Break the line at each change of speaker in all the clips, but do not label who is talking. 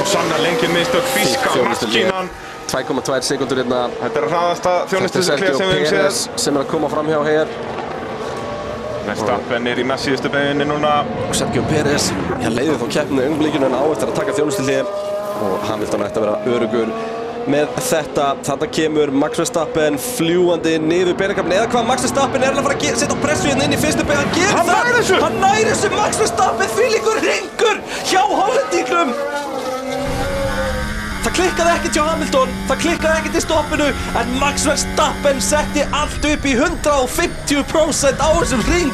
og sannar lengjum miðstök Fiska, Sko, maskínan
2,2 sekundur hérna.
Þetta er hraðasta
Þetta er
þjónustuklið
Sergio
sem við höfum
Pérez
séð
sem er að koma fram hjá hér.
Verstappen er í mest síðustu beginni núna
Og Sergio Pérez, hann leiði þá keppnið augnblíkinu en á eftir að taka þjónustillíði. Og Hamilton ætti að vera örugur með þetta. Þarna kemur Max Verstappen fljúandi niður beinakapin. Eða hvað, Max Verstappen er alveg að fara að ge- setja pressu hérna inn í fyrstu bein. Hann gerir
Hann
það!
nær þessu!
Hann nær þessu! Max Verstappen fylgur hringur hjá Hollendingnum! Það klikkaði ekkert hjá Hamilton, það klikkaði ekkert í stoppinu en Max Verstappen setti allt upp í 150% á þessum ring.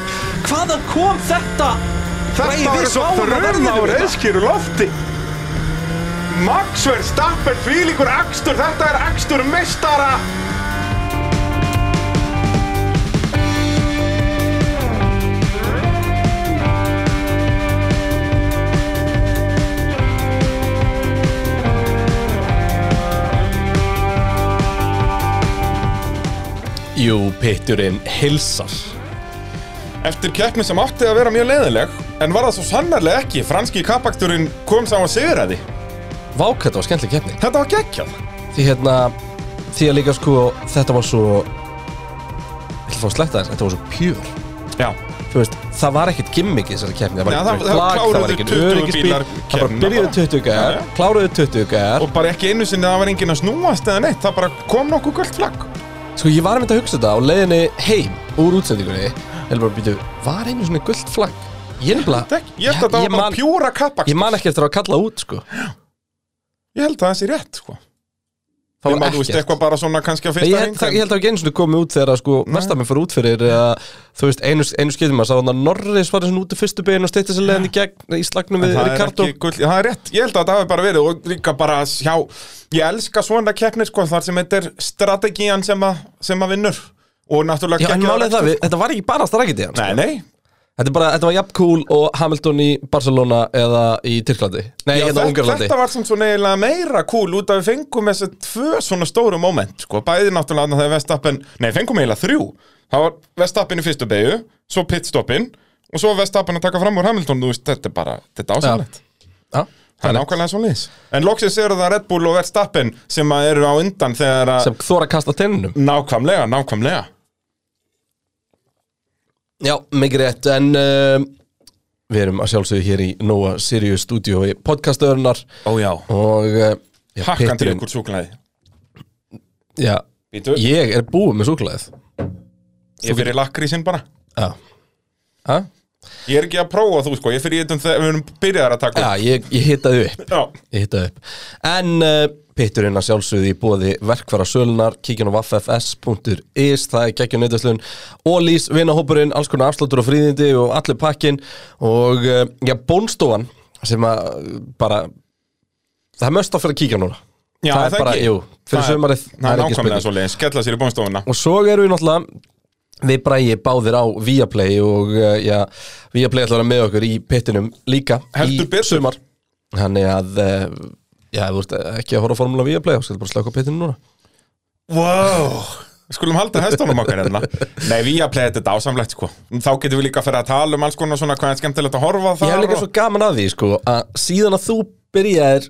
Hvaðan kom þetta?
Þetta var svo þrjum á reyðskýru lofti Max Verstappen, fílíkur akstur, þetta er akstur mestara
Jú, pitturinn hilsar.
Eftir keppni sem átti að vera mjög leiðileg en var það svo sannarlega ekki, franski kappaksturinn kom saman siguræði
Vák, þetta var skemmtileg keppni.
Þetta var geggjað
Því hérna, því að líka sko, þetta var svo... Ég ætla að fá að sletta þess, þetta var svo pjúr.
Já,
þú veist, það var ekkert gimmick í þessari keppni, það var
Nei,
ekkert
það- það
plagg, það var
kláruðu
ekkert
20
öryggisbíl
bílar
það bara
keppnina
byrjuðu
bara.
20 gæjar,
Já, já.
kláruðu 20 gæjar
og bara ekki einu sinni að það var enginn að snúast eða neitt, það bara kom nokkuð gullt flagg
sko ég var að mynda að hugsa þetta á leiðinni heim úr útsendingunni, eða bara býtu var einu svona gullt flagg ég nefnilega,
Ég, ég held að það
ég
var bara
man,
pjúra
ég
kappakstur
man ekki eftir að kalla út sko,
Ég held að það sé rétt, sko
það
Ég
var
maður, þú veist,
ekkert
eitthvað bara svona kannski á
Nei, Ég
fyrsta
held,
hring
það, ég held að ekki einu svona komið út þegar að sko Vestamenn fyrir út fyrir eða, þú veist, einu, einu skiptum að sá hann að Norris var svona út í fyrstu beginn og steytti sér leiðin í gegn í slagnum
En
við
það er
Ricardo
ekki gull, það er rétt, ég held að það hafi bara verið og líka bara hjá, ég elska svona keppnir sko þar sem þetta er strategían sem, að, sem að vinnur og náttúrulega
Já, en
geggjaður
málið er það,
akstur.
við, þetta var ekki bara strækiti hans
Nei, nei,
Þetta, er bara, þetta var jafn cool og Hamilton í Barcelona eða í Tyrklandi Nei,
Já,
eða
þetta-
Ungarlandi
þetta var sem svona eiginlega meira cool út að við fengum þessi tvö svona stóru moment sko, bæði náttúrulega þarna þegar Vestappen nei, fengum eiginlega þrjú, það var Vestappen í fyrstu beigju, svo pitstoppin og svo Vestappen að taka fram úr Hamilton þú veist, þetta er bara, þetta er ásynlegt
Já,
Það er nákvæmlega svo liðs. En loksins eru það Red Bull og Verstappen sem að eru á undan þegar að...
sem þóra að kasta tennunum
Nákvæmlega, nákvæmlega.
Já, mikið rétt En um, við erum að sjálfsögðu hér í Nóa Sirius Studio í podcastöðurnar
Ó já.
Og uh, já,
Pakkandi
pitturinn-
ykkur súklaði.
Já,
Býtu, ég,
ég er búið með súklaðið
ég fyrir lakrísinn bara.
Já Ha?
Ég er ekki að prófa þú sko, ég fyrir ég um þegar við erum byrjaðar að taka.
Já, ég, ég hitaði upp
Já.
Ég hittaði upp. En uh, pitturinn að sjálfsögði í bóði verkvara sölunar, kíkjum á waffs.is, það er geggjum neytaslun, ólís, vinahópurinn, alls konar afsláttur og fríðindi og allir pakkin og uh, já, bónstofan sem að eh, bara, það er möst á fyrir að kíkja núna.
Já,
það er bara,
ekki?
jú,
Það
fyrir
er-
sömarið,
Það er nákvæmlega svo leiðis, skella sér í bónstofuna.
Og svo erum við náttúrulega Við bræði báðir á Viaplay og uh, já, Viaplay ætlar að vera með okkur í pittinum líka
Heldur
í
betur.
sumar Þannig að, uh, já, ef þú ert ekki að horfa á formúla Viaplay, þá skal bara slaka á pittinu núna
Wow. Við skulum halda hestunum okkar hérna. Nei, við að playa þetta ásamlegt sko. Þá getum við líka að fyrir að tala um alls konar svona hvað er skemmtilegt að horfa á
Ég
þar.
hef líka svo gaman að því, sko, að síðan að þú byrjaðir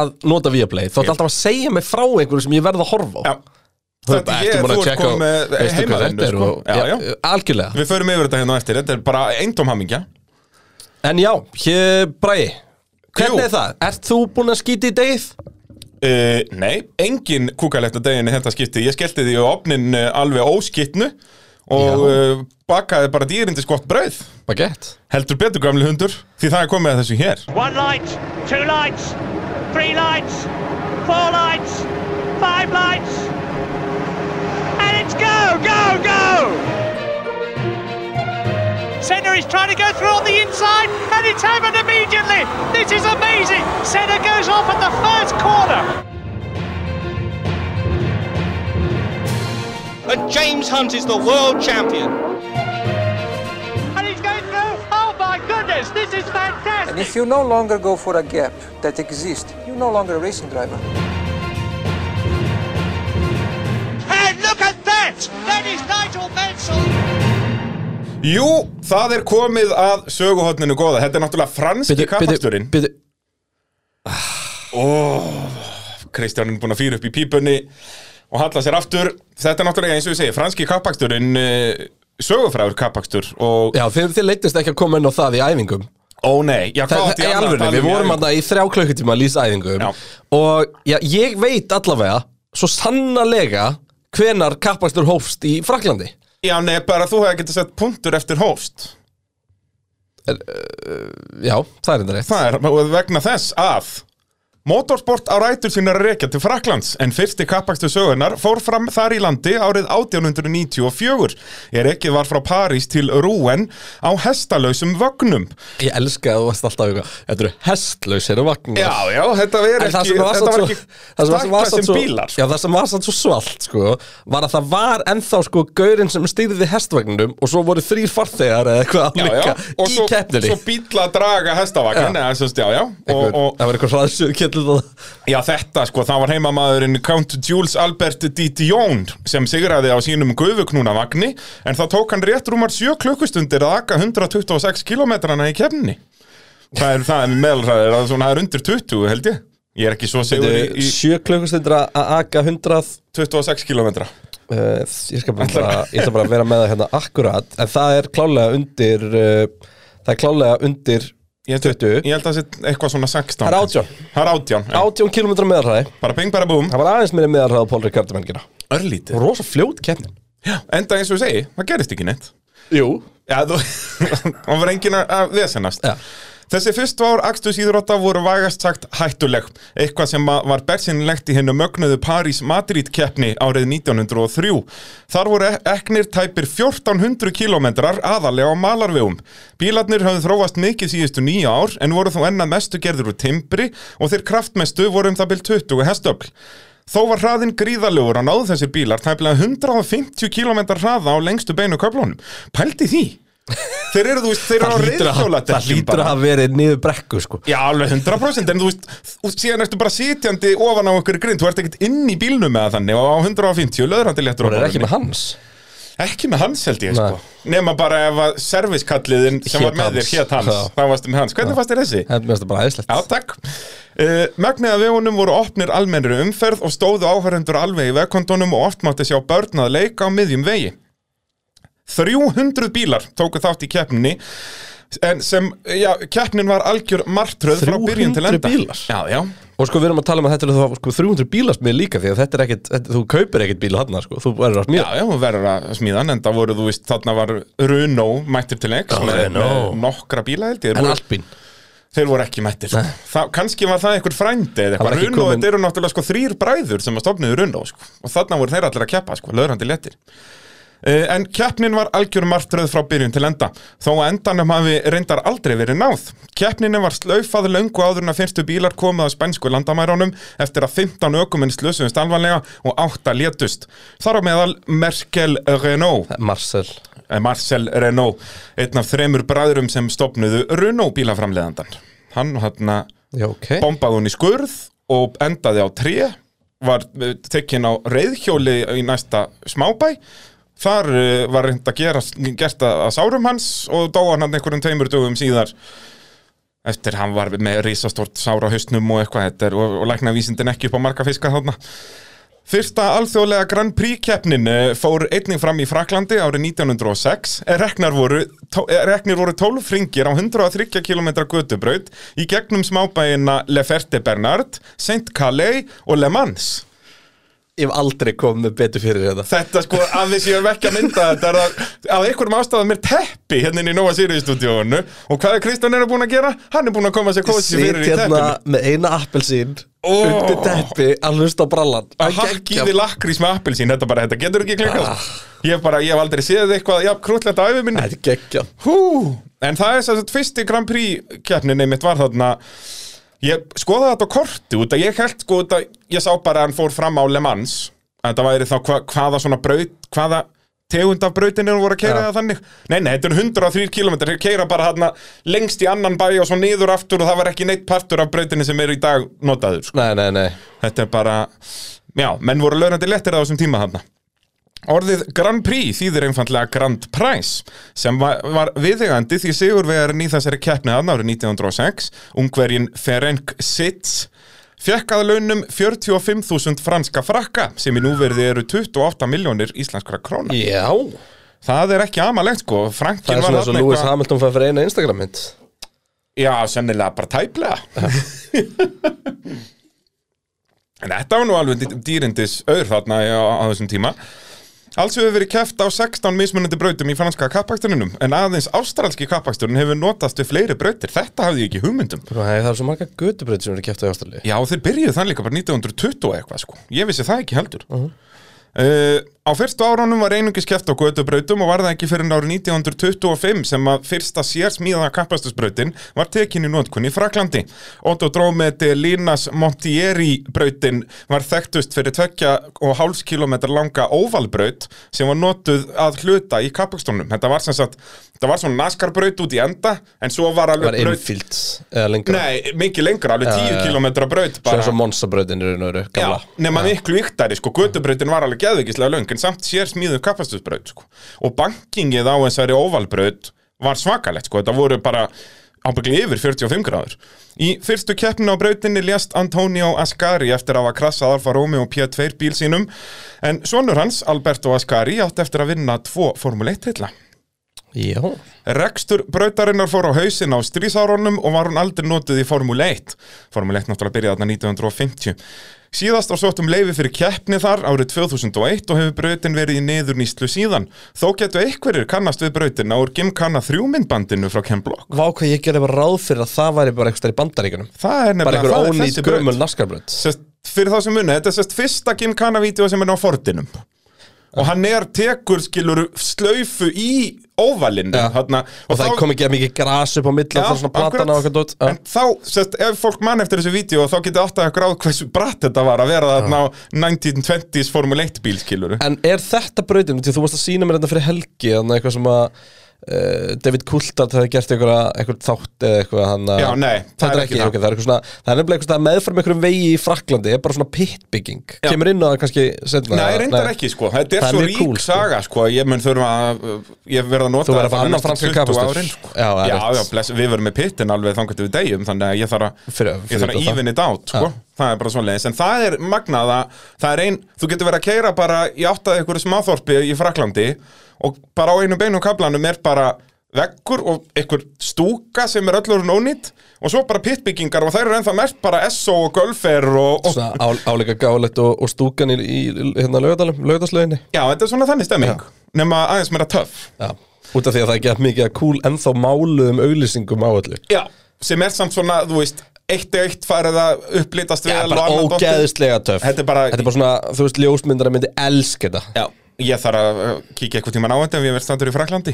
að nota Viaplay Þá
Ég-
ertu alltaf að segja mig frá einhverju sem ég verð að horfa á
Já. Þetta
Þú-
ég-
ertu búin
þú
að
ert
tjekka á-
komin með
veistu hvað
heimavinnu,
þetta er
sko.
og-
Já, já.
já, Algjörlega
Við förum yfir þetta hérna á eftir, þetta er bara eintóm hamingja.
En já, hér bræði Hvernig
Jú.
er það? Ert þú búin að skýta í degið?
Uh, nei, engin kúkalegt á deginu þetta skipti Ég skellti því á opnin uh, alveg óskittnu og uh, bakaði bara dýrindi skott brauð
Bagett
Heldur betur gamli hundur, því það er komið að þessu hér
One light, two lights, three lights, four lights, five lights, and it's go, go, go! Senna is trying to go through on the inside, and it's happened immediately. This is amazing. Senna goes off at the first corner.
and James Hunt is the world champion.
And he's going through. Oh my goodness, this is fantastic.
And if you no longer go for a gap that exists, you're no longer a racing driver.
And look at that! That is Nigel Mansell.
Jú, það er komið að söguhotninu góða Þetta er náttúrulega franski
Bíddu, bíddu,
kappaksturinn
bíddu.
Kristján er búin að fýra upp í pípunni og halla sér aftur þetta er náttúrulega eins og ég segi, franski kappaksturinn sögufræður kappakstur og
Já, þið, þið leittist ekki að koma inn á það í æfingum
ó nei, já hvað
Það
átti
er
ég annað að
alveg,
tala um
við
í
vorum
æfingum?
aðna í þrjá klukkutíma að lýsa æfingum
Já.
Og já, ég veit allavega, svo sannarlega, hvenar kappakstur hófst í Fraklandi
já nei, bara þú hefði getið sett punktur eftir hófst
Já, það er enda rétt
Það er vegna þess að Motorsport á rætur sínar að rekja til Fraklands en fyrsti kappakstu sögunar fór fram þar í landi árið 1894 er ekki var frá París til Rouen á hestalausum vögnum
Ég elska að þú varst alltaf eitthvað Þetta eru hestlausir og vagnar
Já, já, þetta er
En það
ekki
sem var
þetta
samt
var
svo
ekki
það sem var- var samt
stakka
svo-
sem bílar sko.
Já, það sem var samt svo svalt sko var að það var ennþá sko gaurinn sem stýrði hestvagninum og svo voru þrýr farþegar eða eitthvað að
Já, já,
líka
og
í
svo,
keppninni
svo bíla að draga hestavagn
Já.
eða, semst, já, já, og,
Einhver-
og
Það var eitthvað hraðsjöð kettlið
Já, þetta sko, það var heimamaðurinn Count Jules Albert D. Dion sem sigraði á sínum gufuknúna vagni en það tók hann rétt rúmar 7 klukkustundir að aka 126 kilometrana í kefni Það er, það er meðalræðir að svona það er undir 20 held ég Ég er ekki svo sigur í, í
Sjö klukkustundra að aka hundrað
26 kilometra
Uh, ég, skal bara, bara, ég ætla bara að vera með það hérna akkurat en það er klálega undir uh, það er klálega undir
Ég held-
20.
Ég held að það sé eitthvað svona 16
Það er 18.
Það er 18, já.
18 km meðarhraði
bara ping bara búm
það var aðeins meiri meðarhraði á um Pólri Kartamengina
Örlítið
rosa fljót keppnin
Enda eins og ég segi, það gerist ekki neitt
Jú,
Já, þú, það var enginn að- að vesennast
Já.
Þessi fyrstu ár akstursýðurotta voru vægast sagt hættuleg, eitthvað sem að var bersinlegt í hennu mögnuðu París Madrid keppni árið 1903. Þar voru ek- eknir tæpir 1400 kilometrar aðalega á malarvegum. Bílarnir höfðu þróast mikið síðustu nýja ár en voru þó enna mestu gerður úr timbri og þeir kraftmestu voru um það byrj 20 hestöfl. Þó var hraðinn gríðalegur að náðu þessir bílar tæplega 150 km hraða á lengstu beinu köflunum. Pældi því? Þeir eru, þú veist, þeir eru á
það hlýtur að,
reyðhjóla
það hlýtur að hafa verið niður brekku sko.
Já, alveg 100% en þú veist, og síðan ertu bara sitjandi ofan á okkur grind, þú ert ekkert inn í bílnum með þannig og á 150 löðrandi léttur á
hún er ekki
borðinni.
með hans
ekki með hans held ég
Nei.
sko nema bara ef að servicekalliðin sem
Hét
var með þér
hans.
hét hans,
Já.
þá varstu með hans hvernig fannst þér þessi?
þetta mér finnst það bara aðeinslegt
Já, takk. Uh, Megnið af vegunum voru opnir almennri umferð og stóðu áhverjendur alveg í vegkondunum og oft mátti sjá börn að leika á miðjum vegi. 300 bílar tóku þátt í keppninni en sem, já, keppnin var algjör martröð frá byrjun til enda.
300 bílar?
Já, já.
og sko við erum að tala um að þetta er þá, sko, 300 bílasmið líka því að þetta er ekkit, þetta, þú kaupir ekkit bíl þarna sko. þú erur að
Já,
smíða
já, hún verður að smíða hann, en það voru, þú veist, þarna var Runo mættir til leiks
Já,
með, með
Renault.
nokkra bíla, held ég, Þeir
en
voru-
Alpín
þeir voru ekki mættir. sko. Það, kannski var það einhver frændi eða
var
eitthvað,
ekki
Runo,
komin-
þetta eru náttúrulega sko þrýr bræður sem að stofniðu Runo, sko, og þarna voru þeir allir að keppa, sko, löðrandi léttir. Eh, En keppnin var algjör martröð frá byrjun til enda, þó að endanum hafi reyndar aldrei verið náð. Keppninu var slaufað löngu áður en að fyrstu bílar komið á spænsku landamærunum eftir að 15 ökuminn slösuðust alvarlega og 8 létust. Þar á meðal Merkel Renault,
Marcel
eh, Marcel Renault, einn af þremur bræðurum sem stopnuðu Renault bílaframleðandan. Hann hann
Já, okay.
bombaði hún í skurð og endaði á tré var eh, tekin á reyðhjóli í næsta smábæ þar eh, var reynd að gera gert að að sárum hans og dóa hann þarna einhverjum tveimur dögum síðar eftir hann var með risastort sára hausnum og eitthvað þetta er, og, og lækna vísindin ekki upp á marga fiska þarna Fyrsta alþjóðlega Grand Prix keppnin eh, fór einnig fram í Fraklandi árið 1906 en reknar voru, tó- eh, reknir voru 12 ringir á 130 km götubraut í gegnum smábæina Le Ferte Bernard, Saint-Calais og Le Mans.
ég hef aldrei komið betur fyrir hérna. þetta
Þetta sko, að við séum ekki að mynda þetta er að, að einhverjum ástæðum er teppi hérna inn í Nova Sirius stúdíónu og hvað er Kristján er að búin að gera? Hann er búin að koma sér kósi
Sitt
fyrir í
hérna
teppinu.
með eina appelsín
Ó.
undir teppi að hlusta á brallan
að hakkiði lakrís með appelsín, þetta bara, þetta getur ekki klikkað
Ah.
Ég hef bara, ég hef aldrei séð eitthvað, já, krúllegt á æfi minni
þetta er geggja
Hú, en það er þess að fyrsti Grand Prix keppnin einmitt var þarna Ég skoðaði þetta á korti út að ég held sko út að ég sá bara að hann fór fram á Le Mans að þetta væri þá hva, hvaða svona braut, hvaða tegund af brautinu voru að keira
Já.
það þannig Nei, nei, þetta er 103 km, þeir keira bara þarna lengst í annan bæ og svo niður aftur og það var ekki neitt partur af brautinu sem er í dag notaður sko.
nei, nei, nei
Þetta er bara, já, menn voru lögrandi lettir á þessum tíma þarna. Orðið Grand Prix þýðir einfallega Grand Prize sem var, var viðegandi því sigurvegarinn í þessari keppni þarna árið 1906 ungverjin Ferenc Sitz fekk að launum 45.000 franska frakka sem í núverði eru 28 miljónir íslenskra króna.
Já
Það er ekki amalegt sko,
Það
Frankin
er
var
svona eins og
þarna
Lewis
eitthvað-
Hamilton fær fyrir eina Instagram mynd
Já, sennilega bara tæplega. en þetta var nú alveg dý- dýrindis auður þarna á, á þessum tíma. Alls hefur verið keft á 16 mismunandi brautum í franska kappaksturinum, en aðeins ástralski kappaksturinn hefur notast við fleiri brautir. Þetta hafði ég ekki um. hugmyndum.
Bro, hey, Það er svo marga götubraut sem eru kæft á Ástralíu
Já, þeir byrjuðu þann líka bara 1920 og eitthvað sko. Ég vissi það ekki heldur. Uh
Mhm.
á fyrstu árunum var einungis keft á gödubrautum og var það ekki fyrir árið 1925 sem að fyrsta sérsmíða kappastusbrautin var tekin í nótkunni í Fraklandi. Autodrome de Linas Montieri brautin var þekktust fyrir tvekja og hálfs kilometr langa óvalbraut sem var notuð að hluta í kappakstunum. Þetta var sem sagt, þetta var svona naskarbraut út í enda en svo var
Það var
alveg braut...
infield eða lengra
Nei, mikið lengra, alveg 10
já,
ja,
já.
braut
Svo
bara.
er svo Monsa-brautin í raun og veru gamla
Já, nema miklu yktari, sko, götubrautin var alveg geðveikislega löng, en samt sér smíðu kapastusbraut, sko. Og bankingið á þessari óvalbraut var svakalegt, sko, þetta voru bara ábyggli yfir 45 gráður. Í fyrstu keppninu á brautinni lést Antonio Ascari eftir að hafa krassað Alfa Romeo P2 bíl sínum, en sonur hans, Alberto Ascari, átti eftir að vinna tvo Formule 1 titla.
Já
Rekstur brautarinnar fór á hausin á strísárunum og var hún aldrei notuð í Formule 1. Formule 1 náttúrulega byrjaði þarna 1950. Síðast var sótt um leifi fyrir keppni þar árið 2001 og hefur brautin verið í neðurnýslu síðan. Þó getur einhverjir kannast við brautina úr Gimkana 3 myndbandinu frá Ken Block.
Vá hvað ég gerði bara ráð fyrir að það væri bara eitthvað í bandaríkunum
Það er
Bara
nefnilega
einhver
það er
ónýtt gömul naskarbraut
Sest, fyrir þá sem muni, þetta er sest fyrsta Gimkana-vídeó sem er á Fordinum. Og hann er tekur, skilur, slaufu í óvalinu.
Já.
Þarna,
Og það kom ekki að mikið gras upp á milli Það er svona platan á
akkurat.
okkur dót Já.
En þá, sest, ef fólk mann eftir þessu vídeo þá getið áttað að gráð hversu bratt þetta var að vera þarna á 1920s Formule 1 bílskilur
En er þetta brautin, því þú varst að sína mér þetta fyrir helgi Þannig eitthvað sem að uh, David Coulthard hefði gert einhverja einhver þátt eða eitthvað hann að-
Já, nei,
það er ekki,
það.
ok, það er eitthvað svona það er nefnilega eitthvað svona meðfram einhverjum vegi í Fraklandi er bara svona pitbygging,
Já.
kemur inn á það kannski setna,
Nei, reyndar ekki sko, þetta er
Það er
svo
mjög
rík
cool, sko.
saga sko, ég mun þurfa að, ég verða að nota
Þú verður að fá
þetta
annan
næstu
franskan
20
kappakstur.
árin, sko.
Já,
Já,
það er
já,
rétt.
bless, við verum með pittin alveg þangat við degjum, þannig að ég þarf að,
Fyrir-
ég þarf
fyrir
að
þetta.
even it out sko, það er bara svoleiðis, en það er magnað að, það er ein, þú getur verið að keira bara í áttaði ykkur smáþorpi í Fraklandi og bara á einu beinu kablanum er bara veggur og einhver stúka sem er öllur nónýtt og svo bara pittbyggingar og þær eru ennþá mest bara SO og golfer og, og
svona á, áleika gáleitt og, og stúkan í, í hérna lögadalum, lögadalslöginni
Já, þetta er svona þannig stemming Nefna aðeins meira töff
Já. út af því að það er gett mikið að cool ennþá máluðum auglýsingum á öllu
Já Sem er samt svona, þú veist, eitt og eitt farið að upplítast við
Já,
alveg
bara
annað dottið.
ógeðslega töff
Þetta er bara-
svona, þú veist, ljósmyndar myndi elska þetta
Já, ég þarf að uh, kíkja eitthvað tíman á þetta ef ég verð standur í Fraklandi.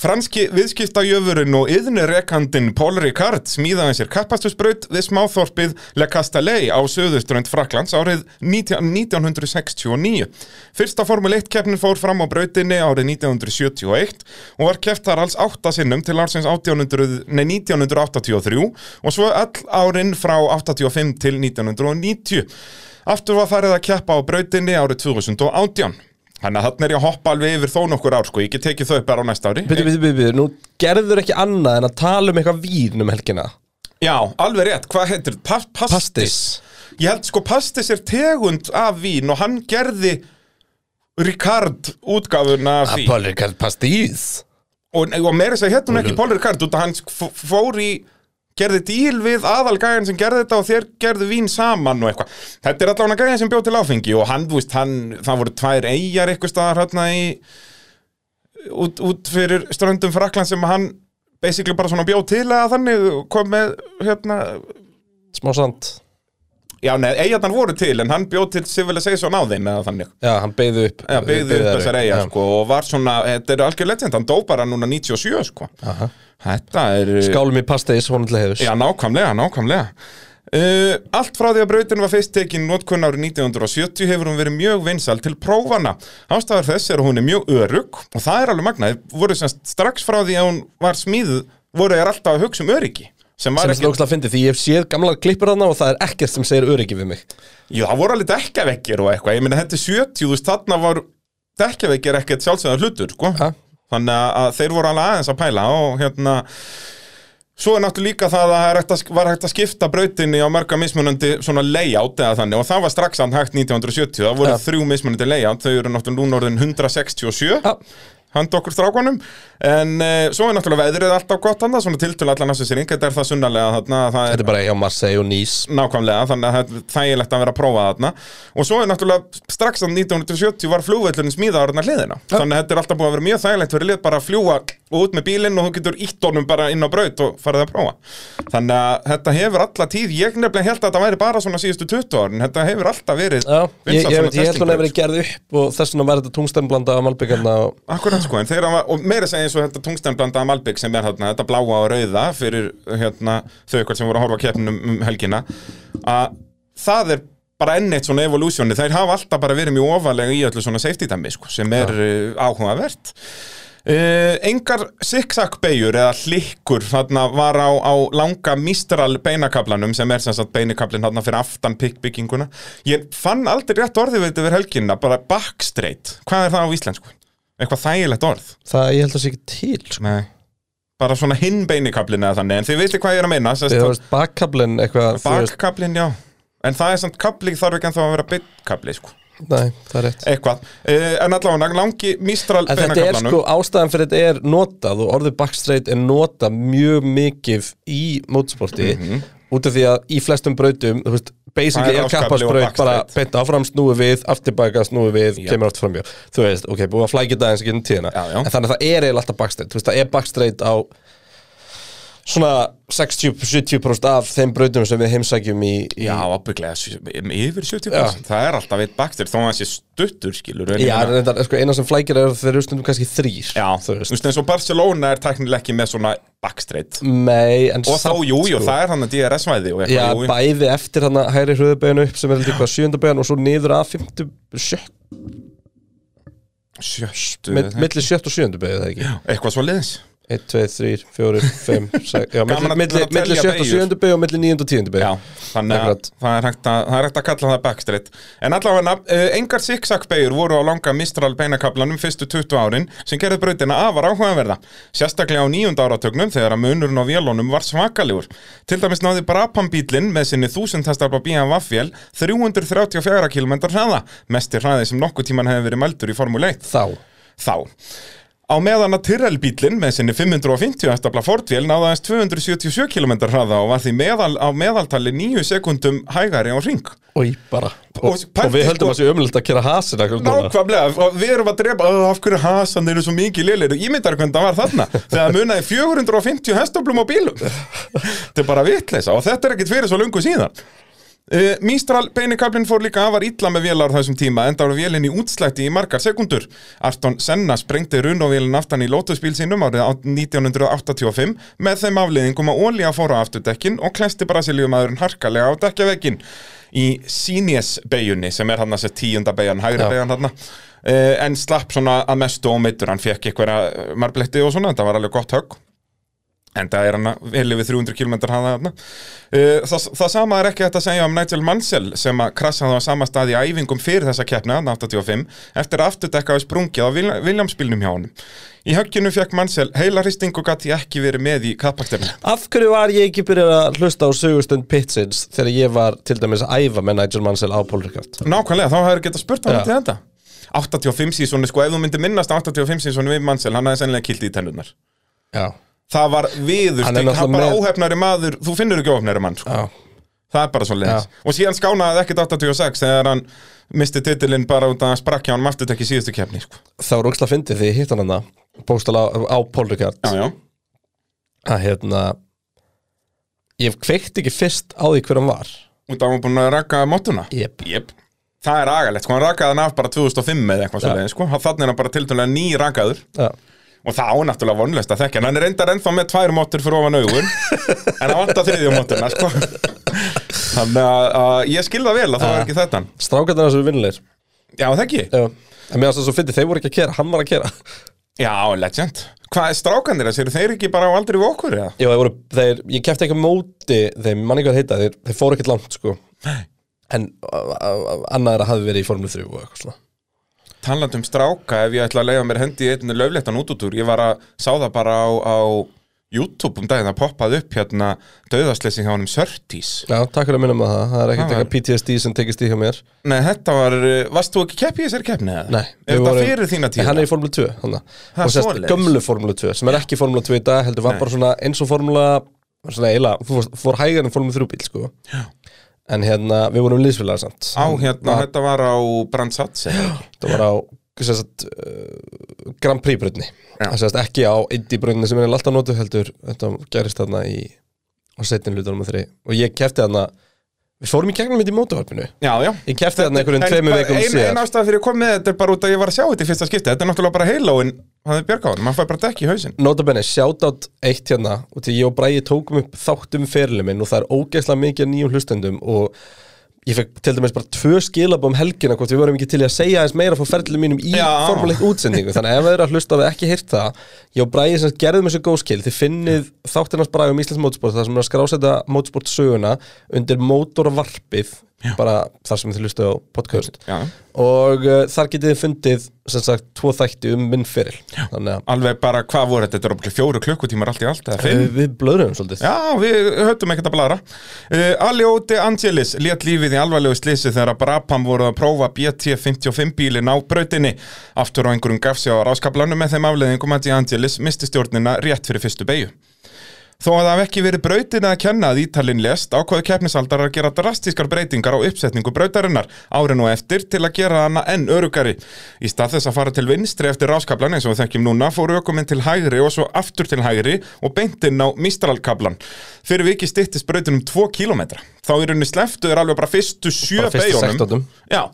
Franski viðskiptajöfurinn og yðnurekandinn Paul Ricard smíðaði sér kappastusbraut við smáþorpið Le Castellet á söðuströnd Fraklands árið 19 1969. Fyrsta Formule 1 keppnin fór fram á brautinni árið 1971 og var keppt þar alls átta sinnum til ársins 1800, nei, 1983 og svo all árin frá 85 til 1990. Aftur var farið að keppa á brautinni árið 2018 Þannig að þarna er ég að hoppa alveg yfir þó nokkur ár sko, ég get tekið þau bara á næsta ári
Byrju, byrju, byrju, byrju, nú gerður ekki annað en að tala um eitthvað vín um helgina
Já, alveg rétt, hvað heitir pa pastis.
Pastis
Ég held sko pastis er tegund af vín og hann gerði Ricard útgáfuna af því
Apollikard pastís
og, og meira þess að hérna hún ekki Paul Ricard út að hann f- fór í gerði díl við aðalgæðin sem gerði þetta og þér gerðu vín saman og eitthvað þetta er allavega gæðin sem bjóð til áfengi og hann, þú veist, hann, það voru tvær eigjar eitthvað staðar hérna í út, út fyrir ströndum Frakland sem hann basically bara svona bjóð til að þannig og kom með hérna,
Smá sand
já neð, eigjarnar voru til en hann bjóð til Civilization á þeim eða þannig
Já, hann beigði upp
Já, byggði upp
þær
þessar eiga sko, og var svona, þetta er algjör legend hann dó bara núna 97 sko.
Aha.
þetta er
Skálum í pastis, honum til hefðus
Já, nákvæmlega, nákvæmlega. Uh, allt frá því að brautin var fyrst tekin notkunn árið 1970 hefur hún verið mjög vinsal til prófana. Ástæður þess er að hún er mjög örugg og það er alveg magnað. Þeir Voru sem sagt strax frá því að hún var smíð voru þér alltaf að hugsa um öryggi. Sem
Sem
var
þetta
ekki,
lókslega fyndi því ég hef séð gamla klippur þarna og það er ekkert sem segir öryggi við mig
jú, það voru alveg dekkaveggir og eitthvað. Ég meina þetta er 70, þú veist, þarna var dekkaveggir ekkert sjálfsögðar hlutur, sko.
Ha?
Þannig að þeir voru alveg aðeins að pæla og hérna Svo er náttúrulega líka það að það er hægt að, sk- var hægt að skipta brautinni á marga mismunandi svona layout eða þannig og það var strax hann hægt 1970, það voru
Já.
þrjú mismunandi layout, þau eru náttúrulega núna orðin 167
Já.
handa okkur strákonum en uh, svo er náttúrulega veðrið alltaf gott hann svona tiltölu allan þessu sér þetta er það sunnalega þarna að það
Þetta
er
er bara hjá Marseille og Nice
nákvæmlega, þannig að það er þægilegt að vera að prófa þarna og svo er náttúrulega strax að 1970 var flugvöllurinn smíðaður þarna hliðina, þannig að þetta er alltaf búið að vera mjög þægilegt fyrir lið bara að fljúa út með bílinn og þú getur ítt honum bara inn á braut og farið að prófa þannig að þetta hefur alltaf tíð, ég nefnilega held að þetta væri bara svona síðustu 20 árin, þetta hefur alltaf verið
Já, ég, ég,
vinsælt
ég,
svona
ég held hún
testingbraut.
hefur verið gerð upp og þess vegna var þetta tungstæmblanda af Malbyggarna og
Akkurat sko, en þeirra var, og meira segja eins og þetta tungstæmblandaða Malbygg sem er þarna, þetta bláa og rauða fyrir hérna, þau ykkur sem voru að horfa á keppnum um helgina, að það er bara enn eitt svona evolutioni, þeir hafa alltaf bara verið mjög ofalega í öllu svona safety dæmi sko, sem er ja. áhugavert. Uh, engar zigzag beigur eða hlikkur þarna var á, á langa mistral beinakablanum sem er sem sagt beinikablin þarna fyrir aftan pikkbygginguna ég fann aldrei rétt orðið við þetta verið helginna bara backstraight, hvað er það á íslensku? eitthvað þægilegt orð
það ég held að sé ekki til sko.
Nei. bara svona hinn beinikablin eða þannig en þið veitir hvað ég er að meina sest,
Þegar þú veist bakkablin eitthvað þú veist-
bakkablin, já en það er samt kabli þarf ekki ennþá að vera beinkabli sko.
Nei, það er rétt
eitthvað, uh, en allavega langi mistral
En þetta er
beinakablanum
sko, ástæðan fyrir þetta er notað og orðið backstraight er notað mjög mikið í motorsporti
Mhm.
út af því að í flestum brautum, þú veist, basically
Það er
er
áskapli og
kappasbraut bara
backstraight.
beint áfram snúi við, aftirbaka snúi við, kemur átt framjá, þú veist, ok, búið að flækja það eins og getum tíðina,
Já, já.
en þannig að það er eiginlega alltaf backstraight, þú veist, það er backstraight á svona 60-70% af þeim brautum sem við heimsækjum í, í
já, ábygglega yfir 70%
Já.
það er alltaf eitt bakstur þó að það sé stuttur skilur en ég
Já,
meina-
reyndar, sko, eina sem flækir er þeir eru stundum kannski þrýr
já,
þú veist
eins og Barcelona er teknileg ekki með svona backstraight
Nei, en
og þá,
samt,
jú, jú,
sko.
það er hann að DRS-væði og
Já,
eitthvað, jú, jú,
bæði eftir hann að hægri hröðubeginu upp sem er heldur hvað sjöndabeginu og svo niður að fymtu, sjött,
sjöstu
mitt, milli sjött og sjöndabeginu það ekki?
eitthvað svo liðs
1, 2, 3, 4, 5, 6, já,
Gaman
milli,
að-
milli,
að telja
milli sjött og
beygjur.
sjöndabeginu og milli níund og tíundabeginu.
Já, þannig að
Akkurat.
það er, hægt að það er hægt að kalla það backstreet En allavega, uh, engar zigzag-beigur voru á langa mistral beinakablanum fyrstu 20 árin sem gerði brautina afar áhugaverða Sérstaklega á nýjunda áratögnum þegar að munurinn á vélunum var svakalegur Til dæmis náði Brabham bílinn með sinni 1000 testarpa BMW-vél 334 km hraða Mestir hraði sem nokkuð tíman hefði verið mældur í Formule 1
Þá,
þá. Á meðan að Tyrrell bílinn með sinni 550 hestafla Fordvél náða aðeins 277 km hraða og var því meðal, á meðaltali 9 sekundum hægari á ring.
og í bara.
Og- sko-
Og, og, við höldum að sé ömulegt að kera hasina. akkurat núna.
Nákvæmlega, og við erum að drepa "Ó, af hverju hasan eru svo mikið lélir Ég myndar hvernig það var þarna Þegar munaði 450 hestaflum á bílum Þetta er bara vitleisa og þetta er ekkit fyrir svo lungu síðan Uh, Místral beinikablin fór líka afar illa með vélar á þessum tíma enda voru vélinn í útslætti í margar sekundur Arton Senna sprengdi runóvélinn aftan í lótusbíl sínum árið á- 1985 með þeim afleiðingum að ólía fór á afturdekkin og klesti brasilíumæðurinn harkalega á dekkjavekkin í Sinies beigjunni sem er hann að sér tíunda beigjan, hægra beigjan hann eh, en slapp svona að mestu ómeittur hann fekk einhverja marbletti og svona þetta var alveg gott högg En það er hann að velið við 300 km hraða þarna. Uh, það, það sama er ekki hægt að segja um Nigel Mansell sem að krassaði á sama stað í æfingum fyrir þessa keppna, þarna 85, eftir að afturdekka hafi sprungið á Vil- Williamsbílnum hjá honum. Í högginu fekk Mansell heilarristing og gatti ekki verið með í kappakstefni.
Af hverju var ég ekki byrjað að hlusta á sögustund Pitsins þegar ég var til dæmis að æfa með Nigel Mansell á Paul Ricard?
Nákvæmlega, þá hefur getað spurt hann
Já.
til þetta. 85 sísónu, sko, ef þú myndir minnast 85 sísónu við Mansell, hann hefði sennilega kilt í tennurnar.
Já.
Það var viður,
Hann er
hann, hann
náttúrulega
bara
með-
óhefnari maður, þú finnur ekki óhefnari mann, sko.
Já.
Það er bara svo leiðis
Já.
Og síðan skánaði það ekkert 86 þegar hann misti titilinn bara út að hann sprakk hjá hann aftur ekki síðustu keppni sko.
Það var ógslag fyndið því ég hitt hann hann að á, á Paul Ricard.
já
að hérna ég kveikt ekki fyrst á því hver hann var
Út af hann var búin að raka mótuna
Jep.
Það er agalegt, sko, hann rakaði hann af bara 2005 eða eitthvað
Já.
svo leiðis sko. Þannig er hann bara tiltölulega ný rakaður
Já.
Og það á náttúrulega vonlöst að þekkja hann Hann er reyndar ennþá með tvær mótur fyrir ofan augun En hann vantar þriðja mótuna sko. Þannig að, að ég skilða vel að það var ekki þetta
strákarnar þessu vinnilegir
Já, það ekki
Já. en mér finnst það svo fyndið, þeir voru ekki að kera, hann var að kera
Já, legend Hvað er strákandir þess? Eru þeir ekki bara á aldrei við okkur eða?
Jó, þeir voru, þeir, ég kefti ekki á móti þeim, mann ekki að heita, þeir, þeir fóru ekkert langt sko. en uh, uh, annað er að hafi verið í Formule 3 og eitthvað svona
Talandi um stráka, ef ég ætla að leiða mér hendi í einu löfléttan út út úr, ég var að sá það bara á, á YouTube um daginn að poppaði upp hérna dauðasleysi hjá honum Sörtís
Já, takk fyrir að minna með það, það er ekkert
Það var-
eitthvað PTSD sem tekist í hjá mér
Nei, þetta var, eh, varst þú ekki kepp í þessari keppni eða?
Nei,
Er
við
þetta
vorum-
fyrir þína
Nei,
tíð?
Hann er í Formule 2 hann.
Ha,
og sérst
svoleiðis.
gömlu Formule 2 sem er ekki Formule 2 í dag heldur var bara svona eins og Formule svona eila, fór, fór hægar en Formule 3 bíl sko. en hérna við vorum liðsfélagar samt
Á, hérna, þetta var á Brandsats eða ekki?
þetta var á sérst, uh, Grand Prix brunni
Já.
sérst, ekki á Indy brunni sem er alltaf notu heldur þetta gerist þarna í á setin hlutunum og þri og ég kefti þarna við fórum í gegnum þetta í mótuvarpinu
Já, já
ég kefti þarna einhverjum
En
tveimur
bara
veikum
ein, ein
síðar
ástæða fyrir að koma með þetta er bara út að ég var að sjá þetta í fyrsta skipti Þetta er náttúrulega bara heilóin hafði björg á hann, maður fær bara dekk í hausinn
Notabene, shoutout eitt hérna og til ég og Bræði tókum upp þáttum ferilin minn og það er ógeðslega mikið af nýjum hlustendum og ég fekk til dæmis bara tvö skilab um helgina hvort við vorum ekki til í að segja aðeins meira frá ferilin mínum í
Já.
formuleitt útsendingu þannig að ef það eru að hlusta og við ekki heyrt það ég og Bræði sem sagt gerðum þessu góðskil þið finnið þáttinans Bræði um Íslands mótsport þar sem er að skrásetta mótsport söguna undir mótorvarpið bara þar sem þið hlusta á podcast
Já.
og uh, þar getið þið fundið sem sagt tvo þætti um minn feril þannig að
Alveg bara, hvað voru þetta? Þetta er okkur fjóru klukkutímar allt í allt eða fimm?
Við, við blöðrum svolítið
Já, við höfðum ekkert að blara uh, Aljóti Angelis létt lífið í alvarlegu slisi þegar að Brabham voru að prófa BT55 bílin á brautinni aftur á einhverjum gafsjá á ráskablanum með þeim afleðingum að Angelis misti stjórnina rétt fyrir fyrstu beigju Þó að það hafi ekki verið brautin að kenna að Ítalinn lest ákvaðu keppnisaldar að gera drastískar breytingar á uppsetningu brautarinnar árin og eftir til að gera hana enn örugari. Í stað þess að fara til vinstri eftir ráskablan eins og við þekkjum núna fóru ökuminn til hægri og svo aftur til hægri og beintinn á mistralkablan. Fyrir vikið styttist brautin um 2 km. Þá í rauninni sleftu er alveg bara fyrstu sjö
Bara fyrstu
beyjunum.
sektátum.
Já,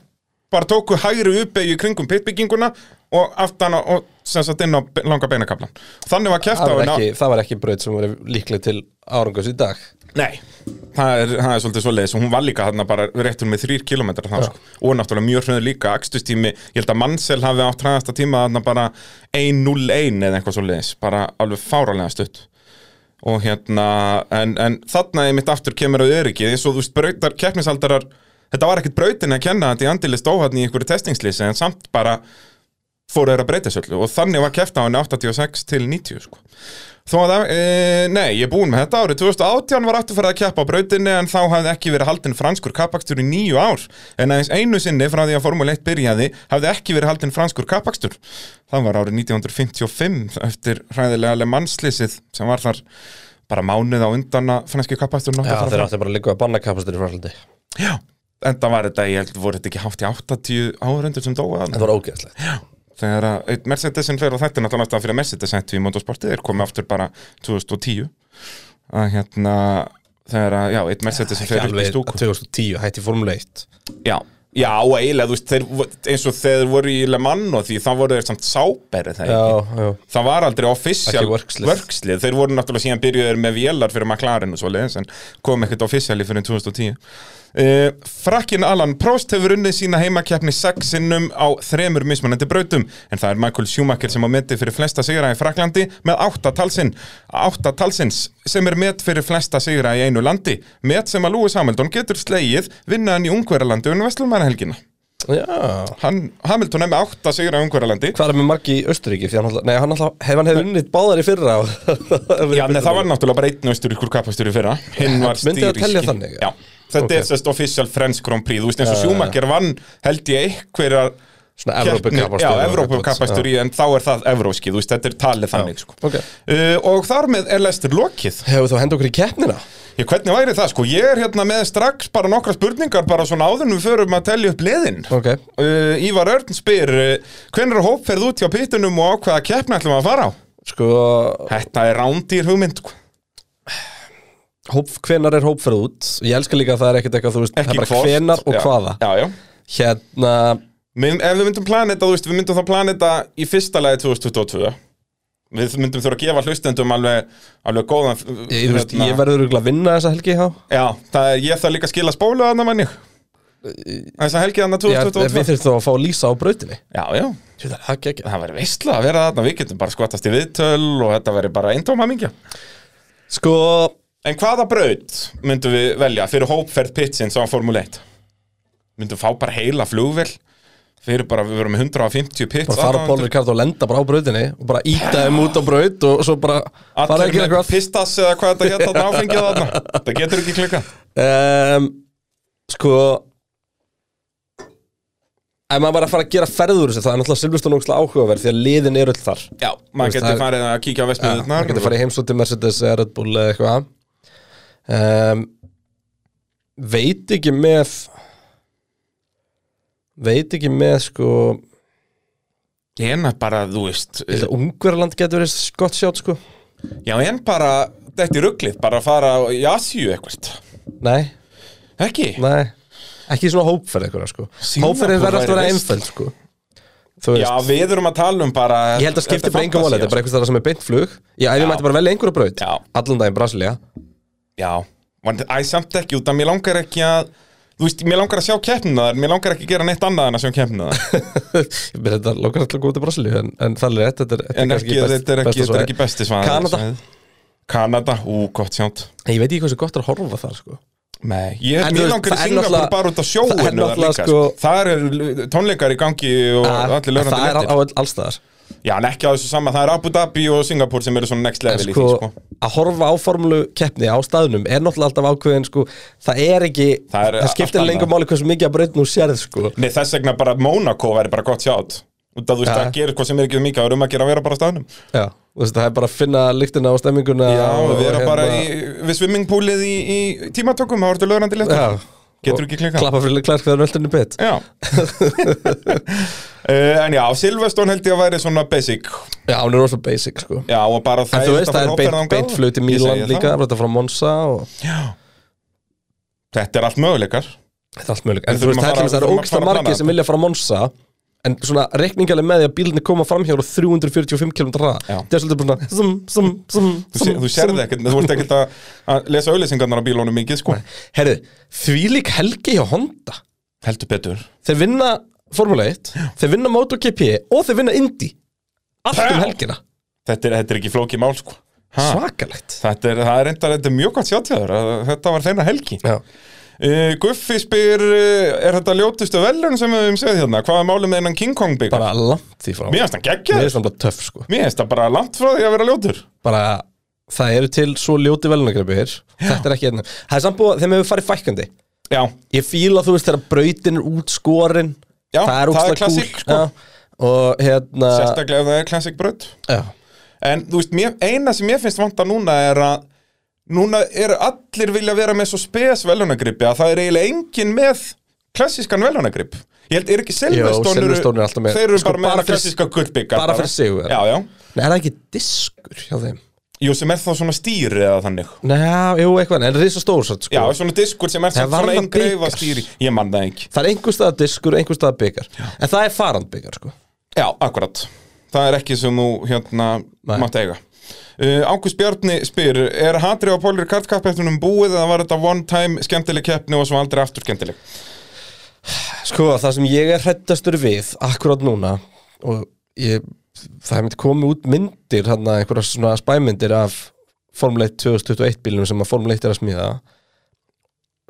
bara tóku hægri uppeyju í kringum pitbygginguna og aftan á, og sem sagt inn á be- langa beinakablan. Þannig var keft á hérna
það, var
henni á-
ekki, það var ekki braut sem var líkleg til árangus í dag
Nei Það er, það er svolítið svoleiðis og hún var líka þarna bara réttur með þrýr kilometrar þá sko. og náttúrulega mjög hröður líka akstustími ég held að Mansell hafi átt hraðasta tíma þarna bara 1.01 eða eitthvað svoleiðis bara alveg fáralega stutt og hérna en, en þarna ég mitt aftur kemur á öryggi eins og þú veist brautar keppnisaldarar þetta var ekkit brautin að kenna þetta í andilist óhattni í einhverju testingslýsi en samt bara fóru þeir að breyta þessu öllu og þannig var kefta á henni 86 til 90 sko. Þó að það, e, nei, ég er búinn með þetta árið 2018 var aftur fyrir að keppa á brautinni en þá hafði ekki verið haldin franskur kappakstur í nýju ár en aðeins einu sinni frá því að Formule 1 byrjaði hafði ekki verið haldin franskur kappakstur Það var árið 1955 eftir hræðilega Le Manslýsið sem var þar bara mánuð á undan að franski kappaksturinn átti
Já,
að fara
þeir
fram.
áttu bara líka að banna kapastur í framhaldi Það
Já, en það var þetta, ég held, voru þetta ekki hátt í 80 árundur sem dóa þarna?
var ógeðslegt
þegar að einn Mercedesin fer og þetta er náttúrulega ástæðan fyrir að Mercedes hættu í motorsportið þeir komið aftur bara 2010 að hérna þegar að, já, einn Mercedesin fer upp í stúku
2010, hætti Formule 1
já, já, og eiginlega, þú veist, þeir, vo- eins og þeir voru í Le Mans og því þá voru þeir samt sáberi það
Já,
ekki
já
Það var aldrei official
Ekki workslið.
workslið. Þeir voru náttúrulega síðan byrjuðir með vélar fyrir McLaren og svoleiðis en kom ekkert officiali fyrir 2010 uh, Frakkin Alan Prost hefur unnið sína heimakeppni sex sinnum á þremur mismunandi brautum en það er Michael Schumacher sem á meti fyrir flesta sigra í Fraklandi með átta talsinn átta talsins sem er met fyrir flesta sigra í einu landi met sem að Lewis Hamilton getur slegið vinnaðan í Ungverjalandi um Vestlumanahelgina
Já
Hann, Hamilton er með átta sigra í Ungverjalandi
Hvað er með margi í Östuríki? Því hann alltaf, nei, hann alltaf, hef hann hefði unnið báðar í fyrra og-
Já, en það var náttúrulega bara einn austuríkur kapastur í fyrra Hinn var
myndi það
stýríski
telja þannig, já?
Já, þetta
Ok.
er sérst official French Grand Prix Þú veist eins og Schumacher vann held ég einhverjar
Svona
keppnir-
Evrópukappakstur
Já,
og
Evrópukapastur í en þá er það evróski, þú veist, þetta er talið þannig sko.
ok.
uh, Og þar með er lestur lokið
Hefur þá henda okkur í keppnina?
ég, Hvernig væri það, sko, ég er hérna með strax bara nokkra spurningar bara svona áður en við förum að telja upp liðin
Ok
uh, Ívar Örn spyr uh, Hvenær hóp ferð út hjá pittunum og á hvaða keppna ætlum við að fara á?
Sko,
Þetta er rándýr hugmynd, sko
hóp, hvenar er hópferð út? Ég elska líka að það er ekkert eitthvað, þú veist, það er
Ekki
bara
hvort.
hvenar og
Já,
hvaða
Já, já
Hérna,
Mynd, ef við myndum planeta, þú veist, við myndum þá planeta í fyrsta lagi 2022 Við myndum þurfa að gefa hlustendum alveg, alveg góðan hérna.
ég, þú veist, ég verður örugglega að vinna þessa helgi, já
Já, það er, ég þarf líka að skila spólu þarna manni Þess að helgi þarna
Já, við
2022
þurfum þá að fá Lísa á brautinni
Já, já,
Jú, það er ekki ekki
það verður veistla að vera þarna Við getum bara skvatast í viðtöl og þetta verður bara eintóma mingja
Sko,
En hvaða braut myndum við velja fyrir hópferð pitsins á Formule 1? Myndum fá bara heila flugvel Þeir eru bara, við verum með 150 pits
bara fara Paul Ricardo og lenda bara á brautinni og bara íta þeim út á braut og svo bara fara
Allir
ekki
með
eitthvað
pistas eða hvað þetta hétt þarna áfengið þarna Þetta getur ekki klikka
um, sko ef maður bara fara að gera ferður þessu það er náttúrulega Silveston ógstlega áhugaverð því að liðin eru öll þar
Já,
veist,
maður
það
getur
er-
farið að kíkja á vestmiðurnar
það getur farið heimsótt til Mercedes eða Red Bull eða eitthvað um, veit ekki með veit ekki með sko
En bara, þú veist
ég held að Ungverland getur verið gott sjátt sko
Já, en bara, þetta er rugglið Bara að fara í Asíu eitthvað
nei,
Ekki?
nei ekki svona hópferð eitthvað sko
Singapore
hópferðin verður alltaf að vera
væri veist.
einföld sko þú
Já,
veist,
við erum að tala um bara
ég held að skipti bara engum máli þetta er bara einhvers þar sem er beint flug já, ef ég
Já.
mætti bara velja einhverju braut
sko. Já.
allan daginn Brasilia
sko. Já, en æ, samt ekki út að mér langar ekki að Þú veist, mér langar að sjá keppnina þar Mér langar ekki að gera neitt annað en að sjá keppnina þar
ég byrja þetta lókar alltaf góð til Brasilia en, en það er rétt, þetta er, þetta
En ekki, þetta
best-
er ekki,
besta
þetta er
svæðið.
ekki besti svaðið
Kanada.
Kanada, ú, gott sjánt
En Ég veit ekki hversu gott er að horfa þar sko
Nei, ég
En
er mjög
þú veist,
langar í
það er
Singapur
náttúrulega-
bara út á
það er
sjóinu þar
náttúrulega
líka
sko-
sko. Þar er tónleikar í gangi og allir
En
lögrandi
Ah, Það er
léttir
á all- allstaðar
Já, en ekki á þessu sama, það er Abu Dhabi og Singapur sem eru svona next
En
level
sko,
í því, sko
að horfa á formulu keppni á staðnum er náttúrulega alltaf ákveðin sko Það er ekki,
Það
það,
er
það skiptir
allt
lengur
annað.
máli hversu mikið að braut nú sérð sko
Nei, þess vegna bara Monaco væri bara gott sjátt Út að þú veist,
Ja.
það gerir hvað sem er ekki um mikið Það er um að gera að vera bara á staðnum
Já, þú veist, það er bara að finna lyktina og stemminguna
Já,
og,
við erum
hérna-
bara í, við swimmingpoolið í, í tímatökum, þá ertu lögrandi létt
Já.
Getur
og
ekki klikkað.
Klappa fyrir klærk þegar nöldinu bit
Já uh, En já, Silveston held ég að væri svona basic
Já, hún er rosa basic sko
Já, og bara það
En þú veist, það er beint, beint flut í Mílan líka, það er þetta frá Monza og
Þetta er allt möguleikar
Þetta er allt möguleik En
Við
þú veist,
þurfum að
það er
fara-
til dæmis- það
þurfum
eru
að
ógsta
fara að plana
margir sem
þetta.
vilja fara á Monza En svona rekningaleg með því að bílinni koma fram hjá og 345 km hraða
Já.
Það er svolítið bara svona zum, zum, zum,
Þú, sé, þú sérði ekkert, þú ert ekkert að- að lesa auðlýsingarnar á bílónum mikið sko
Herri, þvílík helgi hjá Honda
Heldur betur
Þeir vinna Formule 1 Þeir vinna MotoGP og þeir vinna Indy Allt um
Já.
helgina
Þetta er, þetta er ekki flókið mál sko ha.
Svakalegt
Þetta er, það er enda, þetta er mjög gott sjáttíðar Þetta var þeirna helgi
Já.
uh, Guffi spyr, uh, er þetta ljótustu velun sem við höfum séð hérna? Hvað er málum með hennan King Kong byggar?
Bara langt því frá
Mér finnst það
Mér
geggjað
er svona bara töff sko
Mér finnst það bara langt frá því að vera ljótur
Bara það eru til svo ljóti velunagreipir Þetta er ekki hérna Það er samt búið að þeim hefur farið fækkandi
Já,
ég fíla þú veist þegar brautin er útskorin
Já, það er
ógeðslega
klassík,
kúl,
sko.
já, og hérna
sérstaklega ef það er classic braut
já,
En þú veist, mér, eina sem ég finnst vanta núna er að Núna er allir vilja vera með svo spes velunagripi að það er eiginlega engin með klassískan velunagripp Ég held, er ekki Silveston
Silverstone er alltaf með-
Þeir eru
sko,
bara með
bara
bara
fyrir-
klassíska gullbyggar
bara fyrir sig eða?
Já, já
Nei, er það ekki diskur hjá þeim
Jú, sem er þá svona stýri eða þannig
Ná, jú, eitthvað, en risa stór satt, sko.
Já, svona diskur sem er
Það
samt
var
svona
það
einn greifa
bikar.
stýri Ég man það ekki
það er einhver staða diskur, einhver staða byggar en það er farand byggar sko.
Já, akkurat Það er ekki sem þú hérna
Nei.
mátt eiga Uh, Ágúst Bjarni spyr, er hatri á Pólri kartkappetunum búið eða var þetta one time skemmtileg keppni og svo aldrei aftur skemmtileg?
sko, það sem ég er hrættastur við akkurát núna og ég, það hefði komið út myndir hann að einhverja svona spæmyndir af Formule 1 2021 bílum sem að Formule 1 er að smíða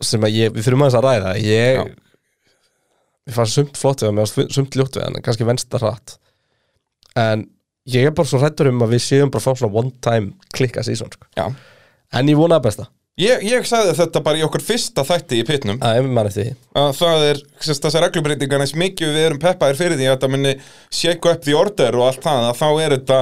sem að ég, við þurfum aðeins að ræða ég,
Já.
ég fann sumt flott við hann, mér fannst sumt ljótt við hann, en kannski vensta hratt en ég er bara svo hrættur um að við séum bara að fá svona one time klikka season, sko.
Já,
en ég vona að besta
Ég, ég sagði þetta bara í okkur fyrsta þætti í pitnum
að ef við manni því
að það er, sérst, þessar reglubreitingar eins mikið við erum peppaðir fyrir því að þetta muni shake up the order og allt það að þá er þetta,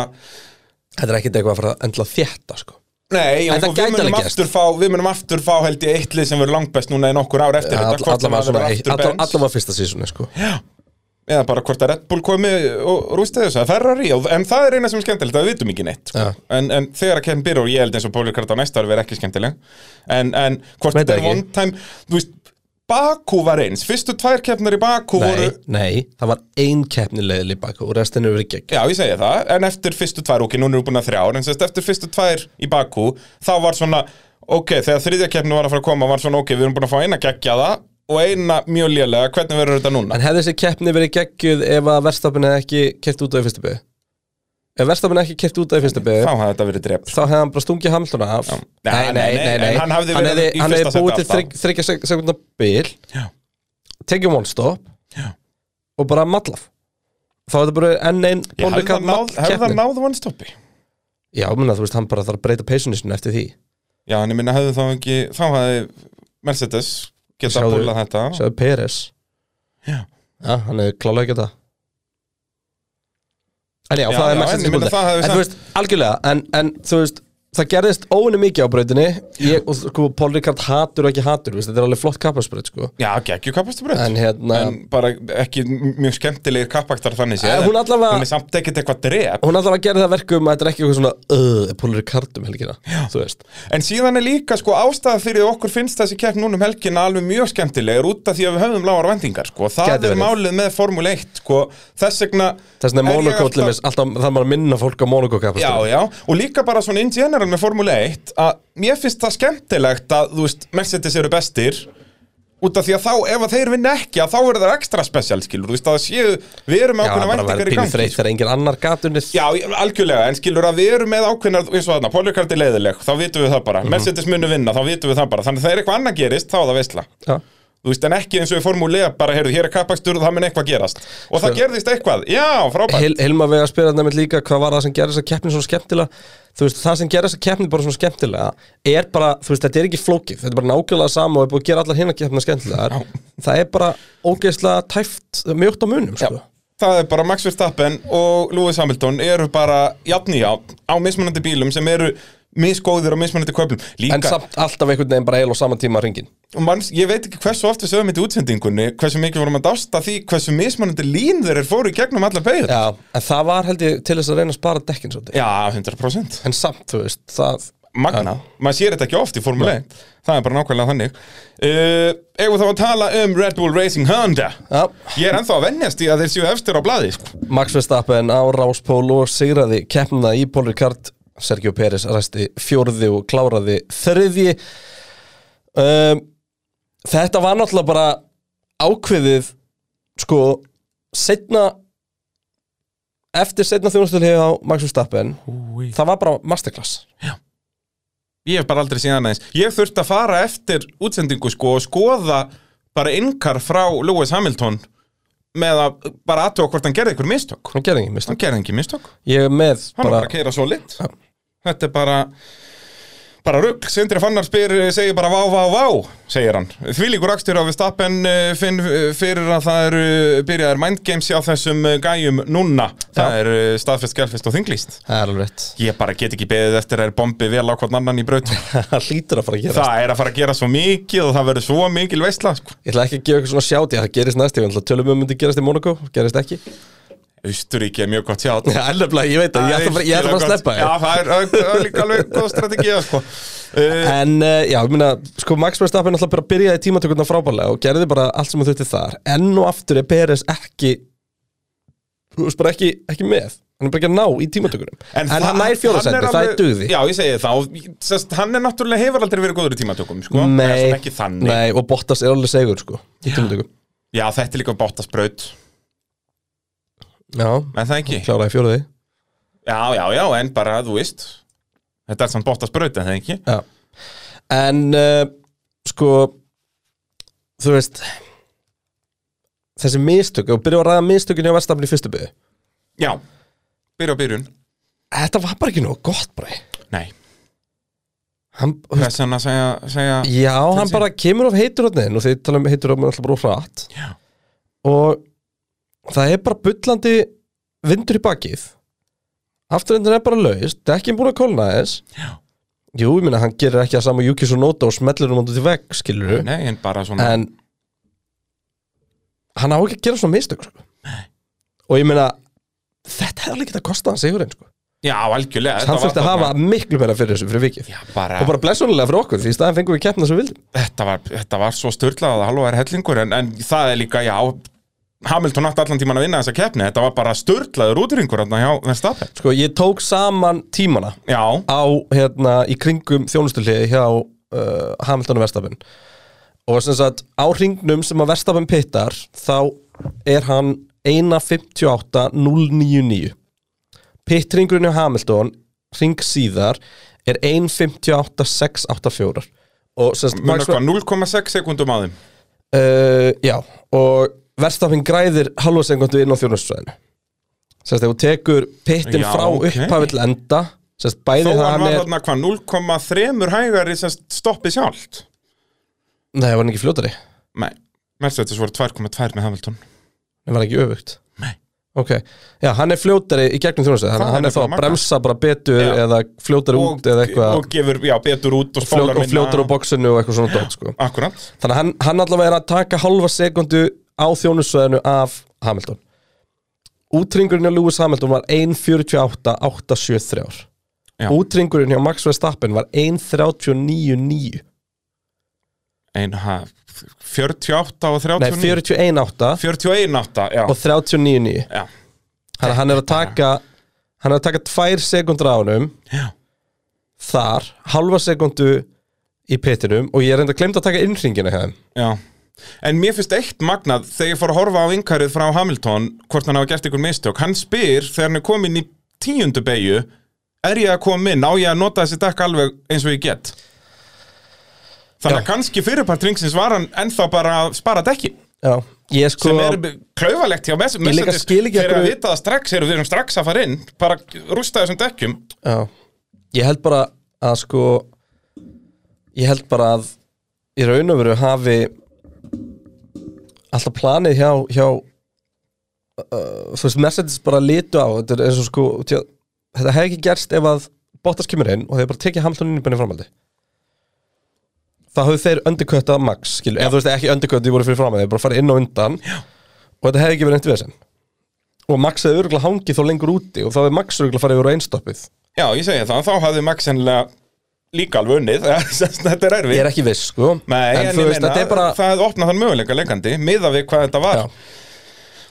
þetta er ekkit eitthvað að fara að endla þétta sko.
nei,
En
og
það
við
gæti
munum
alveg gerst.
aftur fá, við munum aftur fá held ég eitt lið sem verður langbest núna í nokkur ár eftir
All,
þetta, hvort sem
allavega
það
svona
verður
eitt-
aftur
alla-
Benz
allavega fyrsta sísunni sko.
eða bara hvort að Red Bull komi og rústi þessu, að Ferrari, og- en það er eina sem er skemmtilegt, það við vitum ekki neitt, sko.
Já.
en, en þegar að kemur byrja og ég held eins og Pólur Karta næsta ári verið ekki skemmtileg, en, en hvort
Veit
þetta er
ekki.
one time, þú veist, Bakú var eins, fyrstu tvær keppnar í Bakú voru
Nei, nei, það var ein keppni leiðileg bakku og restinu verið gegn
Já, ég segja það, en eftir fyrstu tvær, ok, núna erum við búin að þrjár, en sérst eftir fyrstu tvær í Bakú, þá var svona, ok, þegar þriðja keppni var að fara að koma, var svona, ok, við erum búin að fá eina geggjaða og eina mjög lélega, hvernig verður þetta núna?
En hefði þessi keppni verið geggjuð ef að verðstapin hefði ekki keppt út af í fyrstu byggju Ef verðstapin ekki keppt út af í fyrstu
Þá
byggju
hafði þetta verið drep.
þá hefði hann bara stungið hamluna af
Já. Nei, nei, nei, en hann hafði verið í
Hann
fyrsta
hefði
sæti
búið til
alltaf.
þrygg- þriggja sek- sekundar bil
Já.
tekið one stop
Já.
og bara mallaf þá er þetta bara enn einn
Ég hefði
Paul
það náð-
Ricard
hefði það
keppni.
náð one stoppi
Já, minna, þú veist, hann bara þarf að breyta peysunni sinni eftir því
Já, en ég minna hefði þá ekki þá hefði Mercedes geta
Sjáðu-
að búla þetta
Sjáðu Peres
Já.
Já, hann er klálega ekki það En já,
Já, já,
það er
en
Mercedes
ég meina,
Bunda.
það hefði
En þú
samt-
veist, algjörlega en, en þú veist, það gerðist óinu mikið á brautinni ég, og sko, Paul Ricard hatur og ekki hatur þú veist, þetta er alveg flott kapparsbröð, sko
Já, geggju kappastubröð
En hérna-
bara ekki mjög skemmtilegir kappaktar þannig séð.
Eh, hún allavega-
Hún er samt ekkert eitthvað drep
Hún allavega gerði það verkum að þetta er ekki eitthvað svona öð, Paul Ricard um helgina já. Þú veist,
En síðan er líka sko ástæða fyrir að okkur finnst þessi kepp núna um helgina alveg mjög skemmtilegur út af því að við höfum lágar vendingar sko. Það
Gæti
er
verið.
málið með Formule 1 sko. Þess vegna
þess
er
vegna er
ég
Monaco
alltaf-
til þess alltaf, það er bara að minna fólk á Monaco
Já,
kapparsbröð
já, og líka bara svona in general með Formule 1 að mér finnst það skemmtilegt að, þú veist, Mercedes eru bestir út af því að þá, ef að þeir vinna ekki að þá verður það ekstra special, skilur, þú veist, að það séu við erum með
Já,
ákveðna
bara verður
væntingar í
pínu
gangi sko.
þreytt þegar engin annar gatunnið
Já, algjörlega, en skilur að við erum með ákveðnar eins og þarna, Polycard er leiðileg, þá vitum við það bara
Mhm.
Mercedes munu vinna, þá vitum við það bara þannig að það er eitthvað annað gerist, þá er það veistla
Já.
þú veist, en ekki eins og við formúlega bara, heyrðu, hér er kappakstur og það mun eitthvað gerast og það gerðist eitthvað, já, frábært
Hel, Hilma vega að spyrja þetta með líka hvað var það sem gerði þessa keppni svona skemmtilega þú veist, það sem gerði þessa keppni bara svona skemmtilega er bara, þú veist, þetta er ekki flókið þetta er bara nákvæmlega sama og er búið að gera allar hinna keppna skemmtilegar það er bara ógeðslega tæft mjótt á munum, sko
Það er bara Max Verstappen og Lewis Hamilton eru bara jafn í jafn á mismunandi bílum sem eru misgóðir og mismunandi köflum
en
Líka,
samt alltaf einhvern veginn bara heil og sama tíma hringin
og manns, ég veit ekki hversu oft við sögum þetta í útsendingunni hversu mikið vorum að dásta því hversu mismunandi lín þeir eru fóru í gegnum allar beigð
Já, en það var held ég til þess að reyna að spara dekkin svolítið,
Já, 100%
en samt, þú veist, það
Magnað, maður sér þetta ekki oft í Formule 1 Það er bara nákvæmlega þannig uh, Ef við þá að tala um Red Bull Racing Honda
Já.
Ég er ennþá að venjast í að þeir séu efstir á blaði sko.
Max Verstappen á Ráspól og sigraði keppnina í Paul Ricard Sergio Pérez ræsti fjórði og kláraði þriðji um, Þetta var náttúrulega bara ákveðið sko setna eftir setna þjónustölu á Max Verstappen það var bara masterclass
Ég hef bara aldrei séð hann aðeins Ég þurfti að fara eftir útsendingu sko og skoða bara ynkar frá Lewis Hamilton með að bara aðtöga hvort hann gerði ykkur mistök
hann gerði ekki mistök
Hann gerði ekki mistök
ég er með
Hann var
bara,
bara að keira svo lit Þetta er bara bara rugg, Sindri Fannar spyr eh, segir bara vá, vá, vá, segir hann því líkur akstur á við stappen finn eh, fyrir að það eru byrjaðar mindgames á þessum eh, gæjum núna það
Já.
er eh, staðfest, gelfest og þinglist
það er alveg rétt
ég bara get ekki beðið eftir að er bombi vel á hvern annan í braut
það hlýtur að fara að gera
það er að fara að gera svo mikið og það verður svo mikil veistla sko.
ég ætla ekki að gefa eitthvað svona sjáti það gerist næst, ég ætla að tölum um myndi gerast í Monaco gerist ekki
Austuríki er mjög gott sjátt
Já, ennlega, ég veit að ég ætla bara, ég ætla bara að sleppa
Já,
þér
það er, það er líka alveg góð strategið sko. uh,
En uh, já, ég meina, sko Max Verstappen alltaf bara byrjaði tímatökurna frábærlega og gerði bara allt sem hann þurfti þar Enn og aftur er Peres ekki Þú veist bara ekki, ekki með Hann er bara ekki að ná í tímatökunum En,
það-
hann nær fjóðasendur,
hann
það
alveg-
er dugði
Já, ég segi þá, sest, hann er náttúrulega hefur aldrei verið góður í tímatökum sko. Það er
Nei,
svona ekki þannig
nei, og Bottas er alveg segur sko Í tímatökum
Já, þetta er líka bóttasbraut
Já,
En það ekki
kláraði fjóðaði
Já, já, já, en bara, þú veist Þetta er samt bóttasbraut, en það ekki
Já. En uh, sko þú veist þessi mistök og byrjuðu að ræða mistökin hjá verðstafni í fyrstu byrju
Já, byrja á byrjun
Þetta var bara ekki nóg gott bara
Nei,
hann, þú veist,
þess vegna að segja, segja
Já, hann
sín.
bara kemur of heitur og þeir tala um heitur alltaf bara of hratt
Já.
og það er bara bullandi vindur í bakið afturendin er bara laust, dekkin búin að kólna þess
Já.
Jú, ég minna, hann gerir ekki að sama Júkis og Nóta og smellir um hann út í vegg, skilur
Nei, en bara svona
en hann á ekki að gera svona mistök sko. og ég meina þetta hefði alveg getað að kosta hann sigurinn sko.
Já, algjörlega þetta
hann
var
þurfti að hafa
þarna-
miklu meira fyrir þessu fyrir vikið
Já, bara,
og bara blessunulega fyrir okkur því í staðan fengum við keppna sem við vildum
Þetta, var, þetta var svo störlað að halva er hellingur en, en það er líka, já Hamilton átti allan tíman að vinna þessa keppni Þetta var bara störlaður útringur hérna hjá Verstappen
sko ég tók saman tímana
Já,
á hérna í kringum þjónustulegi hjá uh, Hamilton og Verstafinn og sem sagt á hringnum sem að Verstafinn pittar þá er hann 1.58.099 pittringurinn hjá Hamilton hring síðar er 1.58.684 og sem sagt
Munar
Max-
hvað, 0,6 sekundum á þeim
uh, Eh, já og Verstafinn græðir halva sekundu inn á þjónustusvæðinu Sérst, þegar þú tekur pittin
Já,
frá
ok.
okay. upphafill enda Sérst,
Þó
bæði það
hann
hann
var
er
þarna hvað, 0,3 hægari sem sagt, stoppi sjálft
Nei, var hann ekki fljótari?
Nei, Mercedes voru 2,2 með Hamilton
Nei, var hann ekki öfugt?
Nei.
Ok, já, hann er fljótari í gegnum þjónustusvæðinu Þannig
Það
að hann
er
er þá að
bara magnað.
bremsa bara
Já.
betur eða fljótari út eða eitthvað
og gefur, já, betur út og
fljót,
spólar
og fljótur á boksinu og eitthvað svona dót sko.
Akkurat,
þannig að hann, hann allavega er að taka halva sekundu á þjónusvæðinu af Hamilton útringurinn hjá Lewis Hamilton var 1.48.873
Já.
útringurinn hjá Max Verstappen var 1.39.9
ein, ha, 48 og
nei
39
41.8
41 átta, já,
og 39.9
já,
þannig að hann er að taka hann er að taka tvær sekundur á honum
já
þar, halva sekundu í pittinum og ég er enda glemt að taka innringina hjá þeim
Já, en mér finnst eitt magnað þegar ég fór að horfa á yngarið frá Hamilton hvort hann hafa gert einhver mistök hann spyr þegar hann er komin í tíundu beigju er ég að koma inn, á ég að nota þessi dekk alveg eins og ég get Þannig að
Já.
kannski fyrirpart ringsins var hann ennþá bara að spara dekki
Já, ég sko
sem er klaufalegt hjá Mercedes
Ég líka skil ekki
fyrir að
hverju-
vita það strax eru við erum strax að fara inn bara rústa þessum dekkjum
Já, ég held bara að sko ég held bara að í raun og veru hafi alltaf planið hjá, hjá uh, þú veist, Mercedes bara litu á þetta er eins og sko tjá, þetta hefði ekki gerst ef að Bottas kemur inn og þeir bara tekið Hamilton inn í benni framaldi það hafðu þeir undirkötta Max, skilu, eða þú veist ekki undirkötta því voru fyrir framaldi, þeir bara farið inn og undan Já. og þetta hefði ekki verið eitthvað sem og Max hefði örgulega hangið þá lengur úti og þá hefði Max örgulega farið úr einstoppið
Já, ég segi það, þá hafði Max sennilega líka alveg unnið þetta er erfið
Ég er ekki viss, sko
Nei, en,
þú
ég
veist,
meina,
þetta er bara
það opna þann möguleika leikandi, miða við hvað þetta var
Já.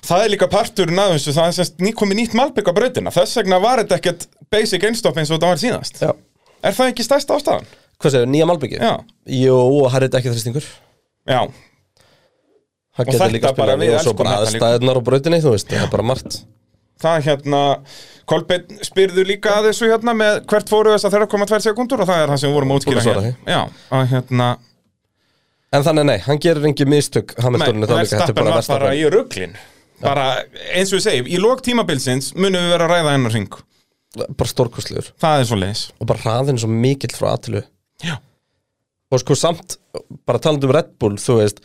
Það er líka parturinn af þessu, það er semst nýkomi nýtt malbygg á brautina Þess vegna var þetta ekkert basic einstopp eins og þetta var síðast
Já.
Er það ekki stærsta ástæðan?
Hvað segir, nýja malbyggir?
Já,
Jú, það er þetta ekki þrýstingur
já,
Það
Og
getur
þetta
líka
bara
spilað
við
inn í og svo
elskum
bara
þetta líka.
aðstæðnar á brautinni, þú veist, það er bara margt
það er hérna Kolbeinn spyrðu líka að þessu hérna með hvert fóru þess að 3,2 sekundur og það er það sem við vorum að
Búin að
útskýra
svara
hér Já, að hérna
En þannig, nei, hann gerir engin mistök Hamiltoninu þá líka, þetta er
Verstappen
bara
var bara
verstappen
í ruglin Bara, eins og við segjum, í lók tímabilsins munum við vera að ræða hennar hring
Bara stórkostlegur
Það er svo leis
Og bara hraðin svo mikill frá aðtilu
Já.
Og sko samt, bara talandi um Red Bull, þú veist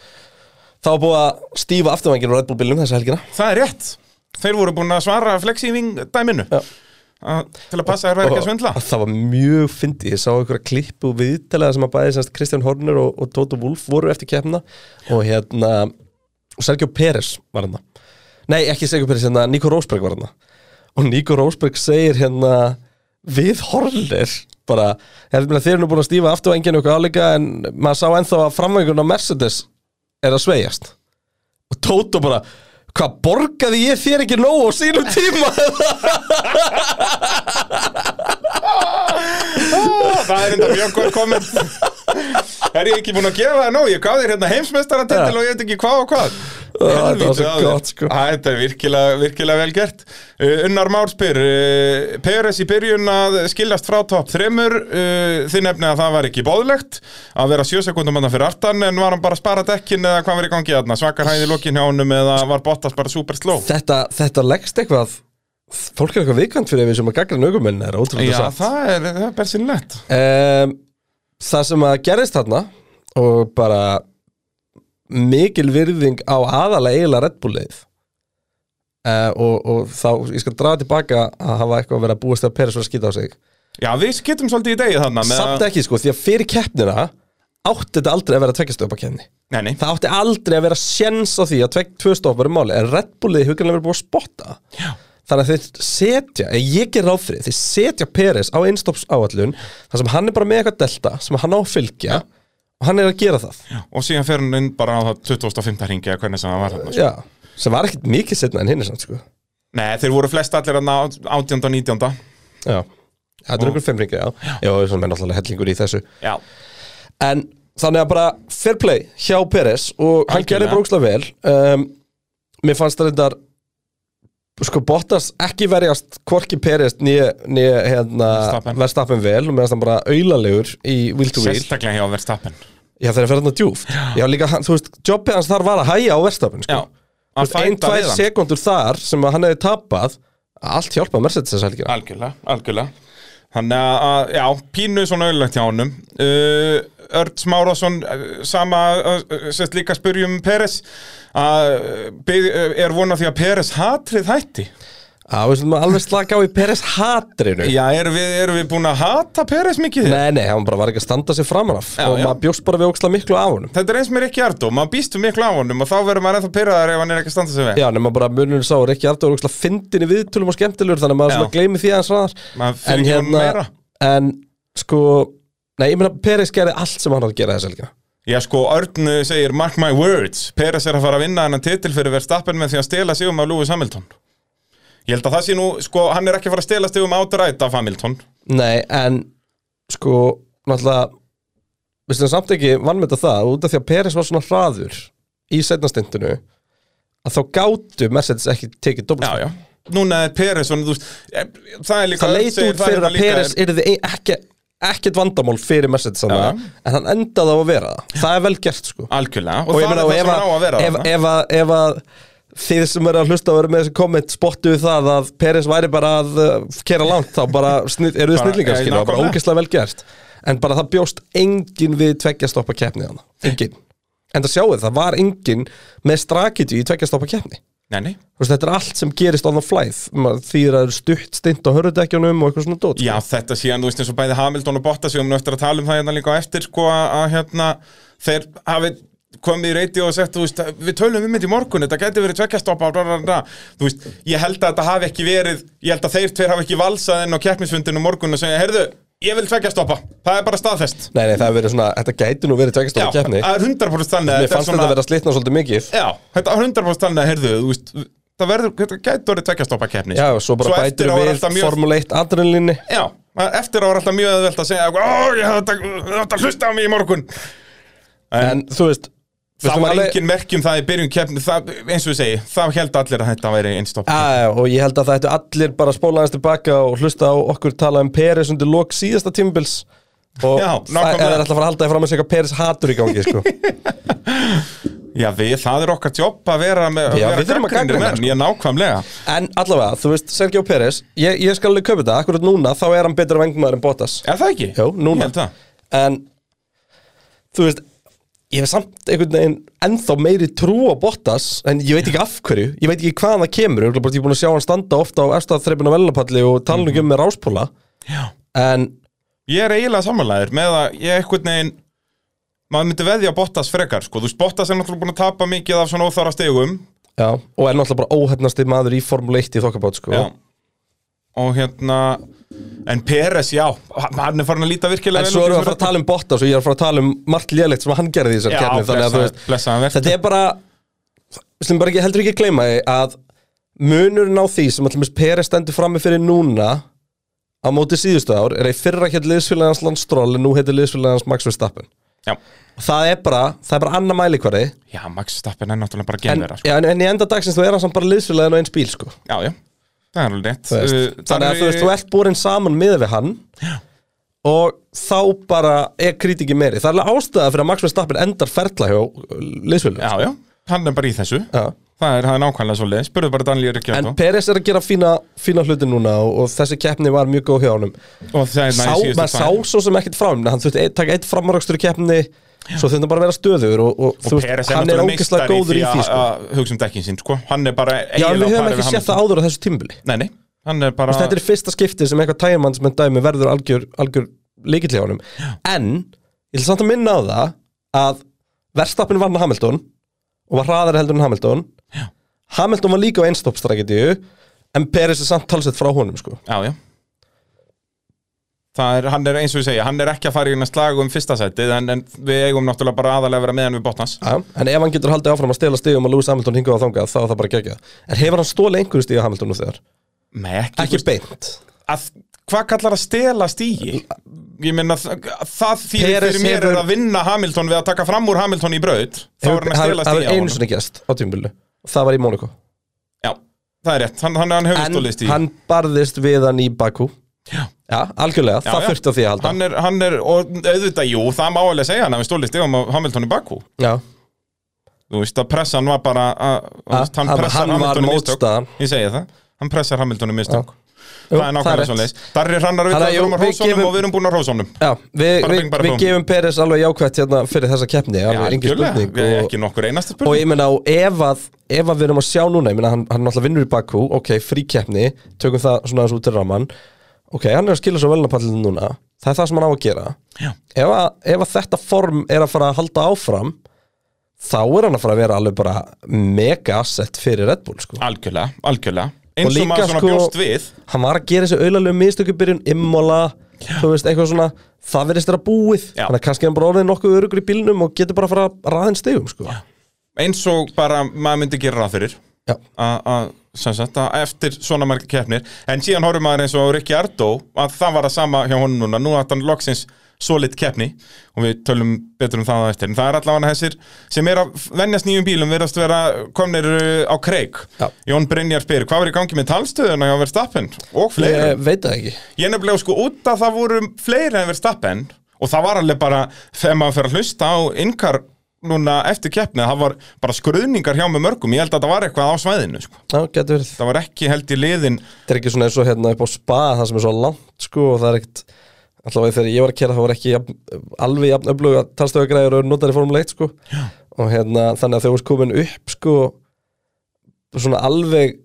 Þá er búið að stífa afturvængin á Red Bull bílum þessa helgina
Það er rétt Þeir voru búin að svara flexífing dæminu
Já.
Að- Til að passa að þeir væri ekki að svindla
Og Það var mjög fyndið, ég sá einhverja klippu viðtalega sem að bæði semst Kristján Horner og, og Tóto Wolf voru eftir kefna og hérna og Sergio Pérez var hérna Nei, ekki Sergio Pérez, hérna Nico Rosberg var hérna og Nico Rosberg segir hérna við Horner bara, ég meina þeir eru nú búin að stífa afturvænginu og eitthvað álíka en maður sá ennþá að framvængun á Mercedes er að sveigjast og Tóto bara hvað borgaði ég þér ekki nóg á sínum tíma
Það er enda mjög góð komment Er ég ekki búin að gefa það nóg Ég gaf þér hérna heimsmeistaratitil og ég veit ekki hvað og hvað
var
Helvíti
svo
á þér.
gott, sko.
Æ, Þetta er virkilega, virkilega vel gert uh, Unnar Már spyr uh, Peres í byrjun að skiljast frá topp þremur uh, Þið nefnið að það var ekki bóðlegt Að vera sjö sekundum andan fyrir artan En var hann bara að spara dekkin eða hvað var í gangi þarna Svakar hæði lókin hjá honum eða var Bottas bara super slow
þetta, þetta leggst eitthvað fólk er eitthvað viðkvæmt fyrir ef við sem að gagra nögumenn er ótrúlega
Já,
satt það...
það er, það er bersinlegt
það sem að gerist þarna og bara mikil virðing á aðalega eiginlega Red Bull leið uh, og, og þá, ég skal draga tilbaka að hafa eitthvað að vera að búast að Peres var að skýta á sig
Já, við skittum svolítið í degi þarna með
samt
að-
ekki sko, því að fyrir keppnina átti þetta aldrei að vera tveggjastöpa keppni
Nei, nei,
það átti aldrei að vera sjens á því að tvegg tvö stoppar er máli, en Red Bullið huganlega verið búið að spotta Já. þannig að þeir setja, en ég ger ráð fyrir þeir setja Peres á einstopps áallun þar sem hann er bara með eitthvað delta sem hann á að fylgja og hann er að gera það Já,
og síðan fer hann inn bara á það 2005 ringi eða hvernig sem það var þarna sko.
sem var ekkit mikið setna en hinn er samt sko
Nei, þeir voru flest allir hann á 18. og 19.
Já, þetta er einhver fimmringi, já Já, og svona með náttúrulega hellingur í þessu
Já,
En þannig að bara fair play hjá Peres og hann
Algjörlega.
gerði brókslega vel um, Mér fannst það reyndar sko Bottas ekki verjast hvorki Peres nýja, nýja hérna,
Verstappen.
verðstappen vel og meðan hann bara auðalegur í wheel to wheel
sérstaklega hjá Verstappen
Já þegar hann fer hann að djúft Já líka, hann- þú veist, jobbið hans þar var að hæja á verðstappen sko.
Já. að
ein,
fæta
tvær
við hann
sekundur þar sem að hann hefði tapað allt hjálpað Mercedes þess helgina
Algjörlega, algjörlega Þannig að- að, já, pínu svona auðlegt hjá honum uh, Örn Smárásson uh, sama, uh, sérst líka spyrjum Peres að uh, byð- uh, er vona því að Peres hatrið hætti
Já, við slum alveg slaka á í Peres hatrinu
Já, erum við, erum við búin að hata Peres mikið?
Nei, nei, hann bara var ekki að standa sig framan af
Já,
og
já.
maður bjóst bara við óksla miklu á honum
Þetta er eins með Rikki Ardó, maður býst við miklu á honum og þá verður maður ennþá pyrraðar ef hann er ekki að standa sig vel
Já, nema bara munurinn sá, Rikki Ardór er óksla fyndin í viðtölum og skemmtilegur þannig að maður
Já.
svona gleymi því aðeins ræðar
Maður fyrir ekki
hérna-
honum meira.
en sko, nei, ég meina Peres gerði allt sem hann átt að gera þess helgina
Já, sko, Örn uh, segir mark my words Peres er að fara að vinna hennan titil fyrir Verstappen með því að stela sig um af Lewis Hamilton Ég held að það sé nú, sko, hann er ekki að fara að stela sig um átrætt af Hamilton
Nei, en sko, náttúrulega við slum samt ekki vannmynda það út af því að Peres var svona hraður í setnastindinu að þá gátu Mercedes ekki tekið
Já,
dobbelstæð
já Núna er Peres, svona, þú veist eh, Það er líka
það
Örn
leit
segir, það
út
er
fyrir
nú
að
líka-
Peres yrði ein- ekki, ekkert vandamál fyrir Mercedes hana,
Já.
en hann endaði á að vera það það er vel gert sko
Algjörlega, og,
og ég
það
meina
er það sem
og ef
er á að vera
að- ef-
þarna.
ef að- ef að þið sem eru að hlusta og eru með þessi komment spottuðu það að Peres væri bara að uh, kera langt þá bara snill, eru þið
Bara,
snillingar
eh,
skilur og bara
nákvæmlega.
ógeðslega vel gert en bara það bjóst engin við tveggja stoppa keppni hana, engin en það sjáu það var engin með strakitju í tveggja stoppa keppni
Nei, nei
Þú veist, þetta er allt sem gerist on the fly Maður- því það eru stutt stint á hörðudekjunum og eitthvað svona dót sko.
Já, þetta síðan, þú veist, eins og bæði Hamilton og Bottas við um eftir að tala um það hérna líka á eftir sko að að, hérna, þeir hafi komið í reyti og sett, þú veist, við tölum um þetta í morgun, þetta gæti verið tveggjastoppa bla, bla, bla. þú veist, ég held að þetta hafi ekki verið ég held að þeir tveir hafi ekki valsað inn á keppnisfundinu morgun og segja, heyrðu, ég vil tveggjastoppa það er bara staðfest
Nei, nei, það hefur verið svona, þetta gæti nú verið tveggja
Já,
stoppa keppni
það er 100% þannig að
Mér fannst
svona-
þetta vera að slitna svolítið mikið
Já, þetta er 100% þannig að, heyrðu, þú veist það verður, þetta gæti orðið tveggjastoppa keppni sko.
Já, og svo bara
eftir
bætir
á er
við
alltaf mjög-
Formule 1 adrenalinni
Já, eftir á var alltaf mjög öðvöld að segja Ó, ég hafði þetta- þetta hlusta á mig í morgun
En þú veist við
Það
skulum
var
alveg-
engin merkjum það í byrjun keppni það, eins og ég segi, það held allir að þetta væri einstopp
Já, já, og ég held að það ættu allir bara að spóla aðeins tilbaka og hlusta á okkur tala um Peres undir lok síðasta tímbils og
Já,
það
nákvæmlega.
er alltaf að fara að halda því fram að segja Peres hatur í gangi sko.
Já, við, það er okkar jobb að vera með
Já,
vera
við þurfum að
gagnrýnir
gagnrýna, sko.
menn, Ég nákvæmlega
En allavega, þú veist, Sergio Peres ég, ég skal alveg köpa þetta, akkurat núna þá er hann betra vengmaður en Bottas
Er það ekki?
Jó, núna.
Ég held það.
En þú veist Ég hef samt einhvern veginn ennþá meiri trú á Bottas En ég veit ekki af hverju Ég veit ekki hvaðan það kemur Ég er bara- ég er búin að sjá hann standa ofta á efstafþreipinu velnapalli Og tala nú ekki um með ráspóla
Já.
En
Ég er eiginlega samanlæður með að ég eitthvað negin maður myndi veðja Bottas frekar sko. þú veist, Bottas er náttúrulega búin að tapa mikið af svona óþára stegum
Já, og er náttúrulega bara óhefnasti maður í Formule 1 í þokkabátt sko
Já. og hérna en Peres, já, hann er farin að líta virkilega
En
vel
svo
út í
erum við að
þessum
fara að tala um Bottas og ég er að fara að tala um margt lélegt sem hann gerði í þessar
Já,
kefni Þannig að þú
blessaðan-
veist,
blessaðan vertu.
þetta er bara Við slum bara ekki, heldur ekki að gleyma því að munurinn á því sem allir mis Peri stendur frammi fyrir núna á móti síðustu ár er að í fyrra hétt liðsfélagans landstról en nú heitir liðsfélagans Max Verstappen
Já.
Og Það er bara, það er bara annað mælikvarði
Já, Max Stappen er náttúrulega bara
en,
genvera sko.
já, en, en í enda dagsins þú er hann samt bara liðsfélagin og eins bíl sko
Já, já, það er alveg rétt
Þú
Uh,
veist,
þar
þannig að
er-
þú veist, þú ert borin saman miða við hann og þá bara er kritiki meiri, það er alveg ástæða fyrir að Max Verstappen endar ferla hjá liðsfélagum
Já, já, hann er bara í þessu
Já.
Það er, það er nákvæmlega svo leið, spurðu bara Daniel Ríkjardó
en Peres er að gera fína, fína hluti núna og, og þessi keppni var mjög góð hjá honum
Og það er
sá,
næði síðustu
maður sá svo sem ekkert frá hann hann þurfti að taka eitt framarakstur í keppni svo þurfti hann bara að vera stöður og, og, þú
Og Peres er
hann er
náttúrulega
ógeðslega
meistari í
góður
því
í því
að
sko.
að hugsa um dekkin sín sko. Hann er bara
já, en
eiginlega á
við höfum
pari við
ekki séð
Hamilton.
það áður á þessu tímbili
Nei, nei, hann er bara
Þú veist, þetta er fyrsta skipti sem eitthvað tæjumannsmenn dæmi verður algjör, algjör líkill hjá honum en ég ætla samt að minna á það að verðstappin vann Hamilton og var hraðar heldur en Hamilton Já. Hamilton var líka á einstoppstraketíu en Peres er samt talsett frá honum sko.
Já, já Það er, hann er eins og ég segja, hann er ekki að fara í hérna slag um fyrsta setið en, en við eigum náttúrulega bara aðalega að vera meðan við Bottas
Já, en ef hann getur haldið áfram að stela stigum og Lewis Hamilton hingað á þangað þá er það bara gegja en hefur hann stólið einhverju stíu Hamilton nú þegar?
Nei, ekki,
Ekki
þú veist,
beint
að, Hvað kallar að stela stígi? Ég meina, það það þýðir
Peres
fyrir mér
hefur-
er að vinna Hamilton við að taka fram úr Hamilton í braut þá er hann
Hefur-
að
Það
stela stígi
það
á
er einu
honum
sinni gest á tímbilu það var í Mónaco
Já, það er rétt, hann, hann, hann hefur
en
stólið stígi
hann barðist við hann í Bakú
Já.
Já, algjörlega,
Já,
það
já.
þurfti á því að halda
Hann er, hann er, og auðvitað, jú, það má alveg segja hann að við stólið stígum á Hamilton í Bakú
Já
Þú veist að pressan var bara að,
Ha?
að, hann,
Hann-
pressar
hann var
Hamilton í mistök
mótstaðan.
Ég segi það, hann pressar Hamilton í mistök
Jú,
Það er
það er
nákvæmlega
rétt.
svo leis Darri hrannar
Þannig
auðvitað
að jú,
frum að
við
rósónum
gefum-
og við erum búin að rósónum
Já, við,
Bara
við,
bing, bara
við
búm.
gefum Peres alveg jákvætt hérna fyrir þessa keppni, alveg engin spurning og,
ekki nokkur einasta
og
spurning
ég meina, og ef að, ef að við erum að sjá núna, ég meina, hann, hann náttúrulega vinnur í Bakú, ok, fríkeppni, tökum það svona aðeins út til ramann, ok, hann er að skila svo velnapallinu núna, það er það sem hann á að gera.
Já.
Ef að, ef að þetta form er að fara að halda áfram, þá er hann að fara að vera alveg bara mega asset fyrir Red Bull, sko.
Algjörlega, algjörlega Eins og
líka,
maður svona
sko-
bjóst við
Hann var að gera þessu auðalegu mistökubyrjun, immola, þú veist, eitthvað svona, það verðist vera búið.
Já.
Þannig að kannski er hann bara orðið nokkuð örugur í bílnum og getur bara að fara að raðin stegum, sko. Já.
Eins og bara maður myndi gera ráð fyrir
Já.
að- að sem sagt, að eftir svona margir keppnir en síðan horfum maður eins og Rikki Ardó að það var að sama hjá honum núna nú að hann loksins solid keppni og við tölum betur um það á eftir en það er allavega þessir sem er að venjast nýjum bílum verðast vera komnir uh, á kreik
Já.
Jón Brynjar spyr hvað var í gangi með talstöðuna hjá Verstappen og fleiri
Ég veit það ekki.
Ég nefnilega sko út að það voru fleiri en Verstappen og það var alveg bara þegar maður fyrir að hlusta á ynkar núna eftir keppnið, það var bara skruðningar hjá með mörgum, ég held að það var eitthvað á svæðinu sko.
Já, getur verið.
það var ekki held í liðin
Þetta er ekki svona eins og hérna upp á spa það sem er svo langt sko og það er ekkert allavega þegar ég var að kera það var ekki jafn, alveg jafn öflug að talstöðagræður og notar í Formule 1 sko Já. og hérna þannig að þau varst komin upp sko svona alveg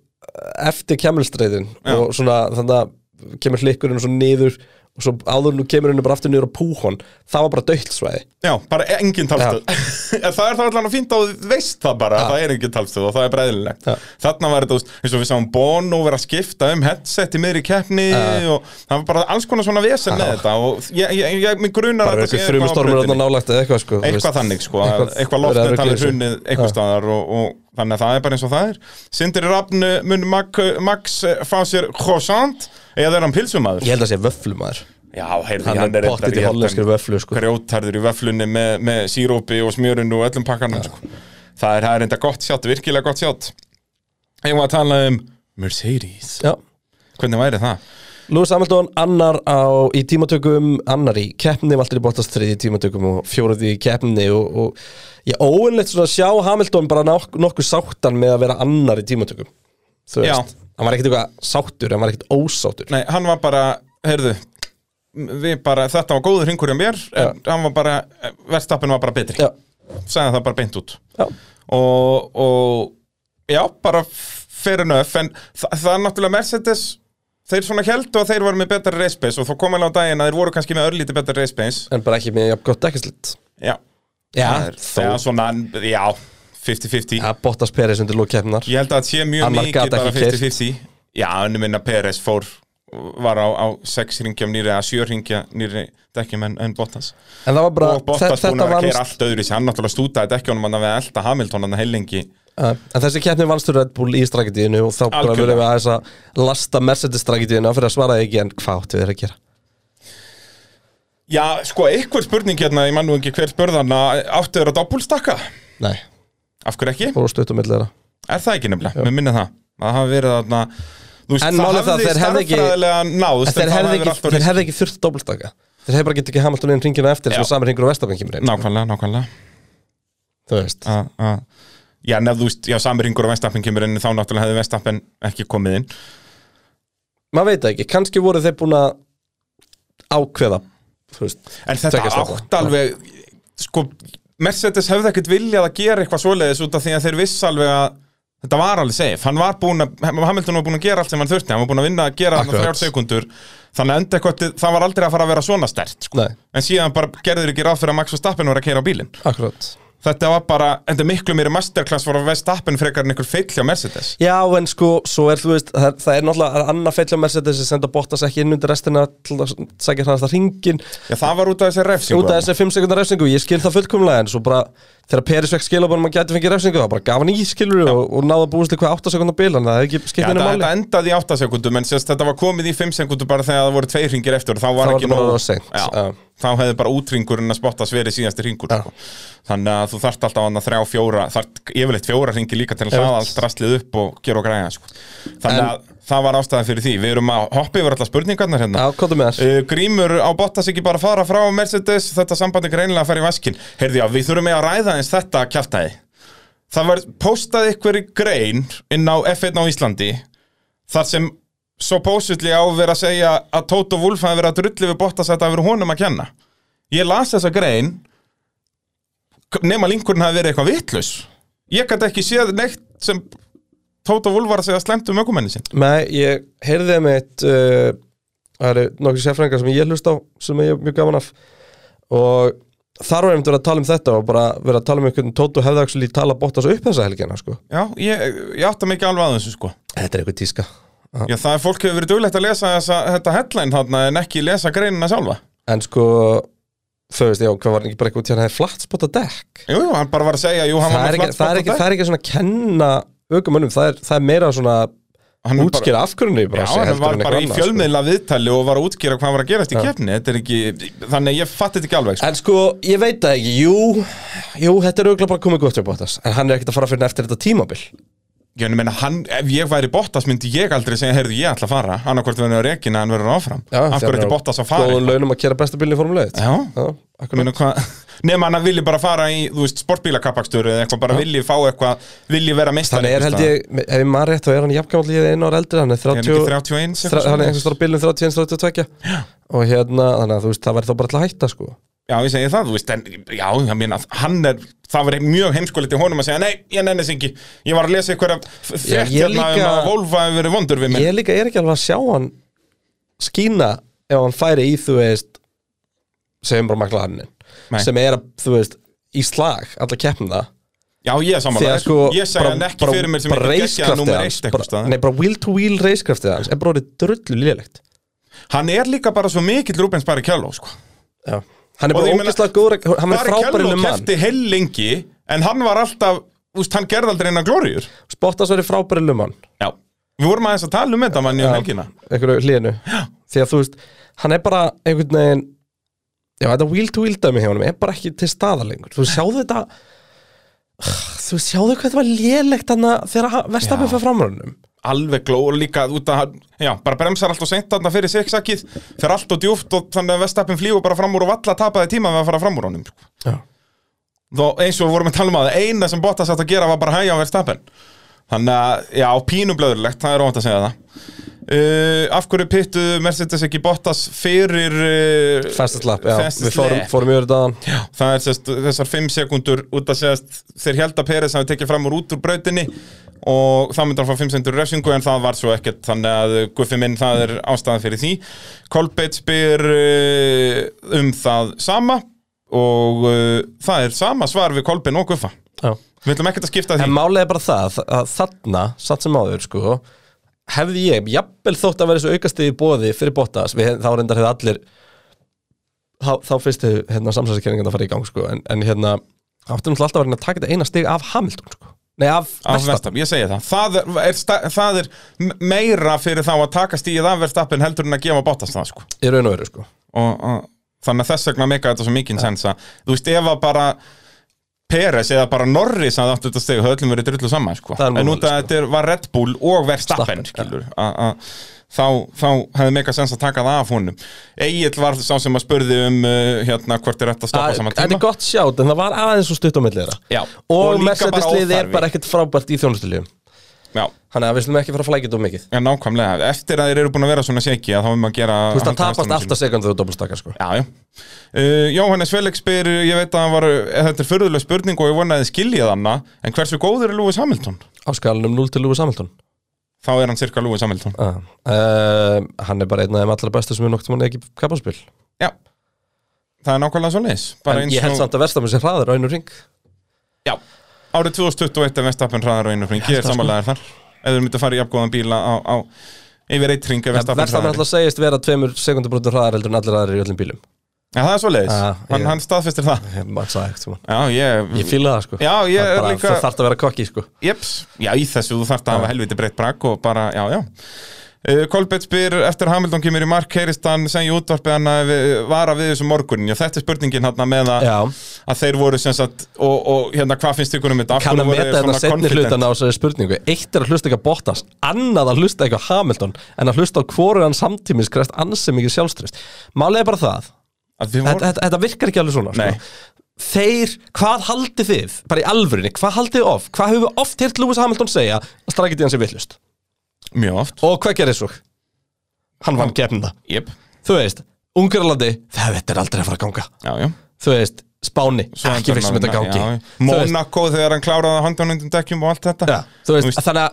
eftir kemilstreitin
Já.
og svona þannig að kemur hlikkurinn svo niður og svo áður nú kemur henni bara aftur niður á púhon það var bara döldsvæði
já, bara e- engin talstöð En það er þá allan að fínt að þú veist það bara að það er engin talstöð og það er bræðilegt
Já.
þarna var þetta, þú veist, eins og við sáum Bono vera að skipta um headset í miðri keppni og það var bara alls konar svona vesen með þetta og ég, ég, ég, mig grunar
bara
að þetta
eitthvað
sé eitthvað á
þrjumustormur
brautinni.
þarna nálægt eða eitthvað sko þú
eitthvað
veist.
þannig sko, eitthvað, eitthvað
verið að
loftið
rugla í
talið
þessu.
hrunnið eitthvað
Já.
staðar og, og þannig að það er bara eins og það er Sindri Rafn mun Mac, Max eh, fá sér croissant eða er hann pilsumæður?
ég held að sé vöflumæður
Já, heyrðu,
Hann er
reyndar-
pottþétt í
ég held
hollenskri
hann
vöfflu, sko.
Grjótharður í vöflunni með, með sírópi og smjörun og öllum pakkanum sko. það er, það er enda gott sjátt, virkilega gott sjátt Ég var að tala um Mercedes,
Já.
hvernig væri það?
Lewis Hamilton annar á, í tímatökum, annar í keppni, Valtteri Bottas þriði í tímatökum og fjóruði í keppni og, og ég óinleitt svona að sjá Hamilton bara nokk, nokkuð sáttan með að vera annar í tímatökum. Þú
Já.
veist, hann var ekkert eitthvað sáttur, hann var ekkert ósáttur.
Nei, hann var bara, heyrðu við bara, þetta var góður hringur hjá mér en hann var bara, verðstappin var bara betri
Já,
sagði það bara beint út
já,
og, og já, bara fair enough en þa það er náttúrulega Mercedes þeir svona heldu að þeir voru með betra race pace og þó kom alveg á daginn að þeir voru kannski með örlítið betra race pace
en bara ekki með jafn gott dekkislitt.
já,
Já,
það er,
þó.
já svona, já 50-50,
Já, Bottas Peres undir lók keppnar.
ég held að það sé mjög
Annar
mikið
gat
bara
ekki keyrt.
50-50 já, en ég minna Peres fór var á, á 6 ringja nýri eða 7 ringja nýri dekkjum en, en Bottas
En það var bara,
og Bottas
þe-
búin
þetta
að keira
vannst,
allt öðru sér, hann náttúrulega stútaði dekkjónum hann að við elda Hamilton hann heilengi
uh, en þessi keppni vannst fyrir Red Bull í strategiðinu og þá bara
Algjörlega.
verðum við aðeins að lasta Mercedes strategiðinu fyrir að svara ekki en hvað áttu þeir að gera?
Já, sko, einhver spurning hérna, ég man nú ekki hver spurðan að áttu þeirra doppulstakka?
Nei,
Af hverju ekki?
fór stutt á milli þeirra.
Er það ekki nefnilega? Mér minna það. Að það hafi verið þarna, þú veist,
En málið það, þeir hefðu ekki-
starffræðilega náðust,
En þeir
það
hefði
verið
ekki,
allt of
þeir
risk.
hefði ekki þurft dobbeltaka Þeir hefði bara getið ekki Hamilton inn hringina eftir sem
Já.
samir hringur og vestabæn kemur inn
Nákvæmlega, nákvæmlega.
Þú veist
A, a. Já, nefn, þú veist, já, samringur og Vestappen kemur inn, þá náttúrulega hefði Vestappen ekki komið inn.
Maður veit það ekki, kannski voru þeir búin að ákveða Þú veist
En þetta
Tveggja stoppa.
átt alveg, sko, Mercedes hefði ekkert viljað að gera eitthvað svoleiðis út af því að þeir viss alveg að Þetta var alveg safe, hann var búin að, Hamilton var búin að gera allt sem hann þurfti, hann var búin að vinna að gera þarna
Akkurat.
þrjár sekundur, þannig að enda eitthvað, það var aldrei að fara að vera svona stert, sko.
Nei,
en síðan bara gerður ekki ráð fyrir að Max Verstappen var að keira á bílinn.
akkurat
Þetta var bara, enda miklu meiri masterclass var að Verstappen frekar en einhver feill hjá Mercedes.
Já, en sko, svo er þú veist Það, er- það er náttúrulega það er annað feill á Mercedes sem senda Bottas ekki inn undir restina til að sækja hannast að hringin
Já, það var út af þessi refsingu.
út af þessi 5 sekundar refsingu, ég skil það fullkomlega en svo bara, þegar Peris vekk skilabunum að gæti fengið refsingu, það bara gaf hann í skilur og, og náða búist til hvað 8 sekundar bil þannig að það hefði ekki
Já,
skipt
þetta,
minni
þetta
máli
endaði í 8 sekundum en sérst, þetta var komið í 5 sekundum bara þegar það voru tveir ringir eftir og þá var
Þá var
ekki
þetta bara
nóg
of seint,
Já,
já.
þá hefði bara útringurinn að spotta sveri síðasti ringur
Já.
sko. þannig að þú þarft alltaf annað þrjá, fjóra þarft yfirleitt fjóra ringi líka til að
Einmitt.
hlaða allt rastlið upp og gera og græja sko. þannig
En-
að það var ástæðan fyrir því við erum að hoppa yfir alla spurningarnar hérna
Já, komdu með þær.
Uh, Grímur á Bottas ekki bara að fara frá Mercedes, þetta sambandi greinilega að fara í vaskin Heyrði já, við þurfum með að ræða eins þetta kjaftaði það var postað ykkur grein inn á F1 á Íslandi þar sem svo pósutli á verið að segja að Tóto Wolf hafi verið að drulli við Bottas að þetta hafi verið honum að kenna ég las þessa grein nema linkurinn hafi verið eitthvað vitlaus ég gæti ekki séð neitt sem Tóto Wolf var að segja slemt um ökumenni sinn
Eh, Nei, ég heyrði um eitt uh, það eru nokkri sérfræðingar sem ég hlust á sem ég er mjög gaman af og þar var einmitt verið að tala um þetta og bara verið að tala um einhvern tóttu hefðaksli tala Bottas upp þessa helgina sko.
já, ég, ég átta mig ekki alveg að þessu sko
Þetta er eitthvað tíska
já, það er fólk hefur verið duglegt að lesa þessa, þetta headline þarna en ekki lesa greinina sjálfa
En sko, þú veist, já, hvað var hann ekki bara eitthvað til hann hefði flatspotta dekk
jú, jú, hann bara var að segja jú, hann
það
var
er,
með
ekki,
flatt spotta
það, er ekki,
dekk.
það er ekki svona að kenna aukumönnum, það er, það er meira svona
Hann er bara-
útskýra af hvernig
Já, hann var bara
sko.
í fjölmiðla viðtali og var að útgýra hvað var að gerast í keppni Þetta er ekki, þannig að ég fatti þetta ekki alveg sko.
En sko, ég veit það ekki, jú, jú, þetta er auðvitað bara komið gott hjá Bottas En hann er ekkert að fara fyrir eftir þetta tímabil
Ég meina, hann, ef ég væri Bottas myndi ég aldrei segja, heyrðu, ég ætla að fara Annarkvort verður að rekina, hann verður áfram Af hverju þetta Bottas að fara
Góðum launum að kera besta bílinn í Formule 1
Já.
akkurat.
Meina, hva, nema hann að vilji bara fara í, þú veist, sportbílakappakstur Eða eitthvað, bara vilji fá eitthvað, vilji vera meistari
Þannig er held
einhvers staðar.
ég, ef ég maður rétt, þá er hann jafngamall í einu ára eldri, hann er
Er hann ekki
30
31
þra-
eitthvað
Hann er
svoleiðis?
einhvers stóra bílinn 31-32 Og hérna, þannig að þú veist, það væri þá bara til að hætta sko
Já, ég segi það, þú veist, en já, ég meina, hann er, það var mjög heimskulegt í honum að segja, nei, ég nenni þess ekki, ég var að lesa ykkur að
Já,
frétt
ég
hérna um
líka-
að Volvo hefur verið vondur við mig.
Ég líka er ekki alveg að sjá hann skína ef hann færi í, þú veist segjum bara
Nei.
maklarnin sem er að, þú veist, í slag alla keppna,
Já, ég er
því
samanlega,
að sko
ég segja hann ekki fyrir mér sem
bara
ekki geggjað
racekraftið
nummer
hans,
eitt
bara-
eitthvað staðar.
Nei, bara wheel-to-wheel racekraftið hans er bara orðið drullu lélegt
Hann er líka bara svo mikill Rubens Barrichello, sko.
Já. Hann er
Og
bara
ég meina,
ógeðslega góður hann er frábærinu mann
kefti heil lengi, en hann var alltaf, þú veist, hann gerði aldrei innan glóriur.
Spottas verið frábærinu mann
Já. Við vorum aðeins að tala um þetta mann í
Já,
helgina.
einhverju hliðinu því að þú veist, hann er bara einhvern veginn já, þetta wheel to wheel dæmi hjá hann er bara ekki til staðar lengur þú sjáðu þetta þú sjáðu hvað þetta var lélegt hann þegar
Já.
verstafið fyrir framrönnum
alveg glóður líka út að hann- já, bara bremsar allt og seint þarna fyrir sigsakið fyrir allt og djúft og þannig að Vestappin flýgur bara fram úr og valla tapaði tíma við að fara fram úr honum sko.
Já.
þó eins og við vorum að tala um að eina sem Bottas átt að gera var bara að hægja á Vestappin þannig að, já, pínublöðurlegt það er óvænt að segja það uh, af hverju pittu Mercedes ekki Bottas fyrir uh,
fastest lap, já,
fastest
við fórum,
lap?
fórum yfir þetta áðan.
Já, það er sest, þessar 5 sekundur út að segjast þeir held að Peres hafi tekið fram úr út úr brautinni og það myndi að fá 5 sekundur refsingu en það var svo ekkert þannig að uh, Guffi minn það er ástæðan fyrir því Kolbeitt spyr uh, um það sama og uh, það er sama svar við Kolbeinn og Guffa
Já.
við ætlum ekkert að skipta því
en málið er bara það að þarna, satt sem áður sko hefði ég, jafnvel þótt að vera þessu aukastig í bóði fyrir Bottas, við, þá reyndar hefði allir þá, þá fyrst hefði hérna, samsæðiskerningan að fara í gang sko, en, en hérna, áttu náttúrulega alltaf að reyna að taka þetta eina stig af Hamilton sko, nei af,
af
Verstappen.
Verstappen, ég segi það það er, er, sta- það er m- meira fyrir þá að taka stíð af Verstappen heldur en að gefa Bottas það sko
í raun og veru sko
og, og þannig að þess vegna meika þetta svo mikinn sensa þú veist ef að bara Peres eða bara Norris að áttu þetta stegu það öllum verið drullu saman sko.
Það er nú
en út
málið,
að
sko.
þetta er- var Red Bull og Verstappen
Stappen,
skilur a, a, þá, þá hefði meika sens að taka það af honum Egil var sá sem að spurði um uh, hérna hvort er rétt að stoppa saman
þetta
tíma
er gott sjátt, en það var aðeins svo stutt á milli þeirra
Já.
og,
Og
og
líka bara
Mercedes-liðið er
óþarfi.
bara ekkert frábært í þjónustulíum
Já,
þannig að við slum ekki fara að flækja þetta of mikið
en nákvæmlega, eftir að þeir eru búin að vera svona seki að þá erum að gera
þú
halda
veist að
hestunum
tapast
sínum.
alltaf sekundu þú dobbulstakar sko
Já, já. Uh, Jóhannes Felix spyr, ég veit að hann var, eh, þetta er fyrðuleg spurning og ég vonaði skiljað hana, en hversu góður er Lewis Hamilton?
á skalanum 0 til Lewis Hamilton
Þá er hann cirka Lewis Hamilton.
Ah, uh, hann er bara einn af þeim allra bestu sem er nokt mann ekki kappaspil
Já, það er nákvæmlega svo leiðis.
en ég held samt að versta með sér hraður á einu ring
Já, árið 2021 er Vestappen hraðar á einu fring, ég er
það sko.
samanlegaðar þar. Ef þú myndir fara í afgóðan bíla á, á yfir eitt ring er Vestappen
versta með
hraðar.
alltaf segist vera tveimur sekundabrótur hraðar heldur en allir aðrir í öllum bílum
Já, það er svo leiðis.
Ah,
hann,
ég-
hann staðfestir það.
Ég man sagði ekkert sem hann.
Já, ég...
ég fíla það sko
sko. Já, ég
Það er
er
bara,
líka-
það þarf að vera kokki sko
Jeps, já í þessu þú þarft að hafa helviti breytt brak og bara, já, já Uh, Kolbett spyr eftir að Hamilton kemur í mark heyrist hann sem í útvarpi hann að við- vara við þessu morgunin og þetta er spurningin hann með að,
Já.
að þeir voru sem sagt og, og hérna hvað finnst ykkur um þetta Af
kann
hverju
að
voru
meta
þeir
þetta
svona
setni
confident?
hlutan á þessari spurningu eitt er að hlusta ekki að Bottas annað að hlusta ekki á Hamilton en að hlusta á hvoru hann samtímis krest ansi mikið sjálfstrist málið er bara það
að við
þetta,
vorum
þetta, þetta virkar ekki alveg svona sko.
Nei.
Þeir, hvað haldið þið, bara í alvörinni, hvað haldið þið oft, hvað höfum við oft heyrt Lewis Hamilton segja að strakkið hans er villust?
mjög oft
Og hvað gerir svo? Hann vann gefnda.
Jep,
Þú veist, Ungarlandi, þetta er aldrei að fara að ganga.
já, já
Þú veist, Spáni,
Svo
ekki
hann-
viss um þetta gangi.
já, já.
Þú veist,
Monaco þegar hann kláraði handanundum dekkjum og allt þetta
Já, þú veist, þannig að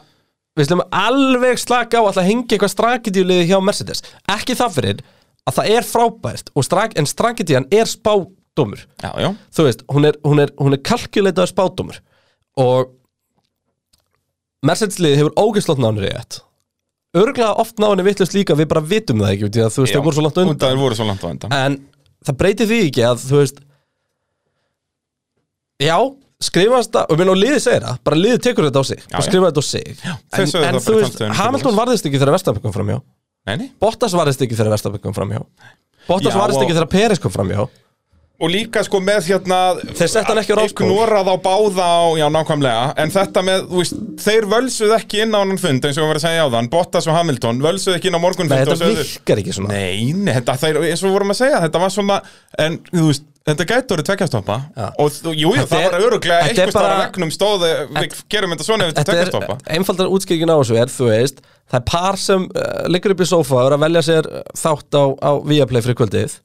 við slum alveg slaka á að það hengi eitthvað strakedjúliði hjá Mercedes ekki það fyrir að það er frábært og strak, en strakedjúan er spádómur
Já, já,
þú veist, hún er, hún er, hún er kalkjuleitaður spádómur og Mercedes liðið hefur ógeðslótt nánir í ett örglega oft náinni vittlust líka við bara vitum það ekki, út í að, þú veist,
já.
það voru svo langt á undan
Það voru svo langt á undan
en það breytir því ekki að þú veist já, skrifast það og minn og liðið segir það, bara liðið tekur þetta á sig
Já,
og
já.
skrifa þetta á sig já,
þeir
en,
sögðu
en
það bara
þú
í
veist,
framtíðinni,
Hamilton
Thomas.
varðist ekki þegar Vestapen kom framhjá
Nei, nei
Bottas varðist ekki þegar Vestapen kom framhjá Bottas
Já,
varðist
og-
ekki þegar Peres kom framhjá
Og líka sko með hérna
Þeir settu hann ekki á ráspól.
Ignorað á báða á, já nákvæmlega En þetta með, þú veist, þeir völsuð ekki inn á hann fund Eins og ég var að segja á þann, Bottas og Hamilton Völsuð ekki inn á morgunfund
Nei,
og
þetta
sögðu-
virkar ekki svona
Nei, nei, þetta þeir, eins og við vorum að segja Þetta var svona, en þú veist Þetta gæti orðið tveggjastoppa
Já.
Og þú- jú, jú,
Þetta
það
er-
var öruglega
þetta er
einhvers staðar á
bara-
vegnum stóð eh, Við gerum þetta svona ef þetta
Þetta er
tveggjastoppa
einfaldar útskýringin á þessu er, þú veist, það er par sem uh, liggur upp í sófa og er að velja sér uh, þátt á, á Viaplay fyrir kvöldið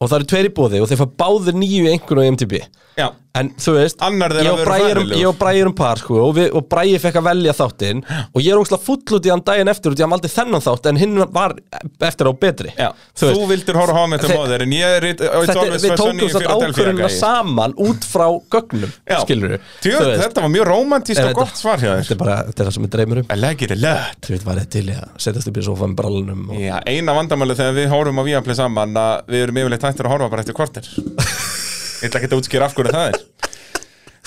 og það eru tveir í bóði og þeir fá báðir nýju einhvern og MTB
Já,
En þú veist,
Annar
ég
þeirra
og
verður
Bragi erum-
hræðilegur.
ég og Bræði erum par sko, og, við, og Bræði fekk að velja þáttinn og ég er ógslag full út í hann daginn eftir út í hann valdi þennan þátt en hinn var eftir á betri
Já,
Þú
þú,
veist,
vildir horfa á mig til
Þe-
móður en ég er í
þetta, er- Við tókum satt ákvörðunna saman út frá gögnum, skilur við
Þetta var mjög rómantískt og gott svar hjá þér
Þetta er bara þetta er það sem við dreymir um
I like it a lot
Þú veit, var þetta til í að setjast upp í sofa með brallunum og...
Já, eina vandamálið þegar við horfum á Viaplay saman að við erum yfirleitt hættir að horfa bara eftir kortir Ég ætla ekki að útskýra af hverju það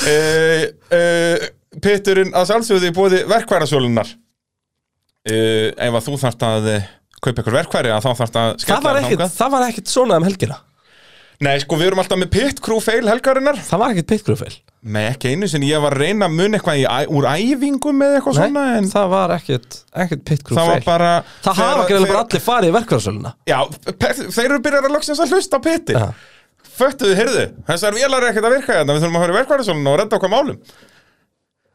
er uh, uh, Pitturinn að sjálfsögðu í bóði verkværasölunar uh, Ef að þú þarft að eh, kaupa ykkur verkværi að þá þarft að skella
það, var
þér
ekkit,
þangað.
það var ekkit svona um helgina
Nei, sko, við erum alltaf með pit crew fail helgarinnar
Það var ekkit pitgrúfeil
Nei, ekki einu sinni, ég var að reyna að muna eitthvað í, æ- úr æfingum eða eitthvað svona en það,
það var ekkit, ekkit pitgrúfeil
var bara
Það
þegar-
hafa greiðlega bara
þegar-
allir farið í verkvæðarsöluna
Já, pe- þeir eru byrjar að loksins að hlusta á piti
Já.
Föttuðu, heyrðu, þessar vélar er ekkert að virka hérna Við þurfum að höra verkvæðarsólun og redda okkar málum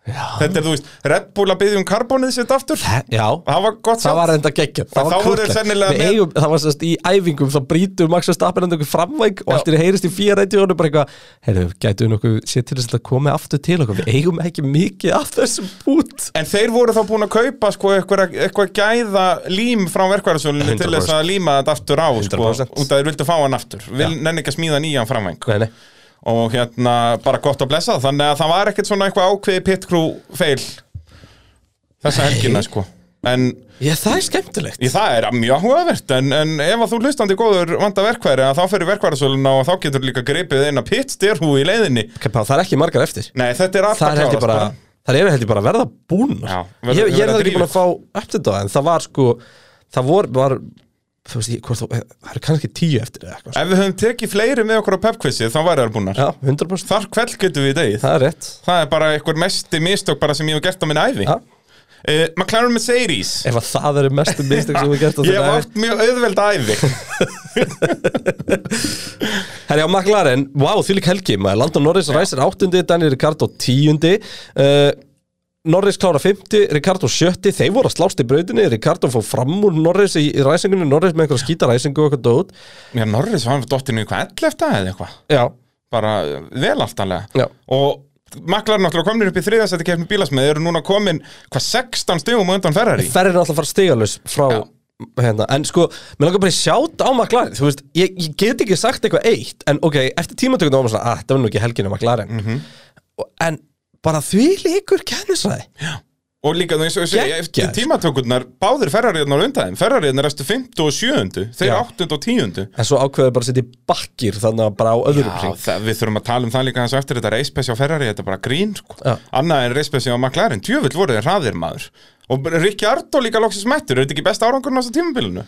Þetta er, þú veist, Red Bull að byggja um karbónið sitt aftur
Já,
Það var gott
það
samt.
var enda geggjum
En þá voru þeir sennilega með-
eigum, það var sérst í æfingum þá brýtum Max Verstappen enda einhver framvæg og allt er heyrist í fíra reyndi og hann er bara eitthvað heyrðu, gætu við nokkuð sér til þess að koma aftur til okkur við eigum ekki mikið af þessum bút
En þeir voru þá búin að kaupa sko, eitthvað, eitthvað gæða lím frá verkvæðarsölunni til þess að
100%.
líma þetta aftur á sko,
100%.
út að þeir vildu fá hann aftur Vil nenni ekki að smíða nýjan framvæng
Nei, nei.
og hérna bara gott að blessa það. þannig að það var ekkert svona eitthvað ákveði pit crew fail þessa helgina sko en
Já, það er skemmtilegt
í það er mjög áhugavert en, en ef að þú hlustandi góður vanda verkværi að þá fyrir verkværasöluna og þá getur líka gripið inn að pit styrhú í leiðinni
Kappa, Það er ekki margar eftir
nei þetta er alltaf
Það er heldur bara Það eru heldur bara að verða búnar
sko. Já, verður-
Ég, ég er
verða
það ekki
drífur.
búin að fá update á það en það var sko það vor, var, þú veist, ég- hvort þú- það eru kannski tíu eftir eða eitthvað sko.
ef við höfum tekið fleiri með okkur á pepquizi þá væri það búnar
Já, 100%
þar kveld getum við í degið
Það er rétt
það er bara einhver mesti mistök bara sem ég hef gert á minna æfi
Já.
uh, McLaren Mercedes
Ef að það eru mestu mistök sem við gert á
ég hef
þetta
átt mjög auðveld æfi
Herri á McLaren, wow, því lík helgi maður Landon Norris ræsir áttundi, Daniel Ricardo tíundi uh, Norris klára 50, Ricardo 70 þeir voru að slást í brautinni, Ricardo fór fram úr Norris í, í ræsingunni, Norris með einhverja skýta ræsingu og eitthvað dót
Já, Norris var dottinu í hvað 11 eða eitthvað
Já,
bara eh, vel aftanlega
Já.
og maklar náttúrulega komnir upp í þriðasætti kefni bílasmið eru núna komin hvað 16 stegum undan Ferrari
ferri náttúrulega að fara stigalus frá
Já.
hérna, en sko, mér langar bara að sjáta á McLaren þú veist, ég, ég get ekki sagt eitthvað eitt en ok, eftir tímatökunum var maður svona að, það var nú ekki helginu McLaren
Mhm.
og, en bara því líkur kennisræði
og líka þú eins og ég segja, eftir
Geggjað.
tímatökurnar báðir Ferrariðnar undan þeim Ferrariðnar erstu 50 og 7 þeir
Já.
8 og 10
En svo ákveður bara að setja í bakkir þannig að bara á öðrum
Já,
hring
það, við þurfum að tala um það líka hans eftir þetta reispessi á Ferrari, þetta er bara grín sko.
Já.
annað en reispessi á McLaren, djöfull voru þeir hraðir maður og bara Rikki Ardó líka loksins mættur, er þetta ekki best árangurinn á þessu tímabilinu?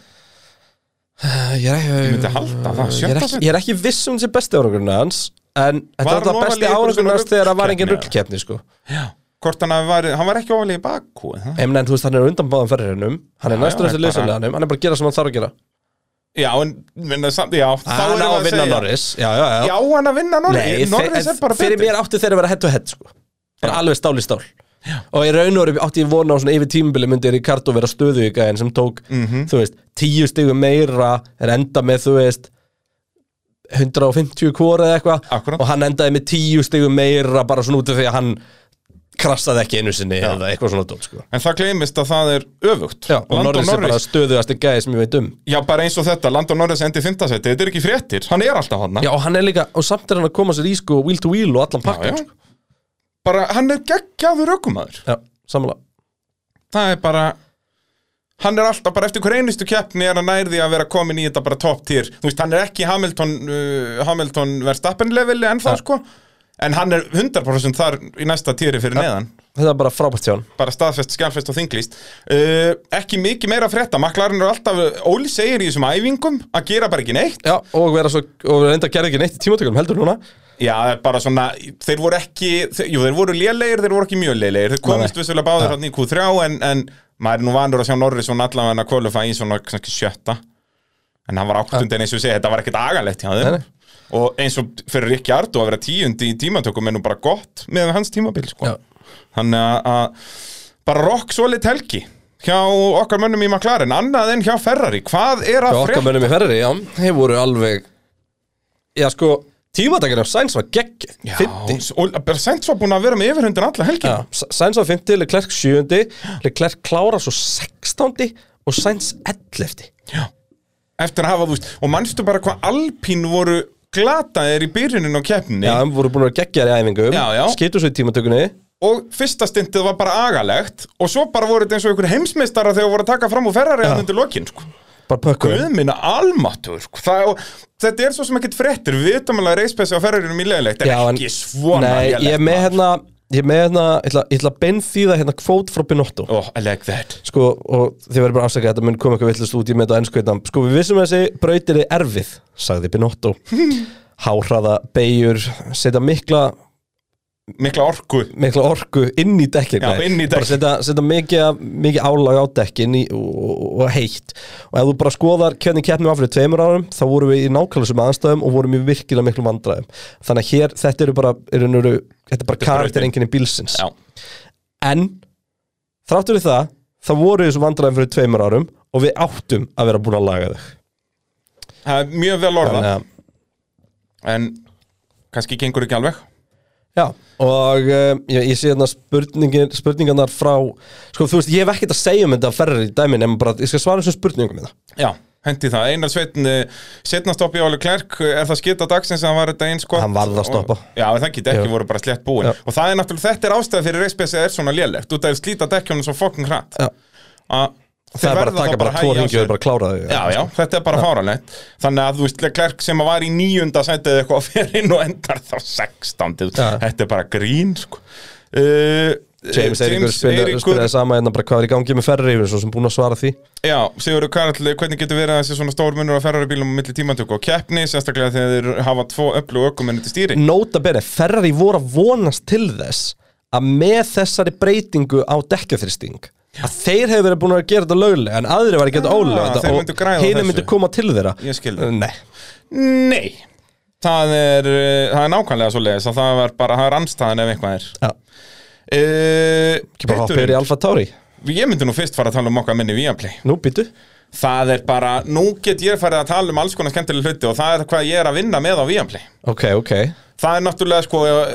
Ég er ekki,
Ég myndi halda það,
ég er
sjötta
ekki,
sæti.
ég er ekki viss um þessi besti árangurinn hans En þetta
Var
var það
hann ofarlega í
besti
einhverju
árangurinn hans
svona
þegar það var engin
ruglkeppni,
ruggkeppni sko.
Hvort hann, hafi varið- hann var ekki ofalega í Bakú eða?
Ég meina en þú veist hann er undanbáðan ferðirinnum Hann er
Já, já,
næstur þessi
bara-
leysanleganum Hann er bara að gera sem hann þarf að gera
Já, en minna, samt, já, þá
Hann
erum
á
við
að vinna
segja-
Norris Já, já, já,
Já, hann að vinna
Nei,
Norris Norris
fe-
er bara
Fyrir
betur
mér áttu þeir að vera head to head sko. Bara alveg stál í stál Og ég raun og veru átti ég vona á svona yfir tímabili myndi Ricardo vera stöðu í gæðin sem tók þú veist, tíu stigum meira er enda með, þú veist 150 kóra eða eitthvað
Akkúrat.
og hann endaði með tíu stigum meira bara svona út af því að hann krassaði ekki einu sinni eða eitthvað svona dót sko.
En það gleymist að það er öfugt
Já, og
Landon
Norris er bara stöðuðasti gæði sem ég veit um
Já, bara eins og þetta, Landon Norris endi í fintasæti Þetta er ekki fréttir, hann er alltaf hann
Já, og hann er líka, og samt er hann að koma sér í sko wheel to wheel og allan pakkan sko.
Bara, hann er geggjaður ökumæður
Já, samanlega
Það er bara Hann er alltaf bara eftir hver einustu keppni er hann nærði að vera komin í þetta bara top tier Þú veist, hann er ekki Hamilton uh, Hamilton verðstappen leveli en það
Ja.
sko En hann er 100% þar í næsta tieri fyrir neðan
Þetta er bara frábært hjá hann
bara staðfest, skjálfest og þinglist uh, ekki mikið meira að frétta maklarinn er alltaf, Óli segir í þessum æfingum að gera bara ekki neitt
Já, og vera svo, og reynda að gera ekki neitt í tímatökunum heldur núna
já, bara svona, þeir voru ekki þeir, jú, þeir voru lélegir, þeir voru ekki mjög lélegir þeir komist
Nei.
vissulega báðir hann í Q3 en, en maður er nú vandur að sjá Norris svona allavega að kvölufa í svona kannski sjötta en hann var áttundin eins og ég segi, þetta var ekkert agalegt hjá
Nei,
þeim
nei.
og eins og fyrir Rikki Ardu að vera tíundi í tímatökum er nú bara gott með hans tímabil sko.
Já.
þannig að- að bara rock solid helgi hjá okkar mönnum í McLaren annað en hjá Ferrari, hvað er
Hjá
að
okkar
frétta?
mönnum í ferri, já, þeir voru alveg Já, sko, tímatökunum Sainz var gegg, 50
Já, og bara Sainz var búin að vera með yfirhundin alla helgina
Já, S- Sainz var 50, Leclerc 7 Leclerc klára svo 16 og Sainz 11
eftir að hafa, þú veist, og mannstu bara hvað Alpín voru glataðir í byrjunin á keppni
Já, þeim voru búin að geggja þær í æfingum
Já, já.
Skiptu svo í tímatökunni
og fyrsta stintið var bara agalegt og svo bara voru þetta eins og einhver heimsmeistara þegar voru að taka fram úr Ferrari hann undir lokin, sko
Bara pökkur
Guðminna almatur, sko Það, og, Þetta er svo sem ekkert fréttir, við vitum alveg að reispessi á Ferrarinum í leiðilegt, en
Já, en-
ekki svona
Nei, ég er með hérna Ég er með hérna, ég ætla, ég ætla að beinþýða hérna kvót frá Binotto
Oh, I like that
sko, og þið verður bara afsakað að þetta mun koma eitthvað villust út í með þetta á ensku hérna sko, við vissum að þessi brautir er erfið sagði Binotto háhraða, beigur, setja mikla
Mikla orku
mikla orku inn í dekkin
Já, inn í dekkin.
bara setja, setja mikið, mikið álag á dekkin í, og, og- og heitt og ef þú bara skoðar hvernig keppnum var fyrir tveimur árum þá vorum við í nákvæmlega sem aðstæðum og vorum í virkilega miklu vandræðum þannig að hér, þetta eru bara, eru, eru, þetta er bara karakter enginni bílsins
Já,
En þráttur við það Það voru þessu vandræðin fyrir tveimur árum Og við áttum að vera búin að laga þau
það er mjög vel orðað
Þannig að,
En kannski gengur ekki alveg
Já, og um, ég, ég sé þarna spurningin, spurningarnar frá Sko, þú veist, ég hef ekkert að segja um þetta ferri í dæmin En bara, ég skal svara þessum spurningum minna
Já, hendi það, Einar eh, Sveitn setna stoppi á Óli Klerk, er það skita dagsins að hann var þetta eins gott
Hann varð að stoppa.
og, Já, en það geti ekki,
Já.
voru bara slett búin
Já.
og það er náttúrulega, þetta er ástæða fyrir reisbessi er svona lélegt, út af að slíta dekkjónu svo fokkin hratt
Já.
Að
Það
þeir
er bara
verða
að taka
þá
bara
að
tvo
hægja á
ringi
sér.
og bara klára þau
Já, já, þetta er bara fáralegt Þannig að þú veist, Klerk sem að var í níunda sætið eitthvað fyrir inn og endar þá sextándið
Já.
Þetta er bara grín, sko uh,
James Eiríkur spyrir spyrir það sama hérna bara hvað er í gangi með ferri yfir Svo sem búin að svara því
Já, Sigurður Karl, hvernig getur verið að þessi svona stór munur að ferrari bílum á milli tímantöku og keppni, sérstaklega þegar þeir hafa tvo öllu ökumenni til stýri?
Nota bene, Ferrari voru að vonast til þess að með þessari breytingu á dekkjaþristing að þeir hefur verið búin að gera þetta löglega en aðri var að gera þetta
Ah,
ólega
þeir myndu græða á þessu.
myndu koma til þeirra
Ég skil það.
Nei,
Nei, það er, eh, það er nákvæmlega svo leiðis að það var bara, það er anstæðan ef eitthvað er.
Já.
Uh,
Eh, ekki bara hoppa yfir í Alfa Tauri
ég myndi nú fyrst fara að tala um okkar minni Viaplay
Nú býtu
Það er bara, nú get ég farið að tala um alls konar skemmtileg hluti og það er hvað ég er að vinna með á Viaplay
Ok, ok
Það er náttúrulega sko, eh,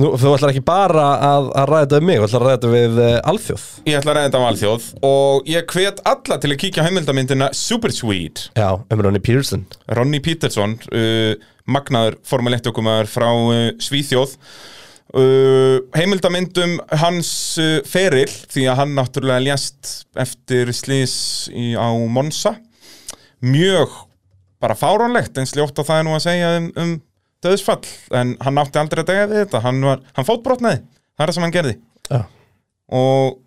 Nú, Þú ætlar ekki bara að, að ræða þetta við mig þú ætlar að ræða þetta við uh, Alþjóð
ég ætla að reyna þetta á alþjóð og ég hvet alla til að kíkja á heimildamyndina Super Sweet
Já, um Ronny Pearson
Ronny Peterson uh, magnaður Formule 1 okumar frá uh, Svíþjóð uh, heimildamyndum hans uh, feril því að hann náttúrulega ljast eftir slís í, á Monsa mjög bara fáránlegt eins ljótt að það er nú að segja um, um döðsfall en hann átti aldrei að degja við þetta hann, var, hann fótbrotnaði, það er það sem hann gerði
Já.
og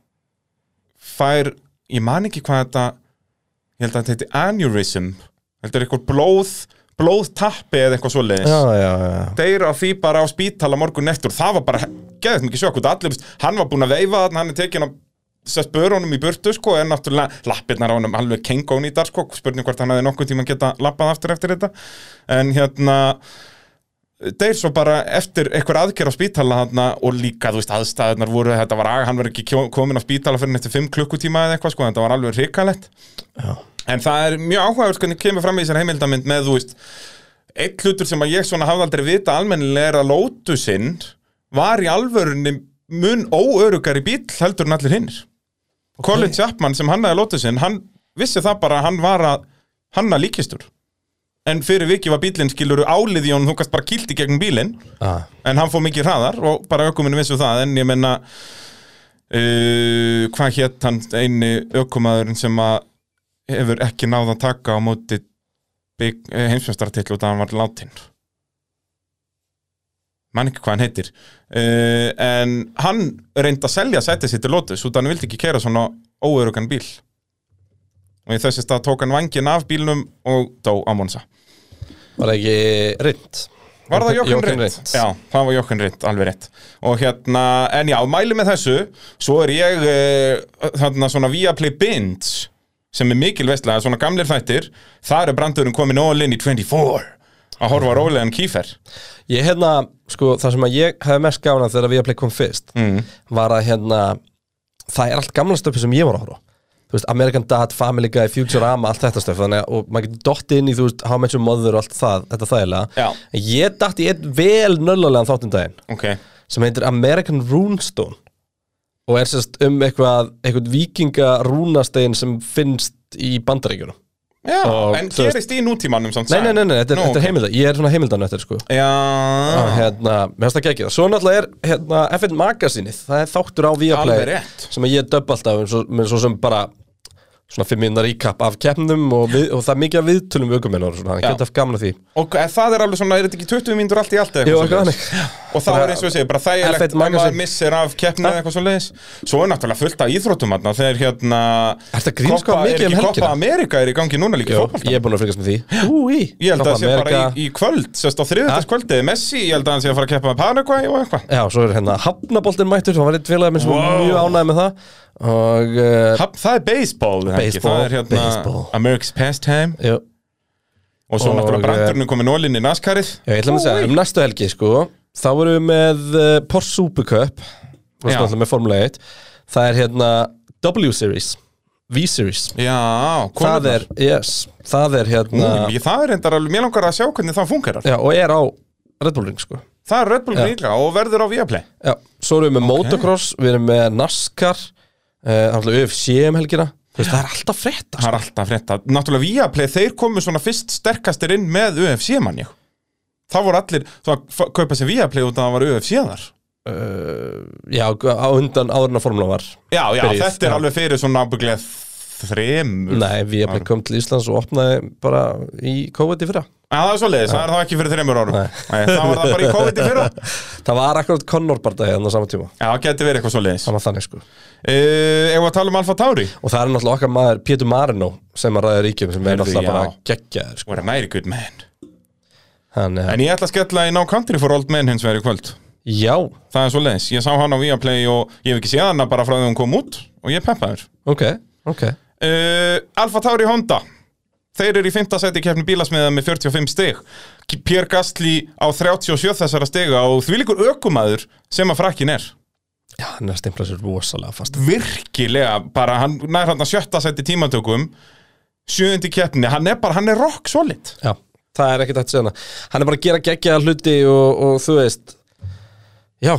fær, ég man ekki hvað þetta ég held að þetta heiti aneurysm heldur eitthvað blóð blóðtappi eða eitthvað svoleiðis
Já, já, já
deyr af því bara á spítala morgun eftir og það var bara geðið mikið sjokk út allir, veist, hann var búinn að veifa þarna, hann er tekinn á sest börunum í burtu sko en náttúrulega lappirnar á honum alveg kengón í dag sko spurning hvort hann hefði nokkuð tíma geta lappað aftur eftir þetta en hérna deyr svo bara eftir einhver aðgerð á spítala hana, og líka þú veist aðstæðunar voru þetta var að hann var ekki kjó- kominn á spítala fyrir næstu 5 klukkutíma eða eitthvað sko þetta var alveg hrikalegt en það er mjög áhugavert hvernig kemur fram í þessar heimildamind með þú veist eitt hlutur sem að ég svona hafði aldrei vita almennilega er að Lotusinn var í alvörunni mun óörugari bíl heldur en allir hinn Colin Chapman sem hannaði Lotusinn hann vissi það bara að hann var að hanna líkistur en fyrir vikið var bílinn skilur álið í honum þú gast bara kýlt í gegn bílinn
Ah.
en hann fór mikið hraðar og bara ökuminn vissu það en ég menna uh, hvað hétt hann eini ökumaðurinn sem að hefur ekki náð að taka á móti heimsfjörnstartill út að hann var látin mann ekki hvað hann heitir uh, en hann reyndi að selja sætið sitt til Lotus út að hann vildi ekki kæra svona óörugan bíl og í þessi stað tók hann vangin af bílnum og dó á Monsa
Var það ekki reynd?
Var það Jochen Ritt?
Jochen Rindt.
Já, það var Jochen Ritt, alveg rétt Og hérna, en já, mæli með þessu Svo er ég uh, þarna svona Viaplay Binge sem er mikil veistlega, svona gamlir þættir þar er brandurinn komin all in í 24 að horfa Mhm. á rólegan kýfer
Ég hérna, sko, það sem að ég hefði mest gafna þegar við að play kom fyrst
Mm.
var að hérna, það er allt gamla stöfi sem ég var að horfa á. Þú veist, American Dad, Family Guy, Futurama, allt þetta stöfi þannig að, og maður getur dott inn í, þú veist, How Much Your Mother og allt það, þetta þægilega
Já.
En Ég datt í einn vel nöllalegan þáttum daginn
Ok,
sem heitir American Runestone og er sérst um eitthvað, eitthvað vikinga rúnastein sem finnst í bandaríkjunum
já,
Og
en
þú veist-
gerist í nútímanum samt
Nei, nei, nei, nei, þetta er,
Nú,
þetta er
ok.
heimildan, ég er svona heimildan eftir, sko og
Já,
hérna, mér finnst það gekkið Svo náttúrulega er hérna, F1 Magasinið Það er þáttur á
Alveg
Viaplay
rétt.
sem ég döbb alltaf eins og, með svo sem bara svona fimm minna recap af keppnum og, við, og það er mikið að viðtölum við ökuminn og svona, hann
Já.
getur haft gaman af því
og eh, það er alveg svona, er þetta ekki 20 mínútur allt í allt eða
Jú,
eitthvað
eitthvað
svoleiðis? Og það
Bara-
er eins og ég segi, bara þægilegt
F1
að maður
magazine.
missir af keppna eða eitthvað svo leiðis Svo er náttúrulega fullt af íþróttum þarna þegar hérna
Ertu að grínast hvað
Copa- er
mikið um
ekki
helgina?
Copa America er í gangi núna líka
Jó,
fótbolta
Ég er búin að fylgjast með því Úi,
Ég held að það sé bara í, í kvöld, sérst á þriðutaskvöldi Messi, ég held að hann sé að fara að keppa með Paraguay og eitthvað
Já, svo er hérna Hafnaboltin mættur Það var eitt félag minn sem var
Wow.
mjög ánægð með það Og uh,
Ha- Það er baseball, er það ekki?
Baseball,
það er hérna
baseball.
America's Pastime
jú,
Og svo
Og, eh,
náttúrulega brandurinn komið nólinni í naskarið
já, ég ætla að segja Um næstu helgi, sko Þá erum við með uh, Porsche Supercup Og
Já.
svo alltaf með Formula 1 Það er hérna W-Series V-Series
Já,
Það er, yes Það er hérna
Ú, ég- Það er endar alveg, mér langar að sjá hvernig það fungerar
Já, og er á Red Bull Ring, sko
Það er Red Bull líka og verður á Viaplay
Já, svo erum við með motocross Við erum með NASCAR uh, Alltaf UFC um helgina Þú veist, Það er alltaf frétta,
Það er alltaf frétta. Náttúrulega Viaplay, þeir komu svona fyrst sterkastir inn með UFC mann ég. Það voru allir, þú að f- kaupa sér Viaplay út að það var UFC þar.
Eh, Já, á undan áður en að formula var
Já, já,
Byrjuð,
þetta er
já.
alveg fyrir svona ábygglega þremur.
Nei, við hefum kom til Íslands og opnaði bara í COVID í fyrra
Já, það er svo leiðis, það er það ekki fyrir þremur árum. Nei. það var það bara í COVID í fyrra.
Það var akkurat Conor barða hérna á sama tíma
Já, það geti verið eitthvað svo leiðis.
Það var þannig sko Og
Uh, ef að tala um Alfa Tauri,
það er náttúrulega okkar maður Pétur Marino sem að ræða ríkjum sem er
Heyrðu,
náttúrulega bara
já.
geggjaður sko.
voru næri gutt menn.
Hann, en,
En ég ætla að skella í Now Country for Old Men hins vegar í kvöld.
Já,
Það er svo leiðis. Ég sá hann á Viaplay og ég hef ekki séð hana bara frá því hún kom út og ég er peppaður.
ok, ok
uh, Alfa Tauri Honda Þeir eru í 5. seti í keppni bílasmiða með 45 stig Pér Gastli á 37 þessara stiga og því líkur ökumæður sem að frakkin er
Já, hann er að stimpla sér rosalega fast
virkilega bara hann nær hann að sjötta seti í tímatökum sjöundi í keppni, hann er bara hann er rock solid
Já, það er ekkert hægt að segja það Hann er bara að gera geggjaða hluti og, og þú veist Já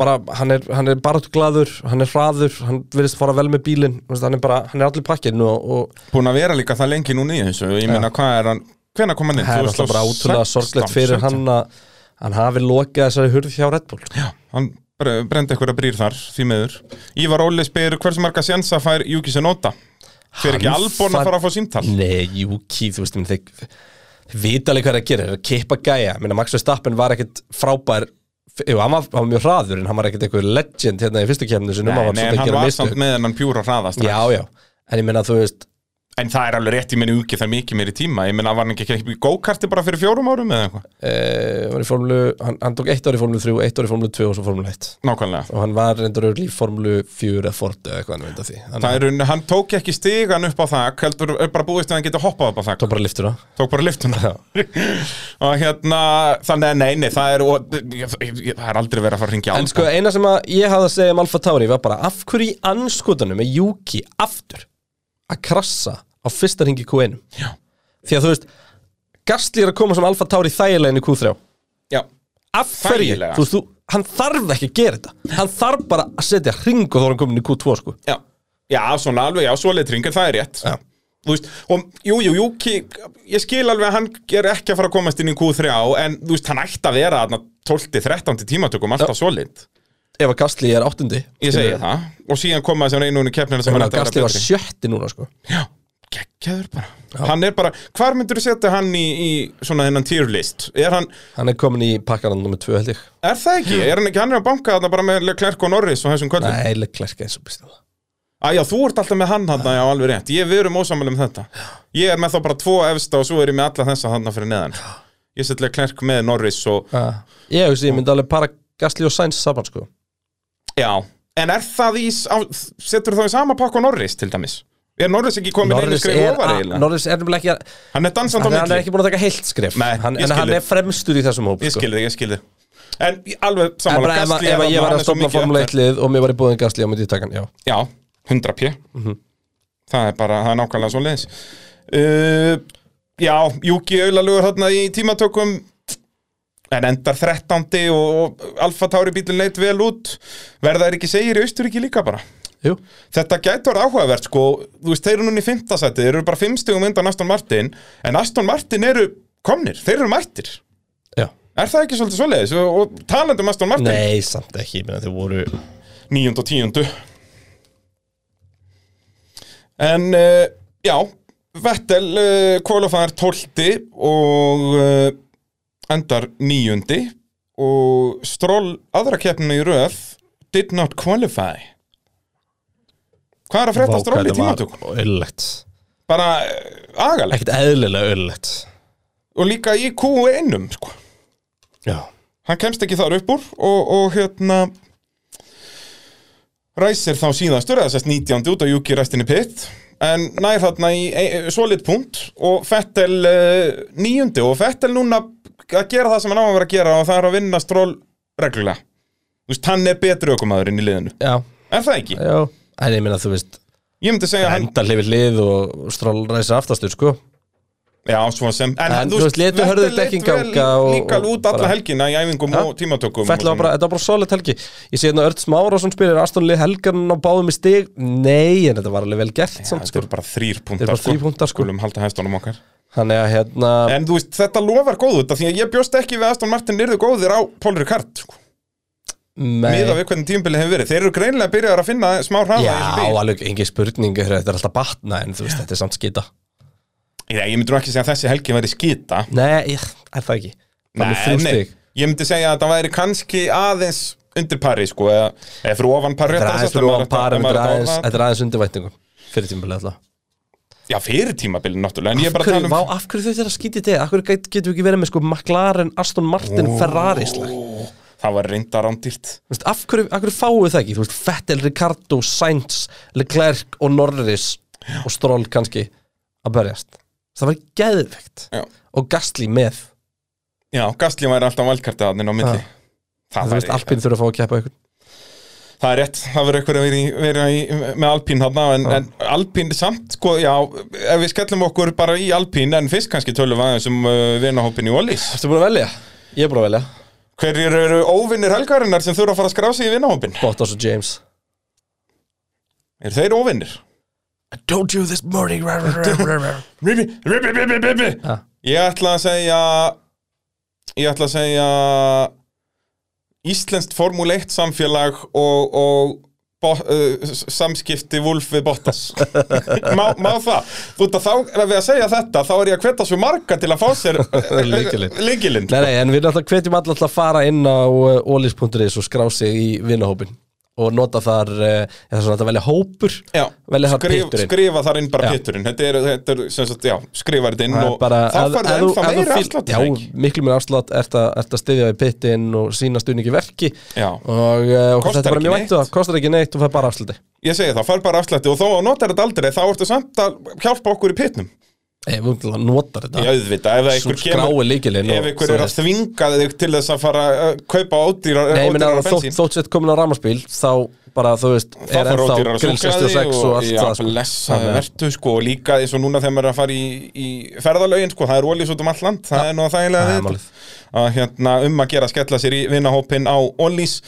bara, hann er, hann er bara glaður, hann er hraður hann virðist fara vel með bílinn þú veist, hann er bara, hann er allir pakkin og, og
búin að vera líka það lengi núna í þessu ég meina hvað er hann, hvenær kom hann inn
það er alltaf bara
2016,
ótrúlega sorglegt
17.
fyrir hann að hann hafi lokað þessari hurð hjá Red Bull sko.
Já, hann bre- brendi eitthvað brýr þar, því miður Ívar Óli spyr hversu marga sjensa fær Júki Senóta fyrir ekki
Hann
Albon að
fær-
fara að fá símtal
Nei, Juki, þú veist ég meina, þeir, þeir vita alveg hvað það gerir, þeir eru að kippa gæja Minna, Max Verstappen var ekkit frábær jú, hann, var, hann var mjög hraður en hann var ekkit eitthvað legend hérna í fyrstu kemni sinum
Nei,
hann var
nei,
svolítið
en
að
hann
gera
var samt
mistök
með hennan pjúra hraðast
Já, já, en ég meina þú veist
En það er alveg rétt, ég meni uki þar mikið meiri tíma Ég meni að var hann ekki ekki í go-karti bara fyrir fjórum árum eða eitthvað
Eh, var í formlu, hann, hann tók eitt ár í formlu 3, eitt ár í formlu 2 og svo formlu 1
Nákvæmlega
og hann var reyndar öll í formlu 4 eða Ford eða eitthvað hann veit að því hann
Það er, unn- hann tók ekki stigan upp á þak heldur er bara búist að hann geti hoppað upp á þak
tók bara liftuna
tók bara liftuna og hérna, þannig að nei, nei það er, og, ég, ég, ég, það er aldrei verið að fara að ringja
En sko eina sem að ég hafði að segja um Alfa Tauri var bara af hverju í anskotanum er Juki aftur að krassa á fyrsta ringi Q1
Já.
Því að þú veist Gastli er að koma sem Alfa Tauri þægilegin í Q3
já,
Af hverju,
Þægilega.
þú veist, þú, hann þarf ekki að gera þetta Hann þarf bara að setja ring og þá er hann komin í Q2 sko
já, já, svona alveg, já, svo litringar, það er rétt
Já.
Þú veist, og jú, jú, jú, ki, ég skil alveg að hann er ekki að fara að komast inn í Q3 en þú veist, hann ætti að vera 12-13 tímatökum alltaf svo lit
Ef að Gastli er áttundi
Ég segi það, og síðan koma þessi einu unni keppnina sem hann
Þannig að
ætti að
Gastli
vera
var
betri.
sjötti núna sko
Já, geggjaður bara Hann er bara, hvar myndur þú setja hann í, í svona þennan tier list? Er hann,
Hann er komin í pakkanan nummer 2 held ég
er það ekki? Er hann ekki, hann er að banka þarna bara með Leclerc og Norris og þessum kvöldum?
Nei, Leclerc eins og býst það
Æ, já, þú ert alltaf með hann þarna, já, alveg rétt Ég, við erum ósamlega með þetta Ég er með þá bara tvo efsta og svo er ég með alla þessa þarna fyrir neðan Ég set Leclerc með Norris og,
Ah. Ég, hugsa, ég myndi alveg para Gastli og Sainz saman sko
já En er það í, s- á, setur þá í sama pakk og Norris til dæmis? Er Norris ekki komin einu
Norris
skrif
er,
ofar
að-
eiginlega?
Norris er nefnilega ekki að
Hann er dansand á
hann, hann er
milli
ekki búin að taka heilt skrif
Nei,
hann,
ég
En
skil
hann
þig.
er fremstur í þessum hóp sko.
Ég skil þig, ég skil þig En í- alveg
En
samanlega
bara ef, að- ef að ég var að stofna Formule 1 lið og mér var í búðin Gasly á myndi ég taka hann, já
Já, 100 p Það er bara, það er nákvæmlega svo leiðis uh, Já, Júki Aulalugur þarna í tímatökum En endar 13. og, og Alfa Tauri bílinn leit vel út Verða er ekki segir í Austuríki líka bara
Jú,
Þetta gæti orðið áhugavert sko Þú veist, þeir eru núna í fimmtasæti Þeir eru bara fimmstugum undan Aston Martin En Aston Martin eru komnir, þeir eru mættir
já
Er það ekki svolítið svoleiðis? Og, og talandi um Aston Martin
Nei, samt ekki, menn þau voru
níund og tíundu En uh, já, Vettel uh, kvalifæðar tólti og uh, endar níundi og stról aðra keppninu í röð did not qualify Hvað er að frétta stról í tímatökum?
öllett
Bara uh, agalegt
Ekkert eðlilega öllett
og líka í Q1 sko.
Já
hann kemst ekki þar upp úr og, og hérna ræsir þá síðastur eða sérst 19. út að Juki restinni pitt en nær þarna í e, e, solid punkt og Fettel e, níundi og Fettel núna að gera það sem hann á að vera að gera og það er að vinna stról reglulega Þú veist, hann er betri ökumæðurinn í liðinu
Já,
Er það ekki?
já En ég meina þú veist
Ég myndi segja hann
Hendar lifir lið og stról ræsir aftastur, sko
Já, svo sem En,
En, þú veist, létu
Vettel
hörður
leit
dekkin
vel
ganga og-
Líka
og
út alla
bara-
helgina í æfingum
Ja.
og tímatökum og
Fettel var
svona.
bara, þetta var bara solid helgi Ég sé hérna Örts Márásson spyrir Aston Lee Helgarn á báðum í stig Nei, en þetta var alveg vel gert
Já,
samt,
Þetta
sko.
eru bara þrýr
Þetta eru
punktar
bara þrír punktar, sko.
Skulum halda hestunum okkar
Þannig að hérna
En þú veist, þetta lofar góð út af því að ég bjóst ekki við að Aston Martin yrðu góðir á Paul Ricard sko. miða
Nei,
við hvernig tímbili hefur verið Þeir eru greinlega byrjaðar að finna smá hraða
já,
í þessu bíl.
alveg engin spurning Þetta er alltaf batna, en þú veist, þetta er samt skita
Nei, ég myndi nú ekki segja að þessi helgi væri skýta
Nei, ég, er það ekki Það er þrjú stig
Ég myndi segja að það væri kannski aðeins undir pari sko, eða, eða fyrir ofan pari
Þetta er
réttara sagt, ef maður
aðeins fyrir ofan par
ef
en
maður
Þetta er aðeins-
að-
þetta er aðeins undir væntingum Fyrir tímulega alltaf
Já, fyrir tímabilið náttúrulega En ég er
Af
bara að
hverju,
tala
vá,
um
af hverju þau þeirra skítið þetta? Af hverju get- getum við ekki verið með sko McLaren, Aston Martin, Ferrari slag?
Það var reynda rándýrt
Þú veist, af hverju, af hverju fáu það ekki? Þú veist, Vettel, Ricardo, Sainz, Leclerc og Norris og Stroll kannski að berjast. Það var geðvegt.
Já.
Og Gastli með.
Já, Gastli væri alltaf valkartið aðnin á milli
Já.
Það
þú veist,
væri-
Alpin þurfa að fá að keppa ykkur.
Það er rétt, það verður eitthvað að vera, í, vera í, með Alpín þarna, en, en Alpín samt, sko, já, ef við skellum okkur bara í Alpín, en fyrst kannski tölum við aðeins um uh, vinahópin í Wallis.
Ertu búin að velja? Ég er búin að velja.
Hverjir eru óvinnir helgarinnar sem þurfa að fara að skrá sig í vinahópin?
Bottas og James.
Er þeir óvinnir?
I told you this morning.
Ribi, ribi, ribi, ribi.
Ha.
Ég ætla að segja, ég ætla að segja Íslenskt Formule 1 samfélag og, og bo, uh, s- samskipti Wolf við Bottas má, má það, þú veit að þá ef við að segja þetta, þá er ég að hveta svo marga til að fá sér eh,
Lykilinn.
líkilinn
eh, Nei, nei, en við náttúrulega hvetjum alltaf að fara inn á olis.is og skrá sig í vinnahópin og nota þar uh, eða svona þetta velja hópur
Já,
velja þar
skrif,
pitturinn
skrifa þar inn bara
Já.
pitturinn Þetta er, þetta er sem sagt, já, skrifa þetta inn
Það er
og þá
ef-
færðu
ef þú-
ennþá
ef þú
meira
fíl-
afslátt er það ekki?
Já, miklu meira afslátt ert að, ert að styðja við pittin og sína stuðningi verki
Já.
og, uh, og
Kostar
þetta er bara
ekki
mjög vænt og það kostar ekki neitt og það er bara afsluti
Ég segi það, fær bara afslætti og þó að notar þetta aldrei þá ertu samt að hjálpa okkur í pitnum
Ég vungt að notar þetta
Ég auðvita, ef það
Svo
einhver
skrái líkilinn
Ef einhver er að þvinga þig til þess að fara að kaupa ódýra
Nei, ég meina
ódýra
að þótt, þótt sett komin á ramaspíl þá bara, þú veist,
það
er
fara
ennþá
ódýrar
grill 66 og allt
já,
það sko.
blessa
Þannig að-
vertu sko og líka eins og núna þegar maður er að fara í, í ferðalögin sko, það er ólís út um allt land það er nú að
Það
þægilega
er málið.
að hérna um að gera að skella sér í vinahópin á ólís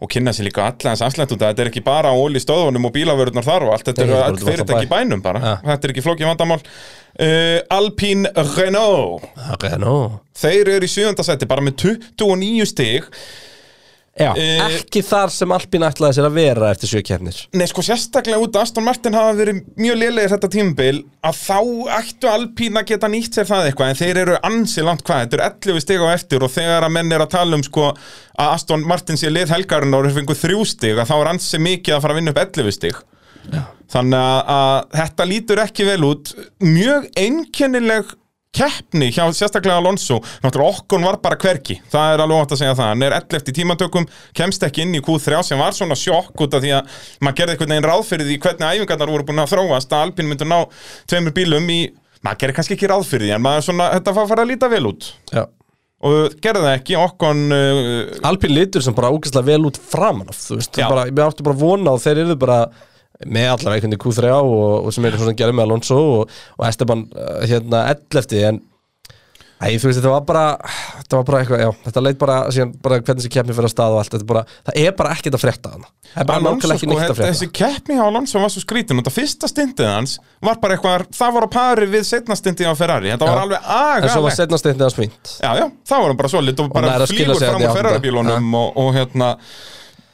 og kynna sér líka alla hans afslænt út að þetta er ekki bara á ólís stöðunum og bílavörðunar þar og allt þetta eru
Nei, þetta
all
er bara út um
fyrirtæki í
allan bæ.
bænum bara
Ja.
þetta er ekki flókið vandamál uh, Alpine Renault
Ok, nú
þeir eru í sjöndasæti bara með 29 stig
Já,
Eh,
ekki þar sem Alpín ætlaði sér að vera eftir sjö kefnir
Nei, sko, sérstaklega út að Aston Martin hafa verið mjög lélegir þetta tímabil að þá ættu Alpín að geta nýtt sér það eitthvað en þeir eru ansi langt hvað, þetta eru 11 stig á eftir og þegar að menn er að tala um sko að Aston Martin sé lið helgarinn og eru fengur þrjú stig að þá er ansi mikið að fara að vinna upp 11 stig Þannig að, að þetta lítur ekki vel út mjög einkennileg keppni hjá sérstaklega Alonso náttúrulega okkon var bara hverki það er alveg ótt að segja það, hann er 11 í tímatökum kemst ekki inn í Q3 sem var svona sjokk út af því að maður gerði einhvern veginn ráð fyrir því hvernig æfingarnar voru búin að þróast að Alpine myndu ná tveimur bílum í maður gerði kannski ekki ráð fyrir því en maður svona, þetta var að fara að líta vel út
Já
og gerði það ekki, okkon uh,
Alpín lítur sem bara ógæslega vel út framan af, þú veist,
Já.
bara, ég átti bara að vona og þeir eru bara með allar einhvern í Q3 og, og sem er svona gerði með Alonso og, og Esteban uh, hérna 11 en Æ, þú veist, þetta var bara, þetta var bara eitthvað, já, þetta leit bara, síðan, bara hvernig þessi keppni fyrir að stað og allt, þetta er bara, það er bara ekkert að frétta hana. Það er bara
Alonso
nákvæmlega ekki
sko,
neitt að
þetta-
frétta.
þessi keppni á Alonso var svo skrítin og það fyrsta stindið hans var bara eitthvað, það var á pari við setna stindið á Ferrari, þetta var
Já.
alveg
En svo var
agalegt
setna steintið að svínt.
Já, já, það var hann bara svolít og bara
nær að
flýgur
skila sér
fram
þarna í
á
áttunda.
Ferrari-bílunum og, og hérna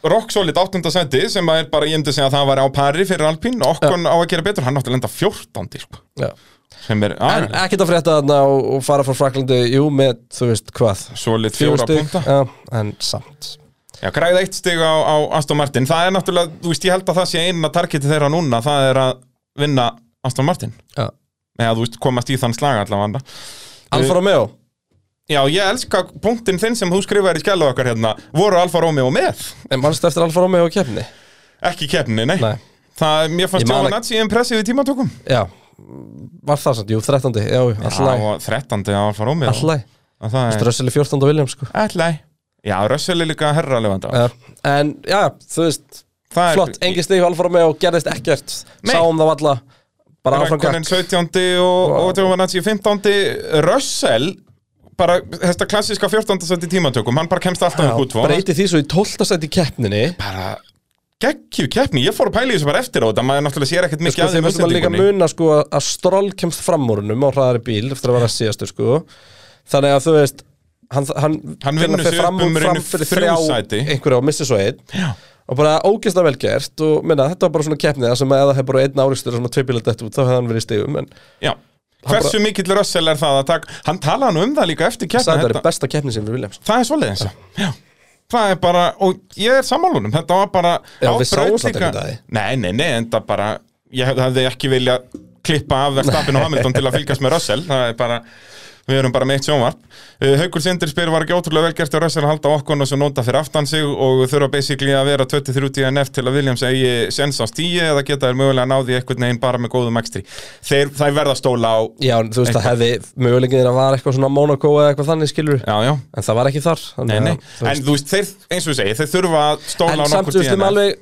Rock svolít áttunda seti sem að er bara, ég myndi segja að það var á pari fyrir Alpín og okkon á að gera betur, hann átti að lenda 14 sko,
Já.
sem er
En
agalegt
ekkert að frétta þarna og, og fara frá Fraklandi, jú, með, þú veist, hvað?
Svolít
Fjögur
fjóra
stig,
punta
Já, en samt.
Já, græða eitt stig á, á Aston Martin Það er náttúrulega, þú veist, ég held að það sé eina targeti þeirra núna, það er að vinna Aston Martin
Já.
eða þú veist, komast í þann slag allavega
Alfa Romeo,
Já, ég elska punktin þinn sem þú skrifaðir í skjæluð okkar hérna voru Alfa Romeo með,
en mannstu eftir Alfa Romeo og keppni?
ekki keppni, nei,
Nei,
Það, mér fannst
Ég man að-
Giovanazzi impressið í tímatökum
já, var það samt, jú, 13. Já, jú, alltaf,
og 13. á Alfa Romeo
alltaf,
Og það er
strössili 14. William, sko.
Alltaf Já, Russell er líka herralefanda
Já. En, já, þú veist,
Það er-
Eh, flott, engin stig Alfa Romeo gerðist ekkert,
Nei.
sáum það alla, bara áfram
Rækkonen
gakk.
17. og, og Giovanazzi 15. Russell bara, þetta klassiska 14. sett í tímatökum hann bara kemst alltaf
Já,
upp út
breyti því svo í 12. sæti í keppninni
bara geggjum keppni, ég fór að pæla í þessu bara eftir á þetta maður náttúrulega sér ekkert mikið
sko, þeir
þeim
verðum að líka
Íslendingunni.
muna sko, að Stroll kemst fram úr húnum á hraðari bíl eftir að vera síðastur sko. þannig að þú veist hann, hann,
Hann
hérna
vinnur
fer
sig upp um í
fram
rauninu
fyrir
þrjú
þrjá
sæti.
einhverja og missir svo einn
Já.
og bara ógeðslega vel gert og minna, þetta var bara svona keppnið þar sem að ef það hefur bara einn árikstur sem að tveipíla þetta út þá hefði hann verið í stigum en
Já, hversu mikill Russell er það að taka Hann talaði nú um það líka eftir hérna. keppna
það er
þetta,
besta keppnið sem við viljum sko.
Það er svoleiðis Já Það er bara, og ég er sammálunum, þetta var bara
Já,
á
við
braut
sáum það
líka-
ekki í dag.
Nei, nei, nei, enda bara Ég hef- hefði ekki vilja klippa af Verstappin og Hamilton til að fylgjast með Russell Það er bara, við erum bara með eitt sjónvarp Uh, Haukur Sindir spyr var ekki ótrúlega velgert og Russell að halda okkur og svo nota fyrir aftan sig og þurfa basically að vera 23 DNF til að Williams eigi sens á stíi eða geta þær mögulega náði einhvern veginn bara með góðum ekstri Þeir, þær verða stóla á
já, en þú veist það hefði mögulegin þeirra var eitthvað svona Monaco eða eitthvað þannig skilur
Já, já,
en það var ekki þar
Nei,
þannig
nei,
að, þú
en þú veist, þeir, eins og ég segi, þeir þurfa að stóla á
En samt,
nokkur
þú veist, við
tíðan
alveg,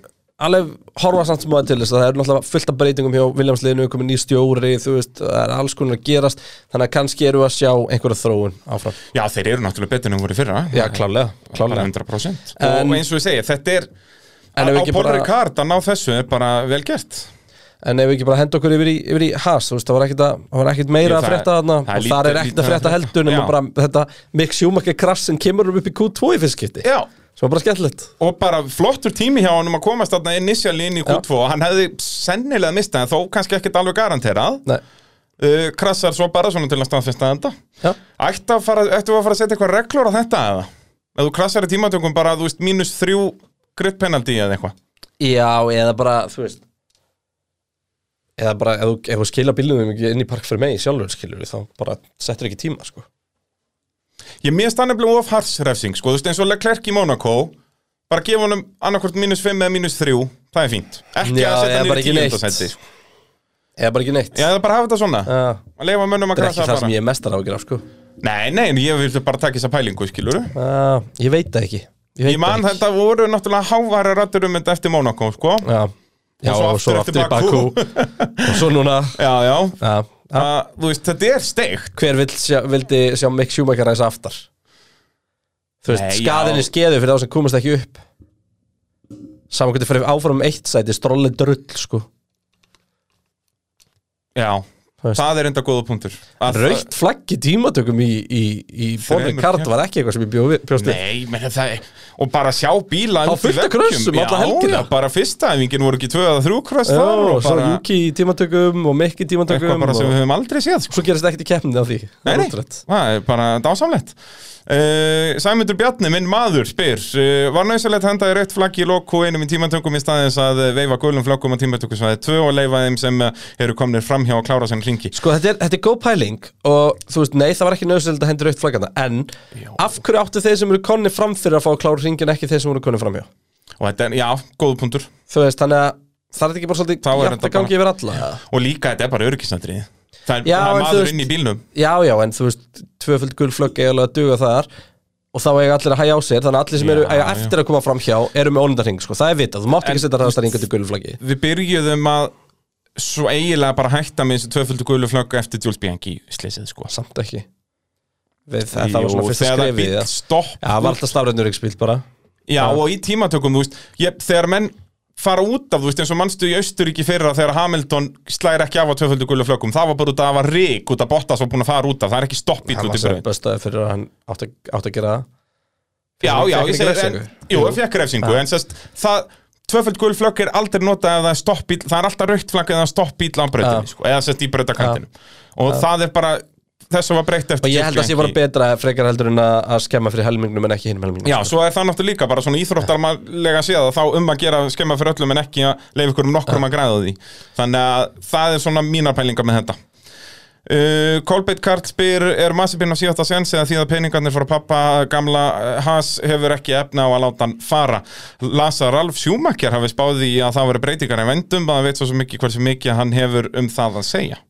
alveg horfa samt sem að til þess að það er náttúrulega fullt af breytingum hjá Viljámsliðinu, komið ný stjóri, þú veist, það er alls konar að gerast, þannig að kannski eru að sjá einhverja þróun áfram.
Já, þeir eru náttúrulega betur en voru í fyrra
Já, klálega,
Bara
klálega.
100%
En-
Og eins og ég segi, þetta er
En ef
Á
ekki
Paul
bara-
Ricard að ná þessu er bara vel gert
En ef við ekki bara henda okkur yfir í, yfir í has, þú veist, það var ekkit, að, það var ekkit meira
Jú,
að
það-
frétta þarna
það er
og þar
lítið-
er ekkit að
lítið að
frétta
frétta.
heldur nema
Já.
bara þetta Mick Schumacher krass sem kemur upp í Q2 í fyrstskipti.
Já
Svo bara skemmtilegt.
Og bara flottur tími hjá honum að komast þarna initially inn í Q2 og hann hefði sennilega mistað en þó kannski ekkert alveg garanterað
Nei,
uh, Krassar svo bara svona til að staðfesta þetta
já,
Ættu að fara, ættu að fara að setja eitthvað reglur á þetta eða? Ef þú krassar í tímatökum bara, þú veist, mínus þrjú grid penalty eða eitthvað
Já, eða bara, þú veist Eða bara, ef, þú- ef þú skila bílunum ekki inn í park fyrir mig sjálfur skilur þá bara settur ekki tíma, sko
Ég mér stann nefnilega of harsrefsing, sko, þú veist eins og Leclerc í Monaco bara gefa honum annarkvort mínus 5 eða mínus 3, það er fínt ekki
Já,
að setja
eða
hann
bara
niður í
ekki neitt.
tíundasæti sko.
Eða bara ekki neitt
Já, það er bara að hafa þetta svona
Já.
að leifa mönnum að
Það er
krasa
ekki það sem ég er mestar ágjur af, sko
Nei, nei, en ég vildi bara taka þessa pælingu, skilur
Já, ég veit það ekki Ég, veit
Ég man
það ekki.
þetta voru náttúrulega háværi rættur um þetta eftir Monaco, sko
Já, já
svo
og svo aftur í Bakú Og svo núna
Já, já,
Já, já
að, þú veist, þetta er steikt
hver vill sjá, vildi sjá Mick Schumacher ræsa aftar þú veist,
Nei,
skaðin
já.
er skeðu fyrir þá sem komast ekki upp saman hvernig fyrir áfram um eitt sæti strolli drull sko
Já,
Þú veist.
það er enda góða punktur Að-
raukt flagg í tímatökum í, í, í bóðin
Þremur,
kart
já.
var ekki eitthvað sem ég bjó við- bjóst við
Nei, menn það er Og bara sjá bíla
Á
undir
fullt af
veggjum.
krössum alla helgina.
Já, já, bara fyrsta æfingin voru ekki tvö eða þrjú kröss
Já,
þar
og
og
svo
bara
Juki í tímatökum og Mick í
eitthvað
tímatökum
bara sem
og
við höfum aldrei séð sko.
svo gerist ekkert í keppninu á því
Nei, nei, það er bara dásamlegt uh, Sæmundur Bjarni, minn maður, spyr uh, Var næsilegt hendaði rétt flagg í lok og einum í tímatökum í staðins að veifa gulum flaggum á tímatökusvæði tvö og leifa þeim sem uh, eru komnir framhjá að klára sem hringi
Sko þetta er, þetta er góð pæling og þú veist, nei það var ekki nöðsynlegt að hendur aukt flaggana en af hverju áttu þeir sem eru konni fram fyrir að fá að klára hringin ekki þeir sem eru konni framhjá?
Og þetta er, já, góð punktur
Þú veist, þannig að það er þetta ekki bara
Þá
svolítið
er
jafnt
þetta
að gangi yfir alla
Og líka, þetta er bara öryggisandrið Það er,
Já,
það er
en þú
maður
veist-
inn í bílnum
Já, já, en þú veist, tvöföld gulflögg eiga alveg að duga þar og þá eiga allir að hæja á sér þannig að allir sem
Já,
eru eiga
já.
eftir að koma fram hjá eru með ólindarhing, sko, það er vitað, þú mátt ekki
En-
setja ræðastarhinga til gulflöggi
við byrjuðum að svo eiginlega bara hætta með þessu tvöföldu gulu flöggu eftir Jules Bianchi slysið sko
samt ekki Við, það, það var svona fyrsta
þegar það
skrifið
bíl
Já,
stopp
það var alltaf stafrænur ekki spilt bara
já, og í tímatökum, þú veist ég, þegar menn fara út af, þú veist, eins og mannstu í Austuríki fyrra þegar Hamilton slæri ekki af á tvöföldu gulu flöggum, það var bara út af að það var rík út af Bottas var búin að fara út af, það er ekki stopp bíl
Hann
út
var
í
sér
braun
bestaði fyrir að hann átt að, átt að gera það
já,
hann
já, ég
fékk ekki
segi, en,
refsingu.
jú,
Jú.
það fekk refsingu en sérst, það, tvöföld gul flögg er aldrei notað ef það er stopp bíl, það er alltaf raukt flagg ef það er stopp bíl á
Já.
brautinni, sko, eða sérst í brautakantinum og það er bara, þessu var breytt eftir
Og ég held að
Jules
það sé bara
Bianchi.
betra frekar heldur en að, að skemma fyrir helmingnum en ekki hinum helmingnum
Já, svo er það náttúrulega líka bara svona íþróttarmalega séð að þá um að gera skemma fyrir öllum en ekki að leifa ykkur um nokkrum að græða á því þannig að það er svona mínar pælingar með þetta uh, Kolbeitt Karl spyr er Massipinn á síðasta sens eða því að peningarnir frá pappa gamla uh, Haas hefur ekki efna á að láta hann fara Lasa Ralf Schumacher hafi spáði í að það veri breytingar en vendum að það veit svo sem ekki hversu mikið hann hefur um það að segja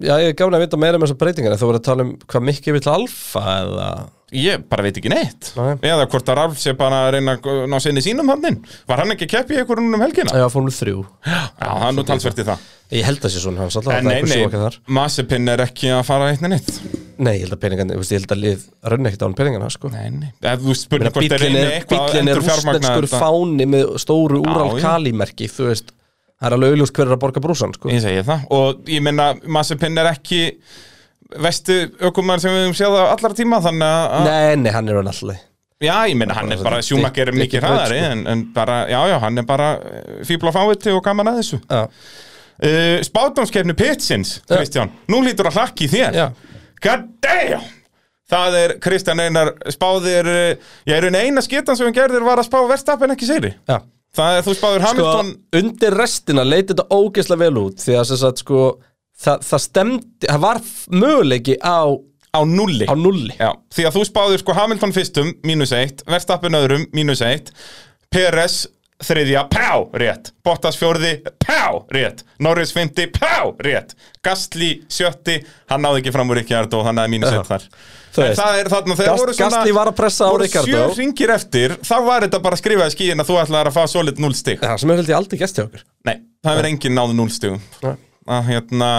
Já, ég er gafin að vita meira um þessar breytingar en þú voru að tala um hvað mikið við til alfa eða
Ég bara veit ekki neitt
Nei.
Eða hvort að Ralf sé bara að reyna að ná sinni sínum þannig Var hann ekki að keppi ykkur um helgina?
Já, fórnum þrjú
Já, það er nú talsvert í það
Ég held að sé svona hans alltaf
En
það er
nei,
einhver sjóka
nei,
þar.
Masipinn er ekki að fara eitt neitt
Nei, ég held að peningarnir, þú veist, ég held að lið raunni ekkert án peningarna, sko
Nei, nei, ef þú spurning hvort er
Bíllinn
reyni
er,
eitthvað að
bíllinn er
endur fjármagna
rústenskur
þetta
fáni með stóru úral
já.
kalimerki, þú veist Það er alveg auðljóst hver er að borga brúsan, sko
Ég segi það, og ég meina Masipinn er ekki vestu ökumar sem við höfum séð á allara tíma þannig að,
Nei, nei, hann er hann alltaf
já, ég meina hann er bara
Dick-
sjúmakir er
Dick
mikið
Brett,
hraðari
sko.
en, en bara, já, já, hann er bara fíbl og fáviti og gaman að þessu
Já,
uh, Spátumskeppni Pitsins,
Já.
Kristján Nú lítur að hlakki í þér
Já.
God damn Það er Kristján Einar spáðir uh, Ég er einu eina skitan sem hann gerðir var að spá verðstappen ekki sigri
já
Það er þú spáður Hamilton
sko, undir restina leiti þetta ógeðslega vel út því að sem sagt, sko, það, það stemdi það var f- möguleiki á,
á
á
nulli
nulli
Já, Því að þú spáður sko Hamilton fyrstum mínus eitt, Verstappen öðrum mínus eitt Peres þriðja pá, rétt, Bottas fjórði pá, rétt, Norris fymti pá, rétt, Gastli sjötti hann náði ekki fram úr Ríkjard og hann aði mínus
Já.
eitt þar En
Þú veist,
það er þarna, þegar
Gast-
voru svona
Gasly var að pressa á
voru
Ricciardo.
sjö ringir eftir, þá var þetta bara að skrifa í skíin að þú ætlaðir að fá solid 0 stig
það sem hefur held ég aldrei gæst hjá okkur
Nei, það hefur enginn náðu 0 stigum
Nei.
að, hérna,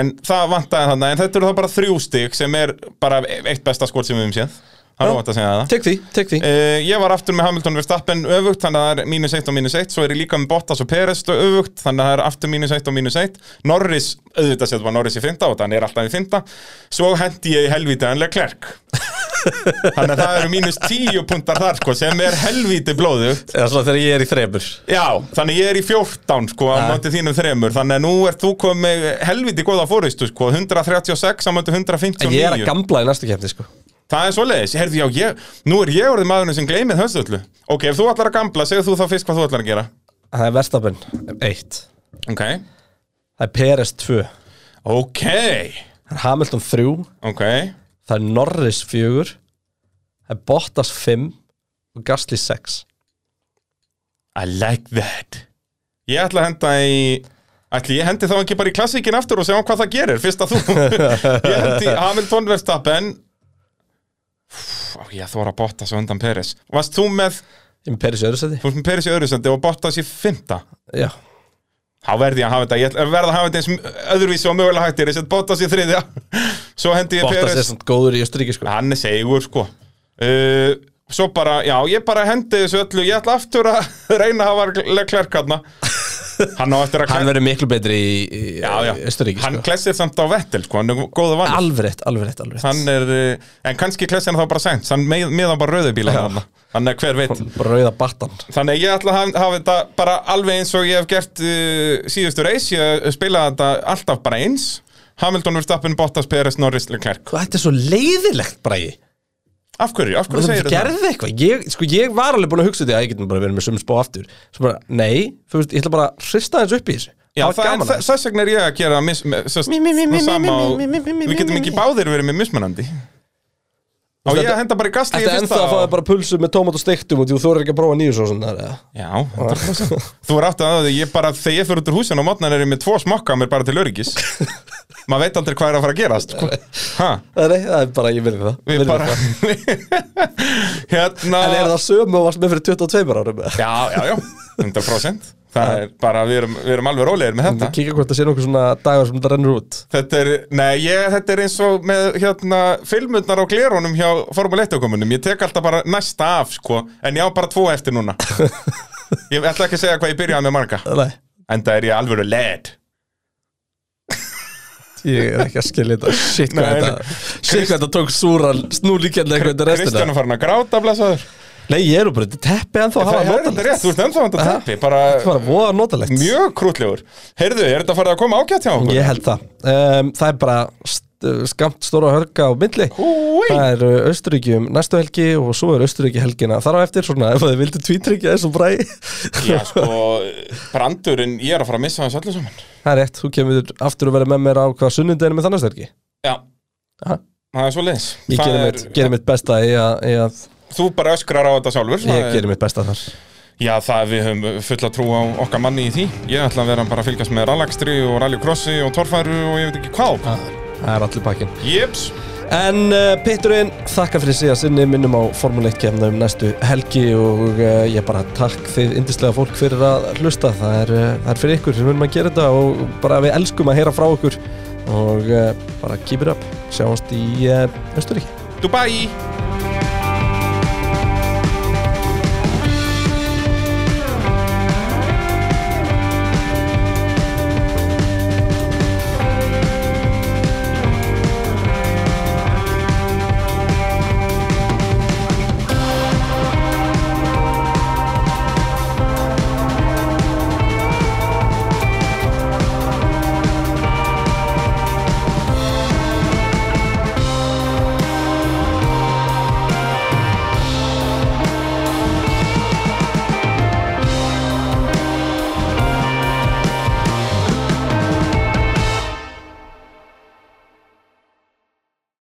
En það vantaði þarna En þetta eru þá bara þrjú stig sem er bara eitt besta skór sem við höfum séð Það er
Já.
óvænt að segja það
tek því, tek því
Uh, ég var aftur með Hamilton Verstappen öfugt þannig að það er mínus 1 og mínus 1 svo er ég líka með Bottas og Peres öfugt þannig að það er aftur mínus 1 og mínus 1 Norris, auðvitað séð var Norris í 5 og þannig er alltaf í 5 svo hendi ég í helvítið en Leclerc þannig að það eru mínus 10 puntar þar sko, sem er helvítið blóðugt
eða svona þegar ég er í þremur
Já, þannig ég er í 14 sko á
Ja.
móti þínum þremur þannig að nú ert þú komið með helviti góða fóristu sko 136 á móti
en ég er að
159
gamla í næstu kefni sko
Það er svoleiðis, herði já, ég, nú er ég orðið maðurinn sem gleymið höstu öllu Ok, ef þú ætlar að gamla, segðu þú þá fyrst hvað þú ætlar að gera
Það er Verstappen 1
Ok,
Það er Peres 2 Það
ok,
er Hamilton 3
ok
Það er Norris 4 Það er Bottas 5 og Gasly 6
I like that Ég ætla að henda í Ætli ég hendi þá ekki bara í klassíkin aftur og segja hvað það gerir, fyrst að þú Ég hendi í Hamilton Verstappen Úff, Á ég þóra að botta svo undan Peres Varst þú með,
Ég er með Peres í öðru seti
þú varst með Peres í öðru sendi og Bottas í fymta
Já
Þá verði ég að hafa þetta, ég ætla- verð að hafa þetta eins öðruvísi og mögulega hættir, ég set Bottas í þriðja Svo hendi ég
Bottas
Peres
er samt góður í Östuríki sko
hann er segur sko uh, svo bara, já, ég bara hendi þessu öllu ég ætla aftur að reyna að hafa klerkarna hann á eftir að
Hann verður miklu betri í, í
já, já.
Östuríki
hann
sko
klessir samt á vettel sko, hann er góða vann
Alveg rétt, alveg rétt, alveg rétt
hann er, uh, en kannski klessir hann þá bara sænt hann með, meðan bara rauðubíla hann hann er hver veit
Bara Rauða battan
Þannig að ég ætla að hafa, hafa þetta bara alveg eins og ég hef gert uh, síðustu reis, ég spilaði þetta alltaf bara eins Hamilton Verstappen, Bottas, Peres, Norris, Leclerc
Hvað þetta er svo leiðilegt bræði
Af hverju, af hverju
Þú
segir þetta?
gerði eitthvað ég, sko, ég var alveg búin að hugsa út í að ég getum bara verið með sömu spá aftur Svo bara, nei, þú veist, ég ætla bara að hrista þessu upp í þessu
Já,
var
það er,
gaman að
þess-
þessu.
þess vegna er ég að gera mis, með, sest,
Mí, mí, mí, mí,
sama
mí,
og
mí, mí, mí, mí,
við getum
mí,
ekki
mí.
báðir verið með mismunandi Á
Þú veist,
ég að henda bara í gasli í
Þetta er ennþá að fáið bara pulsu með tómat og steiktum og þú þorir ekki að prófa nýju svo svona
Já, 100%. þú er átt að því, ég bara, þegar ég fyrir út úr húsin á mótnan er ég með tvo smokka mér bara til öryggis Maður veit aldrei hvað er að fara að gerast sko. Ha,
Nei, það er bara, ég verði það,
við
virði
bara
það.
Hérna
En er það sömu og varst með fyrir 22 árum? eða?
Já, já, já, 100% Það er bara, við erum, við erum alveg rólegir með þetta
Kíkja hvort það sé nokkuð svona dagar sem þetta rennur út
Þetta er, nei, ég, þetta er eins og með hérna, filmundnar á glerunum hjá Formule 1-ökumunum, ég tek alltaf bara næsta af, sko, en ég á bara tvo eftir núna Ég ætla ekki að segja hvað ég byrjaði með marga,
Nei,
en það er ég alveg led
ég er ekki að skilja þetta Shit hvað
Nei, nei.
þetta Shit hvað þetta tók súran snúlíkjæðlega eitthvað þetta
Kristján
restina
er farin að gráta, blessaður
Nei, ég er nú bara, þetta teppi ennþá að
Það
hafa
er þetta rétt, þú ert ennþá vant að teppi, bara
Það var voða notalegt
mjög krútlegur Heyrðu, er þetta farið að koma ágætt hjá okkur?
Ég held það um, Það er bara st- skamt stóra hörka á milli
Húi!
Það er Östuríki um næstu helgi og svo er Östuríki helgina þar á eftir svona ef þið vildu tvítryggja þessu bræ
Já, sko, brandurinn, ég er að fara að missa þessu öllu saman
Það er rétt, þú kemur aftur að vera með mér á hvað sunnundeginu með þannig stærki
Já,
Aha.
það er svo leiðis
Ég gerir mitt, gerir mitt besta í að, í að
Þú bara öskrar á þetta sjálfur það
ég
er-
gerir mitt besta þar
Já, það við höfum fulla trú á okkar manni í því. Ég ætla að vera bara að fylgjast með rallakstri og rallycrossi og torfæru og ég veit ekki hvað.
Það er allir pakkin
Jeps.
En uh, Pitturinn, þakka fyrir síðan sinni minnum á Formule 1 kemna um næstu helgi og uh, ég bara takk þið yndislega fólk fyrir að hlusta það er, uh, það er fyrir ykkur sem munum að gera þetta og bara við elskum að heyra frá eh, ykkur og uh, bara keep it up sjáumst í uh, Östuríki
Dubai.